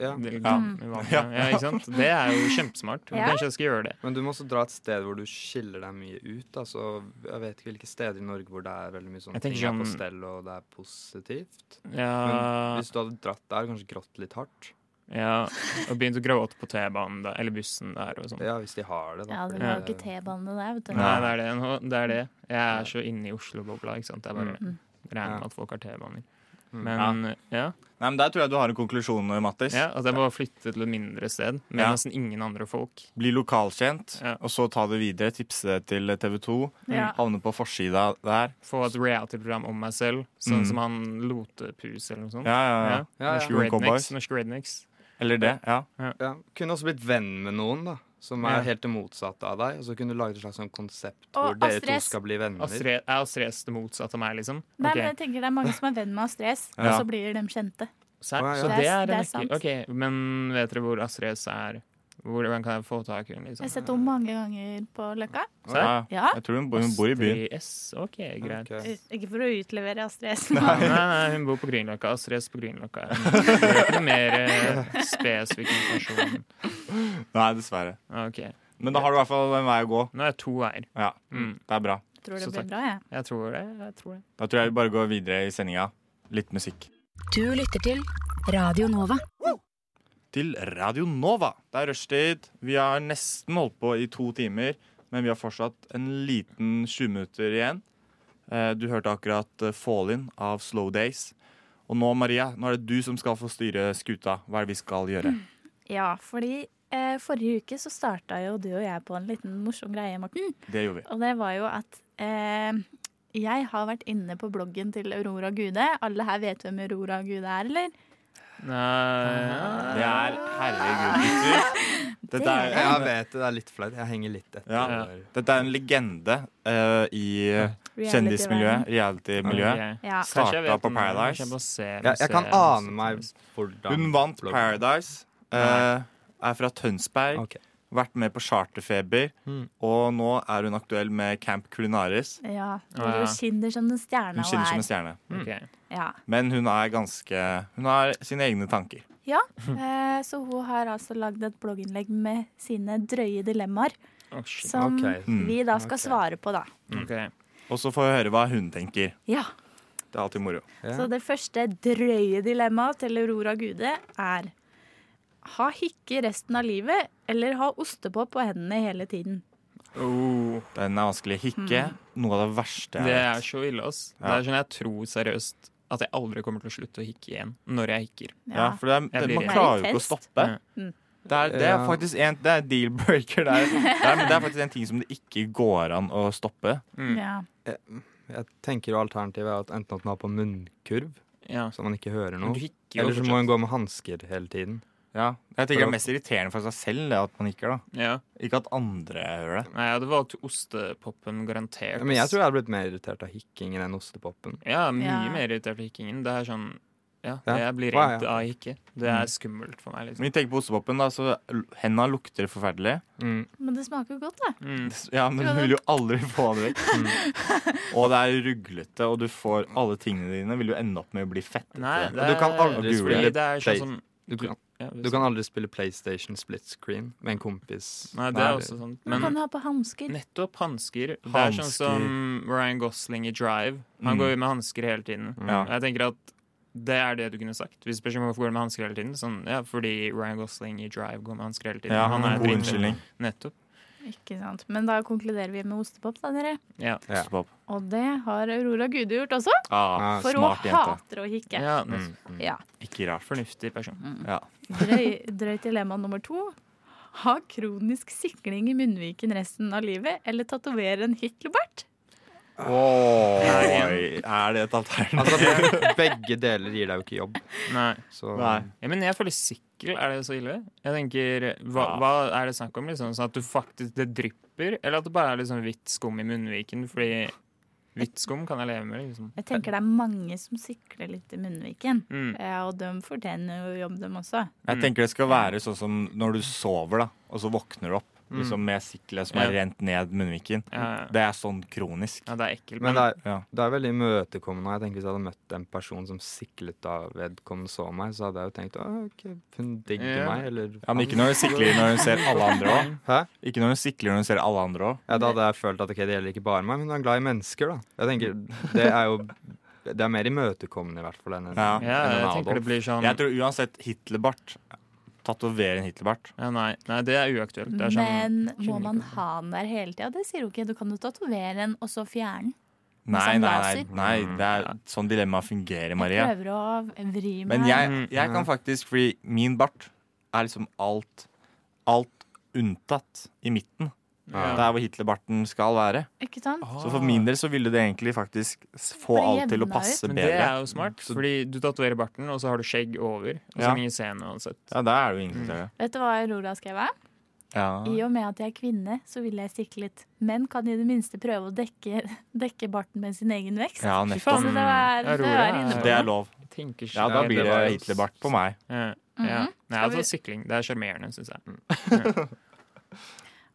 Speaker 6: Ja.
Speaker 1: Eller dam i vannet. Mm. Ja, ikke sant? Det er jo kjempesmart.
Speaker 4: Ja.
Speaker 1: Kanskje jeg skal gjøre det.
Speaker 6: Men du må også dra et sted hvor du skiller deg mye ut. Altså, jeg vet ikke hvilke steder i Norge hvor det er veldig mye sånne
Speaker 1: Jeg tenker
Speaker 6: ting er på
Speaker 1: sånn-
Speaker 6: stell, og det er positivt.
Speaker 1: Ja,
Speaker 6: Hvis du hadde dratt der, kanskje grått litt hardt.
Speaker 1: ja, og begynt å gråte på T-banen der, eller bussen der og sånn.
Speaker 6: Ja, hvis de har det, da.
Speaker 4: Ja, det
Speaker 6: fordi
Speaker 4: var jo ikke T-banene der, vet du.
Speaker 1: Nei, det er det. Nå, det er det. Jeg er så inne i Oslo-bobla, ikke sant. Jeg bare regner med at folk har T-baner.
Speaker 6: Mm.
Speaker 1: Men Mm. ja,
Speaker 5: Nei, men Der tror jeg du har en konklusjon, Mattis.
Speaker 1: ja, at jeg må bare flytte til et mindre sted med
Speaker 5: Ja.
Speaker 1: nesten ingen andre folk.
Speaker 5: Bli lokalkjent,
Speaker 1: Ja.
Speaker 5: og så ta det videre. Tipse det til TV 2.
Speaker 4: Ja.
Speaker 5: Havne på forsida der.
Speaker 1: Få et reality-program om meg selv, sånn
Speaker 5: Mm.
Speaker 1: som han Lotepus eller noe sånt.
Speaker 5: Ja, ja, ja.
Speaker 1: Ja.
Speaker 6: Ja,
Speaker 5: Norske
Speaker 6: ja.
Speaker 5: Red
Speaker 1: Rednecks,
Speaker 5: Cowboys.
Speaker 1: norske rednecks.
Speaker 5: Eller det. ja.
Speaker 6: Ja. Kunne også blitt venn med noen, da. Som er
Speaker 1: Ja.
Speaker 6: helt det motsatte av deg. Og så kunne du laget et slags sånn konsept
Speaker 4: Og
Speaker 6: hvor dere
Speaker 4: Astrid
Speaker 6: to
Speaker 4: S.
Speaker 6: skal bli venner.
Speaker 1: Astrid, er Astrid S det motsatte av meg, liksom?
Speaker 4: Nei,
Speaker 1: Ok.
Speaker 4: men jeg tenker det er mange som er venn med Astrid S, og
Speaker 5: Ja.
Speaker 4: så blir de kjente.
Speaker 6: Å,
Speaker 1: Serr?
Speaker 6: ja, ja.
Speaker 1: Så det er,
Speaker 4: Det er- det er
Speaker 1: en
Speaker 4: sant.
Speaker 1: ekkel- Ok, Men vet dere hvor Astrid S er? Hvordan kan jeg få tak i henne?
Speaker 4: Jeg har
Speaker 1: Liksom?
Speaker 4: sett henne mange ganger på Løkka.
Speaker 5: ja.
Speaker 1: Serr?
Speaker 4: Ja,
Speaker 5: Jeg tror hun bor, hun bor i byen.
Speaker 1: Astrid S, OK, greit.
Speaker 6: Ok.
Speaker 4: ikke for å utlevere Astrid S.
Speaker 1: Nei, nei, hun bor på Grünerløkka. Astrid S på Grünerløkka. Det er Ikke noe mer eh, spesifikk informasjon.
Speaker 5: Nei, dessverre.
Speaker 1: OK.
Speaker 5: Men da har du i hvert fall en vei å gå.
Speaker 1: Nå er jeg to her.
Speaker 5: Ja,
Speaker 1: Mm.
Speaker 5: Det er bra.
Speaker 4: Tror
Speaker 1: Så
Speaker 4: det
Speaker 1: takk.
Speaker 4: blir bra, jeg.
Speaker 1: Jeg tror det. jeg tror det.
Speaker 5: Da tror jeg vi bare går videre i sendinga. Litt musikk.
Speaker 9: Du lytter til Radio Nova.
Speaker 5: Til Radio Nova. Det er rushtid. Vi har nesten holdt på i to timer, men vi har fortsatt en liten 20 minutter igjen. Eh, Du hørte akkurat eh, Fall In av Slow Days. Og nå, Maria, nå er det du som skal få styre skuta. Hva er det vi skal gjøre?
Speaker 4: Ja, fordi eh, forrige uke så starta jo du og jeg på en liten morsom greie, Morten.
Speaker 5: Det gjorde vi.
Speaker 4: Og det var jo at eh, jeg har vært inne på bloggen til Aurora Gude. Alle her vet hvem Aurora Gude er, eller?
Speaker 1: Nei,
Speaker 5: Det er herregud, gutter. Dette er,
Speaker 6: Jeg vet det, det er litt flaut. Jeg henger litt etter.
Speaker 5: ja, dette er en legende eh, i kjendismiljøet, reality-miljøet.
Speaker 1: Ok. Kanskje
Speaker 4: Ja.
Speaker 1: jeg
Speaker 5: Starta
Speaker 1: vet
Speaker 5: på
Speaker 1: om det, kanskje Jeg,
Speaker 5: Paradise.
Speaker 1: må se,
Speaker 6: Jeg, jeg kan ane meg hvordan
Speaker 5: Hun vant Paradise. eh, er fra Tønsberg.
Speaker 6: Ok.
Speaker 5: Vært med på Charterfeber.
Speaker 6: Mm,
Speaker 5: Og nå er hun aktuell med Camp Culinaris.
Speaker 4: Ja. Du
Speaker 1: Ja.
Speaker 4: skinner som den stjerna
Speaker 5: Hun skinner som en
Speaker 4: hun er.
Speaker 5: stjerne.
Speaker 6: mm.
Speaker 1: Ok.
Speaker 4: Ja.
Speaker 5: Men hun er ganske Hun har sine egne tanker.
Speaker 4: ja. Eh, så hun har altså lagd et blogginnlegg med sine drøye dilemmaer,
Speaker 1: Å, shit.
Speaker 4: som
Speaker 6: Ok.
Speaker 5: Mm.
Speaker 4: vi da skal
Speaker 6: Ok.
Speaker 4: svare på, da.
Speaker 1: Ok.
Speaker 5: Og så får vi høre hva hun tenker.
Speaker 4: Ja.
Speaker 5: Det er alltid moro.
Speaker 6: Ja.
Speaker 4: Så det første drøye dilemmaet til Aurora Gude er ha hikke resten av livet eller ha ostepop på hendene hele tiden?
Speaker 1: Oh,
Speaker 5: Den er vanskelig. Hikke.
Speaker 4: Hmm.
Speaker 5: Noe av det verste
Speaker 1: det
Speaker 5: jeg
Speaker 1: er
Speaker 5: vet.
Speaker 1: så ille, ass. Det
Speaker 5: Ja.
Speaker 1: er sånn jeg tror seriøst at jeg aldri kommer til å slutte å hikke igjen når jeg hikker.
Speaker 5: Ja, for det er,
Speaker 1: Jeg
Speaker 5: det,
Speaker 1: blir
Speaker 5: man
Speaker 1: redd.
Speaker 5: klarer jo ikke å
Speaker 4: Test.
Speaker 5: stoppe.
Speaker 4: Mm.
Speaker 5: Det er, det er
Speaker 6: Ja.
Speaker 5: faktisk en Det er deal-breaker der. Det er, men det er faktisk en ting som det ikke går an å stoppe.
Speaker 1: Mm.
Speaker 4: Ja.
Speaker 6: Jeg tenker jo alternativet er at enten at hun har på munnkurv,
Speaker 1: Ja.
Speaker 6: så man ikke hører
Speaker 1: Men
Speaker 6: noe,
Speaker 1: du hikker jo
Speaker 6: eller så må hun gå med hansker hele tiden.
Speaker 5: Ja. Jeg tenker det er mest irriterende for seg selv det at man hikker. da
Speaker 1: fortsatt. Ja.
Speaker 5: Ikke at andre hører det.
Speaker 1: Nei, jeg hadde valgt ostepoppen, garantert.
Speaker 6: Ja, men jeg
Speaker 1: ass.
Speaker 6: tror jeg hadde blitt mer irritert av hikkingen enn ostepopen.
Speaker 1: Ja, mye
Speaker 4: Ja.
Speaker 1: mer irritert av hikkingen. Det er sånn Ja,
Speaker 6: Ja.
Speaker 1: jeg blir
Speaker 6: Å,
Speaker 1: redd
Speaker 6: ja.
Speaker 1: av hikke. Det
Speaker 6: Mm.
Speaker 1: er skummelt for meg, liksom.
Speaker 5: Når vi tenker på ostepopen, da, så l- henda lukter forferdelig.
Speaker 4: Men det smaker jo godt, da.
Speaker 1: Mm.
Speaker 5: Ja, men du vil jo aldri få det vekk.
Speaker 4: Mm.
Speaker 5: Og det er ruglete, og du får alle tingene dine vil jo ende opp med å bli fett.
Speaker 1: Nei,
Speaker 6: Og
Speaker 1: det
Speaker 6: du kan
Speaker 1: er-
Speaker 6: aldri
Speaker 1: fordi
Speaker 6: spille
Speaker 1: Det er
Speaker 6: play-
Speaker 1: sånn som
Speaker 6: Du kan,
Speaker 1: ja,
Speaker 6: du kan aldri spille PlayStation split screen med en kompis.
Speaker 1: Nei, det er også sånn. Men
Speaker 4: Men kan du ha på hansker?
Speaker 1: Nettopp hansker. Det er sånn
Speaker 5: Hansker.
Speaker 1: som Ryan Gosling i Drive. Han
Speaker 5: Mm.
Speaker 1: går jo med hansker hele tiden.
Speaker 5: Ja.
Speaker 1: Og Jeg tenker at det er det du kunne sagt. Vi spør ikke om hvorfor går du med hansker hele tiden. Sånn, ja, fordi Ryan Gosling i Drive går med hansker hele tiden.
Speaker 5: Ja,
Speaker 1: han
Speaker 5: en
Speaker 1: er
Speaker 5: god
Speaker 1: dritfin.
Speaker 5: unnskyldning.
Speaker 1: Nettopp.
Speaker 4: Ikke sant. Men da konkluderer vi med ostepop, da, dere.
Speaker 1: Ja.
Speaker 6: Ja.
Speaker 5: Ostepop.
Speaker 4: Og det har Aurora Gude gjort også,
Speaker 5: Ah,
Speaker 6: Ja,
Speaker 4: for
Speaker 5: smart
Speaker 4: hun
Speaker 5: jente.
Speaker 4: hater å hikke.
Speaker 1: ja nettopp.
Speaker 5: Mm, mm.
Speaker 4: Ja.
Speaker 5: Ikke rart.
Speaker 1: Fornuftig person.
Speaker 5: Ja.
Speaker 4: Drøy, drøyt dilemma nummer to. Ha kronisk sikling i munnviken resten av livet eller tatovere en Hitlerbart?
Speaker 5: Oi, er det et alternativ?
Speaker 6: Altså, be- begge deler gir deg jo ikke jobb.
Speaker 1: Nei.
Speaker 6: Så
Speaker 5: Nei.
Speaker 1: Ja, men jeg føler sikkel. Er det så ille? Jeg tenker, Hva,
Speaker 5: Ja.
Speaker 1: hva er det snakk om? Liksom, sånn At du faktisk det drypper? Eller at det bare er liksom hvitt skum i munnviken? Fordi hvitt skum kan jeg leve med. liksom
Speaker 4: Jeg tenker det er mange som sikler litt i munnviken.
Speaker 1: Mm.
Speaker 4: Ja, og de fortjener jo jobb, dem også.
Speaker 5: Jeg tenker det skal være sånn som når du sover, da, og så våkner du opp liksom med siklet som er
Speaker 1: Ja.
Speaker 5: rent ned munnviken.
Speaker 1: Ja.
Speaker 5: Det er sånn kronisk.
Speaker 1: Ja, det er ekkelt.
Speaker 6: Men det er,
Speaker 5: Ja.
Speaker 6: det er veldig imøtekommende. og Jeg tenker Hvis jeg hadde møtt en person som siklet av vedkommende så meg, så hadde jeg jo tenkt Å, ok, hun digger
Speaker 1: Ja.
Speaker 6: meg, eller
Speaker 5: Ja, men ikke når hun sikler når hun ser alle andre òg.
Speaker 6: Hæ?
Speaker 5: Ikke når hun sikler når hun ser alle andre òg.
Speaker 6: Ja, da hadde jeg følt at ok, det gjelder ikke bare meg, men hun er glad i mennesker, da. Jeg tenker, Det er jo Det er mer imøtekommende, i hvert fall, enn en,
Speaker 5: Ja.
Speaker 1: ja,
Speaker 6: enn en
Speaker 1: jeg tenker det
Speaker 6: Adolf.
Speaker 1: blir sånn
Speaker 5: Jeg tror uansett Hitlerbart Tatovere en Hitlerbart.
Speaker 1: ja, nei, nei, det er uaktuelt. Det er sånn,
Speaker 4: Men må
Speaker 1: skjønner
Speaker 4: man
Speaker 1: ikke.
Speaker 4: ha den der hele tida? Det sier hun ikke. Du kan jo tatovere den, og så fjerne den.
Speaker 5: Nei, nei,
Speaker 4: Sånn
Speaker 5: nei,
Speaker 4: laser.
Speaker 5: nei. Det er sånn dilemmaet fungerer, Maria.
Speaker 4: Prøver å vri meg.
Speaker 5: Men jeg, jeg kan faktisk, fordi min bart er liksom alt Alt unntatt i midten.
Speaker 1: Ja. Ah.
Speaker 5: Der hvor Hitlerbarten skal være.
Speaker 4: Ikke sant?
Speaker 5: Så for min del så ville det egentlig faktisk s- få
Speaker 4: Bare
Speaker 5: alt til å
Speaker 4: jevna
Speaker 5: passe
Speaker 1: Men det er
Speaker 5: bedre.
Speaker 1: jo smart, fordi du tatoverer barten, og så har du skjegg over. Og så
Speaker 5: Ja.
Speaker 1: ingen ser noe uansett.
Speaker 5: Ja, der er det jo ingen som ser det.
Speaker 4: Vet du hva Aurora skrev her? I
Speaker 5: Ja.
Speaker 4: og med at jeg er kvinne, så vil jeg sikle litt. Men kan i det minste prøve å dekke, dekke barten med sin egen vekst.
Speaker 5: ja,
Speaker 1: Fy
Speaker 5: nettopp.
Speaker 1: faen,
Speaker 4: Så det var, det
Speaker 1: Aurora
Speaker 4: var inne på
Speaker 5: Det er lov.
Speaker 1: jeg tenker ikke
Speaker 5: Ja, da
Speaker 1: det,
Speaker 5: blir det
Speaker 1: var-
Speaker 5: Hitlerbart på meg.
Speaker 1: Ja, ja. Nei,
Speaker 4: Mhm. Skal vi-
Speaker 1: altså sikling. Det er sjarmerende, syns jeg.
Speaker 5: Mm.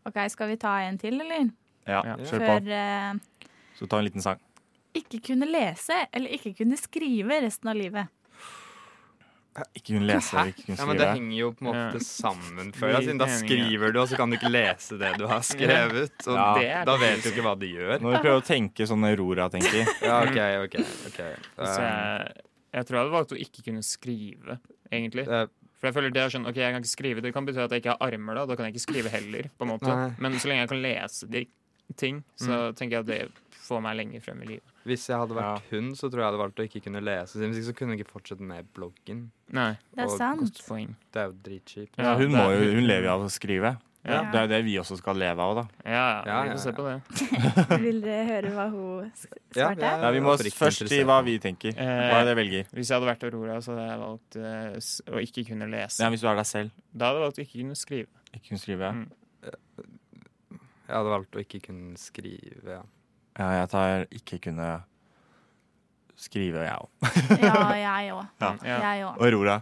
Speaker 4: Ok, Skal vi ta en til, eller?
Speaker 5: Ja,
Speaker 1: Ja.
Speaker 5: Kjør på.
Speaker 4: Før eh,
Speaker 5: Så ta en liten sang.
Speaker 4: ikke kunne lese eller ikke kunne skrive resten av livet.
Speaker 5: Ikke kunne lese,
Speaker 6: Hæ?
Speaker 5: ikke kunne
Speaker 6: Ja, men Det
Speaker 5: skrive.
Speaker 6: henger jo på en måte
Speaker 1: Ja.
Speaker 6: sammen før. Altså,
Speaker 1: Gir
Speaker 6: da
Speaker 1: mening, ja.
Speaker 6: skriver du, og så kan du ikke lese det du har skrevet. Og
Speaker 5: Ja,
Speaker 1: det er
Speaker 6: da vet du ikke hva de gjør.
Speaker 5: Når vi prøver å tenke sånn Aurora tenker.
Speaker 6: Ja, ok, ok, ok
Speaker 1: Så
Speaker 6: Eh,
Speaker 1: jeg, jeg tror jeg hadde valgt å ikke kunne skrive, egentlig.
Speaker 6: eh,
Speaker 1: For jeg føler det er sånn, ok, jeg kan ikke skrive. Det kan bety at jeg ikke har armer, da. Da kan jeg ikke skrive heller, på en måte.
Speaker 6: Nei.
Speaker 1: Men så lenge jeg kan lese de ting,
Speaker 5: Mm.
Speaker 1: så tenker jeg at det får meg lenger frem i livet.
Speaker 6: Hvis jeg hadde vært hun, så tror jeg jeg hadde valgt å ikke kunne lese. Hvis ikke så kunne jeg ikke fortsette med bloggen.
Speaker 1: Nei,
Speaker 4: Det er
Speaker 6: Og
Speaker 4: sant.
Speaker 1: godt poeng.
Speaker 6: Det er jo dritkjipt.
Speaker 5: Ja, hun,
Speaker 1: det
Speaker 5: må
Speaker 1: er-
Speaker 5: jo, hun lever jo av å skrive.
Speaker 1: Ja.
Speaker 5: Det er jo det vi også skal leve av, da.
Speaker 1: Ja,
Speaker 6: Ja,
Speaker 1: vi
Speaker 6: ja,
Speaker 1: får se
Speaker 6: ja.
Speaker 1: på det.
Speaker 4: Vil dere høre hva hun s-
Speaker 6: Ja,
Speaker 4: svarte?
Speaker 6: jeg er
Speaker 5: Ja, vi må
Speaker 6: oppriktig
Speaker 5: først si
Speaker 6: interessert.
Speaker 5: hva vi tenker.
Speaker 1: Eh,
Speaker 5: Hva er det jeg velger?
Speaker 1: Hvis jeg hadde vært Aurora, så hadde jeg valgt eh, s- å ikke kunne lese.
Speaker 5: Ja, hvis du er deg selv.
Speaker 1: Da hadde jeg valgt å ikke kunne skrive.
Speaker 5: Ikke kunne skrive.
Speaker 1: Mm.
Speaker 6: Jeg hadde valgt å ikke kunne skrive. Ja.
Speaker 5: Ja, jeg tar ikke kunne skrive, jeg òg.
Speaker 4: Ja, jeg òg.
Speaker 5: Ja.
Speaker 4: Jeg òg.
Speaker 5: Og Aurora.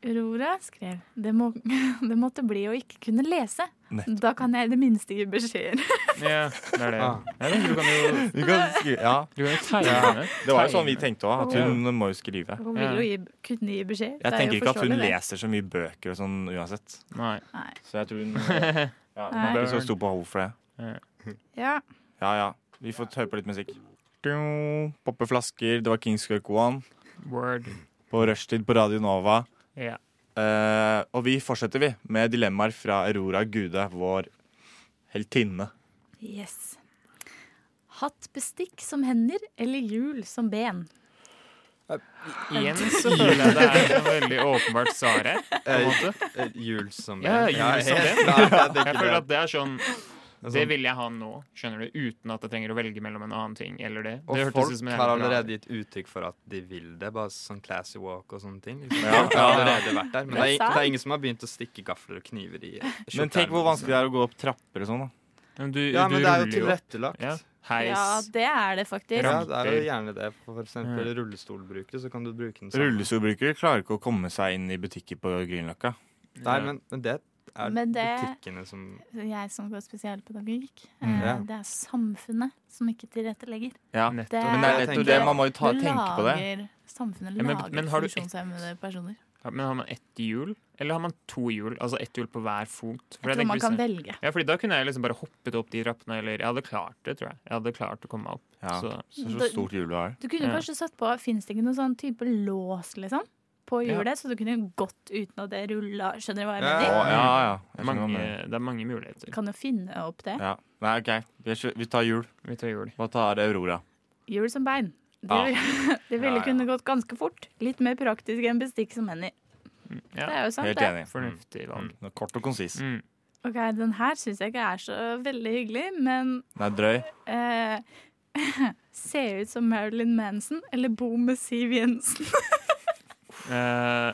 Speaker 4: Aurora skrev det, må, det måtte bli å ikke kunne lese.
Speaker 5: Nettopp.
Speaker 4: Da kan jeg i det minste gi beskjeder.
Speaker 1: Ja, det er det.
Speaker 6: Ah.
Speaker 1: Nei, men du kan jo
Speaker 5: Vi kan skrive. Ja,
Speaker 1: du kan jo tegne.
Speaker 5: det var jo sånn vi tenkte òg, at
Speaker 1: Ja.
Speaker 5: hun må jo skrive.
Speaker 4: Hun vil jo gi, kunne gi beskjed. Det
Speaker 5: Jeg
Speaker 4: er
Speaker 5: tenker
Speaker 4: jo
Speaker 5: ikke at hun
Speaker 4: forståelig, det.
Speaker 5: leser så mye bøker og sånn uansett.
Speaker 1: Nei.
Speaker 4: Nei.
Speaker 5: Så jeg tror hun ja, hun har ikke så stort behov for det.
Speaker 4: Ja.
Speaker 5: Ja ja, vi får høre på litt musikk. Du, Poppe flasker, det var Kings One
Speaker 1: Word.
Speaker 5: på rushtid på Radio Nova.
Speaker 1: Ja.
Speaker 5: Eh, og vi fortsetter, vi, med dilemmaer fra Aurora Gude, vår heltinne.
Speaker 4: Yes. Hatt bestikk som hender eller hjul som ben?
Speaker 1: Igjen så føler jeg det er et veldig åpenbart svar her. På en måte.
Speaker 6: Eh, Jul som
Speaker 1: Ja, jul som
Speaker 6: helt-
Speaker 1: ben.
Speaker 6: Nei, jeg tenker
Speaker 1: Jeg føler at det er sånn
Speaker 6: er
Speaker 1: Det
Speaker 6: sånn-
Speaker 1: vil jeg ha nå, skjønner du, uten at jeg trenger å velge mellom en annen ting eller det.
Speaker 6: Og
Speaker 1: det hørtes ut
Speaker 6: folk
Speaker 1: som en
Speaker 6: har
Speaker 1: jævla plan.
Speaker 6: allerede gitt uttrykk for at de vil det. Bare sånn classy walk og sånne ting. Liksom.
Speaker 5: Ja.
Speaker 6: Det har allerede vært der Men det er,
Speaker 4: sant.
Speaker 6: det er ingen som har begynt å stikke gafler og kniver i liksom.
Speaker 5: Men tenk hvor vanskelig det er å gå opp trapper og sånn. da
Speaker 1: Men du,
Speaker 6: Ja, men
Speaker 1: du
Speaker 6: det er jo
Speaker 1: ruller jo opp.
Speaker 6: tilrettelagt.
Speaker 1: Ja.
Speaker 6: Ja.
Speaker 4: Ja,
Speaker 1: Heis.
Speaker 4: det er det faktisk.
Speaker 1: Ja.
Speaker 6: det er jo gjerne det. For eksempel
Speaker 1: Ja.
Speaker 6: rullestolbrukere, så kan du bruke den sammen.
Speaker 5: Rullestolbrukere klarer ikke å komme seg inn i butikker på Grünerløkka.
Speaker 6: Nei, men, men det er
Speaker 4: Men det-
Speaker 6: butikkene som
Speaker 4: Jeg som går spesialpedagogikk.
Speaker 1: Mm.
Speaker 4: eh,
Speaker 6: Ja.
Speaker 4: Det er samfunnet som ikke tilrettelegger.
Speaker 5: Ja.
Speaker 1: Nettopp.
Speaker 4: Det
Speaker 5: Men det er nettopp det, man må jo ta,
Speaker 4: Du
Speaker 5: tenke på det.
Speaker 4: lager- Samfunnet
Speaker 1: Ja, men-
Speaker 4: lager
Speaker 1: men har du-
Speaker 4: funksjonshemmede personer.
Speaker 1: Ja, Men har man ett hjul, eller har man to hjul? Altså ett hjul på hver fot? For
Speaker 4: Jeg
Speaker 1: jeg
Speaker 4: tror
Speaker 1: tenker
Speaker 4: man kan
Speaker 1: liksom-
Speaker 4: velge.
Speaker 1: ja, fordi Da kunne jeg liksom bare hoppet opp de trappene, eller Jeg hadde klart det, tror jeg. Jeg hadde klart å komme meg opp.
Speaker 5: Ja. Så,
Speaker 1: Så,
Speaker 5: så stort hjul du har.
Speaker 4: Du kunne
Speaker 1: Ja.
Speaker 4: kanskje satt på Fins det ikke noen sånn type lås, liksom? På
Speaker 1: Ja.
Speaker 4: hjulet, så du kunne gått uten at det rulla. Skjønner du hva jeg
Speaker 5: Å,
Speaker 4: mener?
Speaker 5: ja, ja. Jeg skjønner hva du
Speaker 1: mange,
Speaker 5: mener.
Speaker 1: det er mange muligheter.
Speaker 4: Kan jo finne opp det.
Speaker 5: Ja. Nei, OK. Vi er- Vi tar hjul.
Speaker 1: Vi tar hjul.
Speaker 5: Hva tar Aurora?
Speaker 4: Hjul som bein. Det,
Speaker 5: Ja.
Speaker 4: vil- det ville
Speaker 5: Ja, ja.
Speaker 4: kunne gått ganske fort. Litt mer praktisk enn bestikk som hender.
Speaker 1: Mm. ja.
Speaker 4: Det er jo sant,
Speaker 5: Helt
Speaker 4: det.
Speaker 5: enig.
Speaker 1: Fornuftig valg.
Speaker 5: Mm. Kort og konsis.
Speaker 1: Mm.
Speaker 4: Ok, Den her syns jeg ikke er så veldig hyggelig, men
Speaker 5: Den er drøy.
Speaker 4: eh, Se ut som Marilyn Manson eller bo med Siv Jensen.
Speaker 1: Eh,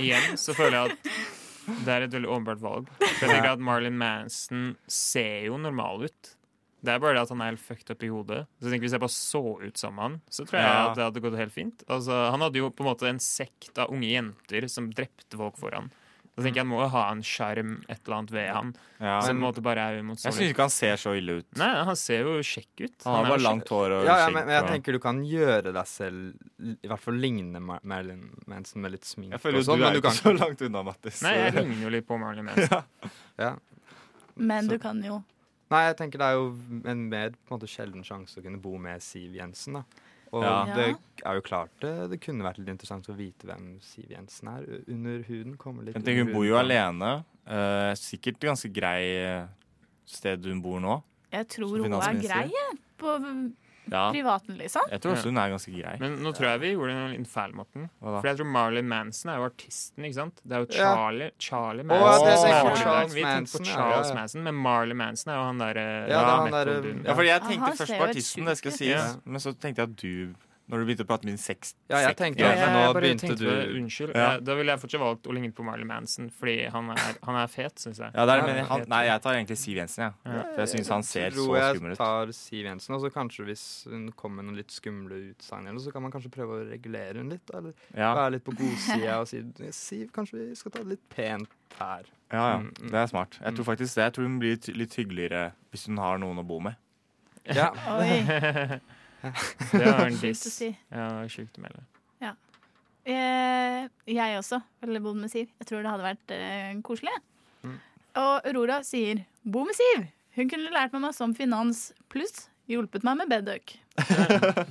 Speaker 1: igjen så føler jeg at det er et veldig åpenbart valg. For jeg tenker at Marlon Manson ser jo normal ut. Det er bare det at han er helt fucked up i hodet. Så jeg tenker Hvis jeg bare så ut som han, så tror jeg
Speaker 5: Ja.
Speaker 1: at det hadde gått helt fint. Altså, han hadde jo på en måte en sekt av unge jenter som drepte folk for han. Så tenker jeg han må jo ha en sjarm, et eller annet ved han.
Speaker 5: Ja.
Speaker 1: Som på en
Speaker 5: Jeg
Speaker 1: måte bare er
Speaker 5: syns
Speaker 1: uimotståelig.
Speaker 5: ikke han ser så ille ut.
Speaker 1: Nei, han ser jo kjekk ut.
Speaker 5: Han har
Speaker 1: er
Speaker 5: bare
Speaker 1: jo
Speaker 5: langt hår og
Speaker 6: Ja, ja
Speaker 5: skjegg
Speaker 6: men, men jeg
Speaker 5: og-
Speaker 6: tenker du kan gjøre deg selv I hvert fall ligne Mar Marilyn Manson med litt sminke
Speaker 5: Jeg føler
Speaker 6: og sånn,
Speaker 5: du
Speaker 6: men
Speaker 5: er
Speaker 6: du
Speaker 5: ikke
Speaker 6: kan
Speaker 5: så langt unna, Mattis.
Speaker 1: kjekk. Nei, jeg ligner jo litt på Marlon Manson.
Speaker 6: ja.
Speaker 4: Men
Speaker 6: Så-
Speaker 4: du kan jo
Speaker 6: Nei, jeg tenker det er jo en mer på en måte sjelden sjanse å kunne bo med Siv Jensen, da. Og
Speaker 5: Ja.
Speaker 6: det er jo klart det, det kunne vært litt interessant å vite hvem Siv Jensen er. U- Under huden kommer litt
Speaker 5: Jeg tenker Hun
Speaker 6: under
Speaker 5: bor jo
Speaker 6: huden.
Speaker 5: alene. Eh, sikkert ganske grei eh, sted hun bor nå.
Speaker 4: Jeg
Speaker 5: Som
Speaker 4: tror hun er
Speaker 5: finansminister.
Speaker 4: grei, jeg. På
Speaker 5: Ja.
Speaker 4: privaten, liksom.
Speaker 5: Jeg tror også hun er ganske grei.
Speaker 1: Men nå tror jeg vi gjorde en liten feil, Morten.
Speaker 5: Hva da?
Speaker 1: For jeg tror Marlon Manson er jo artisten, ikke sant? Det er jo
Speaker 6: Ja.
Speaker 1: Charlie, Charlie
Speaker 6: ja,
Speaker 1: Manson.
Speaker 5: det
Speaker 1: som
Speaker 5: tenker
Speaker 1: er
Speaker 5: jeg.
Speaker 1: artisten. Vi
Speaker 6: Charles
Speaker 1: tenkte på
Speaker 6: Manson, ja,
Speaker 1: Charles
Speaker 6: ja, ja.
Speaker 1: Manson, men Marley Manson er jo han eh, derre
Speaker 6: Ja, det er han derre-
Speaker 5: Ja, fordi jeg
Speaker 4: Han
Speaker 5: tenkte
Speaker 4: ser
Speaker 5: først
Speaker 4: jo
Speaker 5: på
Speaker 4: helt
Speaker 5: artisten,
Speaker 4: sjuk
Speaker 5: det skal
Speaker 4: ut.
Speaker 5: sies.
Speaker 1: Ja.
Speaker 5: Men så tenkte jeg at du, når du begynte å prate min sex
Speaker 6: Ja, jeg tenkte
Speaker 1: Ja,
Speaker 6: at
Speaker 1: jeg
Speaker 6: nå
Speaker 1: bare
Speaker 6: begynte
Speaker 1: tenkte
Speaker 6: du
Speaker 1: på det. Unnskyld.
Speaker 5: Ja.
Speaker 1: Ja, Eh, Da ville jeg fortsatt valgt å ligne på Marley Manson, fordi han er, han er fet, syns jeg.
Speaker 5: Ja, det er det jeg mener. han, Nei, jeg tar egentlig Siv Jensen, jeg. For jeg syns han ser så
Speaker 6: tror
Speaker 5: skummel
Speaker 6: jeg
Speaker 5: ut.
Speaker 6: tar Siv Jensen, og så kanskje hvis hun kommer med noen litt skumle utsagn, eller så kan man kanskje prøve å regulere hun litt. da, Eller
Speaker 5: Ja,
Speaker 6: være litt på godsida og si Siv, kanskje vi skal ta det litt pent her.
Speaker 5: ja, ja.
Speaker 6: Mm, mm.
Speaker 5: Det er smart. Jeg tror faktisk det. Jeg tror hun blir ty- litt hyggeligere hvis hun har noen å bo med.
Speaker 6: Ja,
Speaker 4: Oi,
Speaker 1: Det var en
Speaker 4: sjukt å
Speaker 1: diss.
Speaker 4: si.
Speaker 1: Ja, sjukt å melde.
Speaker 4: Eh, jeg også, eller bo med Siv. Jeg tror det hadde vært eh, koselig. Og Aurora sier 'bo med Siv'. Hun kunne lært meg masse om finans, pluss hjulpet meg med bedøk.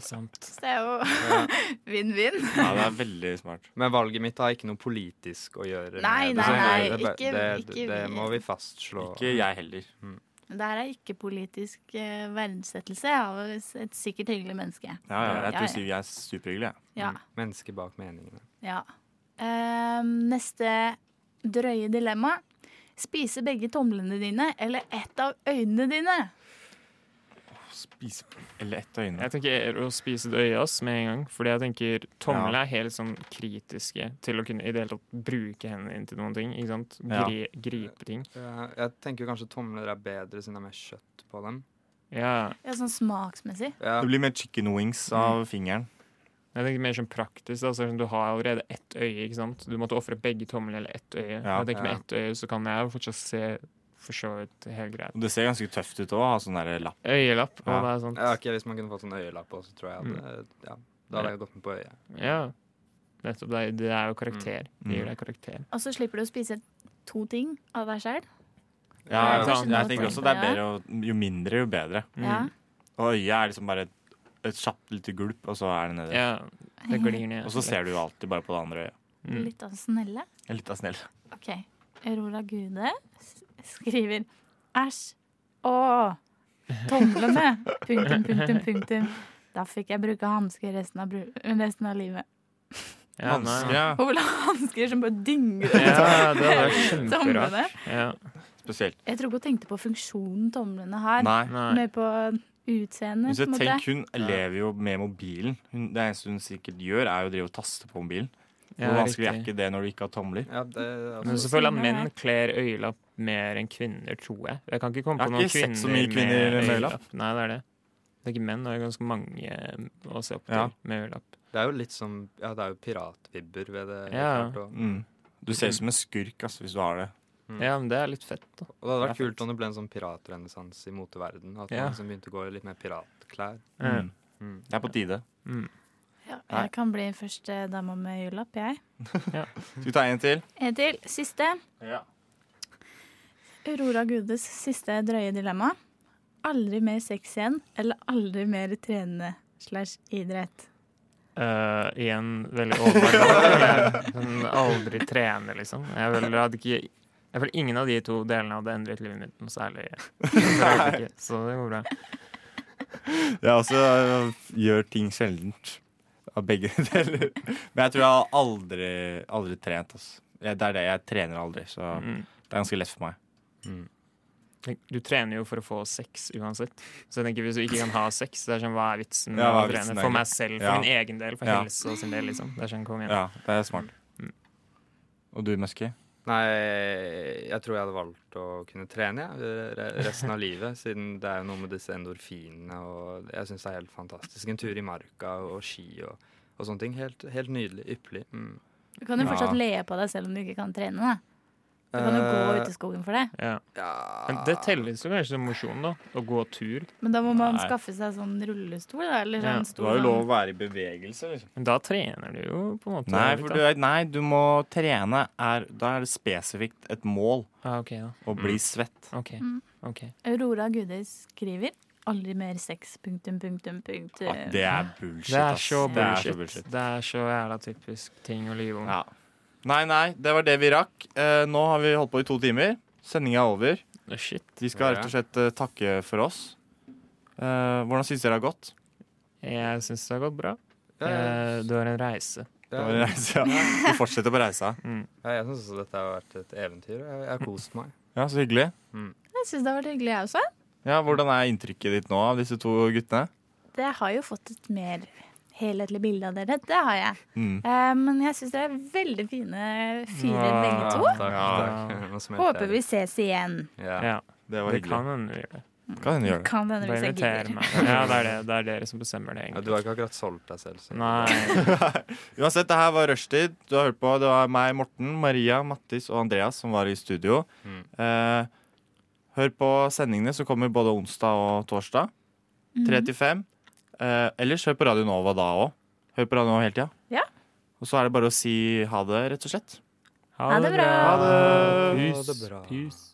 Speaker 1: Sant.
Speaker 4: Så det er jo vinn-vinn.
Speaker 5: Ja, det er veldig smart.
Speaker 6: Men valget mitt har ikke noe politisk å gjøre. med
Speaker 4: Nei,
Speaker 6: det.
Speaker 4: nei,
Speaker 6: Så
Speaker 4: nei,
Speaker 6: det,
Speaker 4: ikke-
Speaker 6: det,
Speaker 4: ikke
Speaker 6: det, det
Speaker 4: vi.
Speaker 6: må vi fastslå.
Speaker 5: Ikke jeg heller.
Speaker 4: Det her er ikke politisk eh, verdsettelse av et sikkert hyggelig menneske.
Speaker 5: Ja, ja, jeg
Speaker 4: Ja, ja.
Speaker 5: tror Siv er superhyggelig, jeg.
Speaker 4: Ja,
Speaker 6: Mennesker bak meningene.
Speaker 4: ja. Eh, neste drøye dilemma. Spise begge tomlene dine eller ett av øynene dine?
Speaker 5: Spise Eller ett øyne.
Speaker 1: Jeg tenker å spise et øye ass, med en gang. Fordi jeg tenker tommel
Speaker 5: Ja.
Speaker 1: er helt sånn kritiske til å kunne i det hele tatt bruke hendene inn til noen ting. ikke sant?
Speaker 5: Ja.
Speaker 1: Gri, Gripe ting.
Speaker 6: Eh, Jeg tenker kanskje tomler er bedre siden det er mer kjøtt på dem.
Speaker 1: Ja.
Speaker 4: Ja, sånn smaksmessig.
Speaker 6: Ja,
Speaker 5: Det blir mer chicken wings av fingeren.
Speaker 1: Jeg tenker mer sånn praktisk. da, så sånn, Du har allerede ett øye. ikke sant? Du måtte ofre begge tommel eller ett øye.
Speaker 5: Ja.
Speaker 1: jeg tenker
Speaker 6: Ja.
Speaker 1: Med ett øye så kan jeg jo fortsatt se for så vidt helt greit.
Speaker 5: Og det ser ganske tøft ut òg, ha sånn der lapp.
Speaker 1: Øyelapp. Og
Speaker 5: Ja.
Speaker 1: det er sånt.
Speaker 6: ja ok, Hvis man kunne fått sånn øyelapp også, tror jeg at eh, ja, Da hadde jeg gått med på øyet.
Speaker 1: Ja. Nettopp. Det er, det er jo karakter.
Speaker 5: Mm.
Speaker 1: Det gir deg karakter.
Speaker 4: Og så slipper du å spise to ting av deg sjøl.
Speaker 5: Ja,
Speaker 1: Ja,
Speaker 5: jeg,
Speaker 1: kanskje
Speaker 5: jeg
Speaker 4: noe
Speaker 5: tenker
Speaker 4: poeng
Speaker 5: også
Speaker 4: på
Speaker 5: det er
Speaker 4: det,
Speaker 5: bedre å, Jo mindre, jo bedre.
Speaker 1: Mm.
Speaker 4: Ja.
Speaker 5: Og øyet er liksom bare et, et kjapt lite gulp, og så er det nede.
Speaker 1: Ja, det glir ned.
Speaker 5: Og så ser du jo alltid bare på det andre øyet.
Speaker 1: Mm.
Speaker 4: Litt av snelle.
Speaker 5: Jeg er litt av snill.
Speaker 4: OK. Aurora Gude s- skriver æsj. Å! Tomlene! Punktum, punktum, punktum. Da fikk jeg bruke hansker resten, av bru- resten av livet.
Speaker 1: ja, nei.
Speaker 5: Vanskelig, ja.
Speaker 4: Hun vil ha hansker som bare dynger ut.
Speaker 1: Ja, det hadde vært kjemperart.
Speaker 4: Tomlene.
Speaker 1: Ja.
Speaker 5: Spesielt.
Speaker 4: Jeg tror ikke hun tenkte på funksjonen tomlene har,
Speaker 5: Nei.
Speaker 1: Nei.
Speaker 4: mer på utseendet.
Speaker 5: Så
Speaker 4: på en måte.
Speaker 5: tenk, hun lever jo med mobilen. Hun, det eneste hun sikkert gjør, er jo å drive og taste på mobilen. Hvor
Speaker 1: Ja,
Speaker 5: vanskelig er
Speaker 1: riktig.
Speaker 5: ikke det når du ikke har tomler?
Speaker 6: Ja, det, er
Speaker 1: Men
Speaker 6: altså,
Speaker 1: så føler jeg at
Speaker 4: Siden det
Speaker 1: menn kler øyelapp mer enn kvinner, tror jeg. Jeg kan ikke komme
Speaker 5: Jeg
Speaker 1: på
Speaker 5: har
Speaker 1: noen
Speaker 5: ikke sett
Speaker 1: kvinner,
Speaker 5: så mye kvinner med
Speaker 1: Nei, det er det. Det er ikke menn, det er ganske mange eh, å se opp til
Speaker 5: Ja.
Speaker 1: med øyelapp.
Speaker 6: det er jo litt som Ja, det er jo piratvibber ved det. helt
Speaker 1: Ja.
Speaker 6: klart, og,
Speaker 5: Mm. Du ser ut som en skurk altså, hvis du har det.
Speaker 1: Ja, men det er litt fett, da.
Speaker 6: og det hadde vært
Speaker 5: Det er
Speaker 6: kult om det ble en sånn piratrenessanse i moteverden. At
Speaker 1: Ja.
Speaker 6: man liksom begynte å gå i litt mer piratklær.
Speaker 1: Ja.
Speaker 5: Mm. Det er på tide.
Speaker 1: mm.
Speaker 4: Ja, jeg kan bli første dama med jullapp, jeg.
Speaker 5: Skal vi ta en til?
Speaker 4: En til. Siste. Aurora Gudes siste drøye dilemma. Aldri mer sex igjen, eller aldri mer trene slash idrett.
Speaker 1: Eh, igjen veldig overvektig. Hun aldri trener, liksom. Jeg føler at ikke jeg føler ingen av de to delene hadde endret livet mitt noe særlig. For øyeblikket, Så det går bra.
Speaker 5: Jeg også øh, gjør ting sjeldent. Av begge deler. Men jeg tror jeg har aldri, aldri trent. Altså. Jeg, det er det. Jeg trener aldri, så
Speaker 1: Mm.
Speaker 5: det er ganske lett for meg.
Speaker 1: Du trener jo for å få sex uansett. Så jeg tenker hvis du ikke kan ha sex, det er sånn, hva er vitsen med
Speaker 5: Ja, hva
Speaker 1: å
Speaker 5: er vitsen
Speaker 1: trene?
Speaker 5: egentlig?
Speaker 1: For meg selv, for
Speaker 5: Ja.
Speaker 1: min egen del, for
Speaker 5: Ja.
Speaker 1: helse og sin del, liksom. Det er sånn, kom igjen.
Speaker 5: Ja, Mm. det er smart. Og du, Musky?
Speaker 6: Nei, jeg tror jeg hadde valgt å kunne trene jeg, re- resten av livet. Siden det er jo noe med disse endorfinene, og jeg syns det er helt fantastisk. En tur i marka og ski og, og sånne ting. Helt, helt nydelig. Ypperlig. Mm.
Speaker 4: Du kan jo
Speaker 5: Ja.
Speaker 4: fortsatt le på deg selv om du ikke kan trene. Da. Du kan jo
Speaker 6: Eh,
Speaker 4: gå
Speaker 5: Eh,
Speaker 4: ut i skogen for det,
Speaker 1: Ja. Men det telles jo kanskje som mosjon, da. Å gå tur.
Speaker 4: men da må man
Speaker 5: Nei.
Speaker 4: skaffe seg sånn rullestol. Da, eller
Speaker 1: Ja,
Speaker 4: sånn
Speaker 5: Du
Speaker 4: stor
Speaker 5: har jo lov å
Speaker 4: sånn-
Speaker 5: være i bevegelse. Liksom.
Speaker 1: Men da trener du jo på en måte.
Speaker 5: Nei,
Speaker 1: litt,
Speaker 5: for
Speaker 1: da.
Speaker 5: du, er- nei, du må trene. Er, da er det spesifikt et mål
Speaker 1: ah, OK, da.
Speaker 5: å bli svett.
Speaker 1: OK.
Speaker 4: Mm.
Speaker 1: ok.
Speaker 4: Aurora Gude skriver aldri mer sex, punktum, punktum, punktum.
Speaker 5: At Ah, det er bullshit.
Speaker 1: Det er
Speaker 5: ass.
Speaker 1: så
Speaker 5: Det er
Speaker 1: bullshit.
Speaker 5: så bullshit.
Speaker 1: Det er så jævla typisk ting å lyve om.
Speaker 5: Ja. Nei, nei, det var det vi rakk. Eh, nå har vi holdt på i to timer. Sendinga er over.
Speaker 1: Å, Shit.
Speaker 5: De skal
Speaker 6: Ja.
Speaker 5: rett og slett eh, takke for oss. Eh, hvordan syns dere det har gått?
Speaker 1: Jeg syns det har gått bra.
Speaker 6: Ja,
Speaker 1: Eh, du har en reise.
Speaker 5: Det var en
Speaker 6: ja,
Speaker 5: reise, ja. Vi fortsetter på reisa.
Speaker 6: ja, jeg syns også dette har vært et eventyr. og Jeg jeg har kost meg.
Speaker 5: Ja, Så hyggelig.
Speaker 4: Jeg syns det har vært hyggelig, jeg også.
Speaker 5: Ja, Hvordan er inntrykket ditt nå av disse to guttene?
Speaker 4: Det har jo fått et mer helhetlig bilde av dere. Det har jeg.
Speaker 5: Mm.
Speaker 4: Eh, men jeg syns dere er veldig fine fyrer,
Speaker 1: Wow.
Speaker 4: begge to.
Speaker 6: Ja, takk,
Speaker 5: Ja.
Speaker 6: takk. Nå smelte jeg
Speaker 4: Håper vi ses igjen.
Speaker 6: litt. Ja.
Speaker 1: Ja,
Speaker 5: Det var
Speaker 1: det
Speaker 5: hyggelig.
Speaker 1: kan hende du gjør det.
Speaker 5: Kan hende gjøre det.
Speaker 4: Kan hende
Speaker 1: Bare
Speaker 4: hvis jeg
Speaker 1: inviter
Speaker 4: gidder.
Speaker 1: meg. Ja, det er, det. det er dere som bestemmer det,
Speaker 6: Ja,
Speaker 1: egentlig.
Speaker 6: du har ikke akkurat solgt deg selv, så
Speaker 1: Nei.
Speaker 5: Uansett, det her var rushtid. Du har hørt på. Det var meg, Morten, Maria, Mattis og Andreas som var i studio. Eh, hør på sendingene som kommer både onsdag og torsdag. Tre til fem. Eh, ellers hør på Radio Nova da òg. Hør på Radio Nova hele tida.
Speaker 4: Ja.
Speaker 5: Og så er det bare å si ha det, rett og slett.
Speaker 4: Ha det bra.
Speaker 5: Ha det.
Speaker 6: Ha det bra.
Speaker 1: Peace.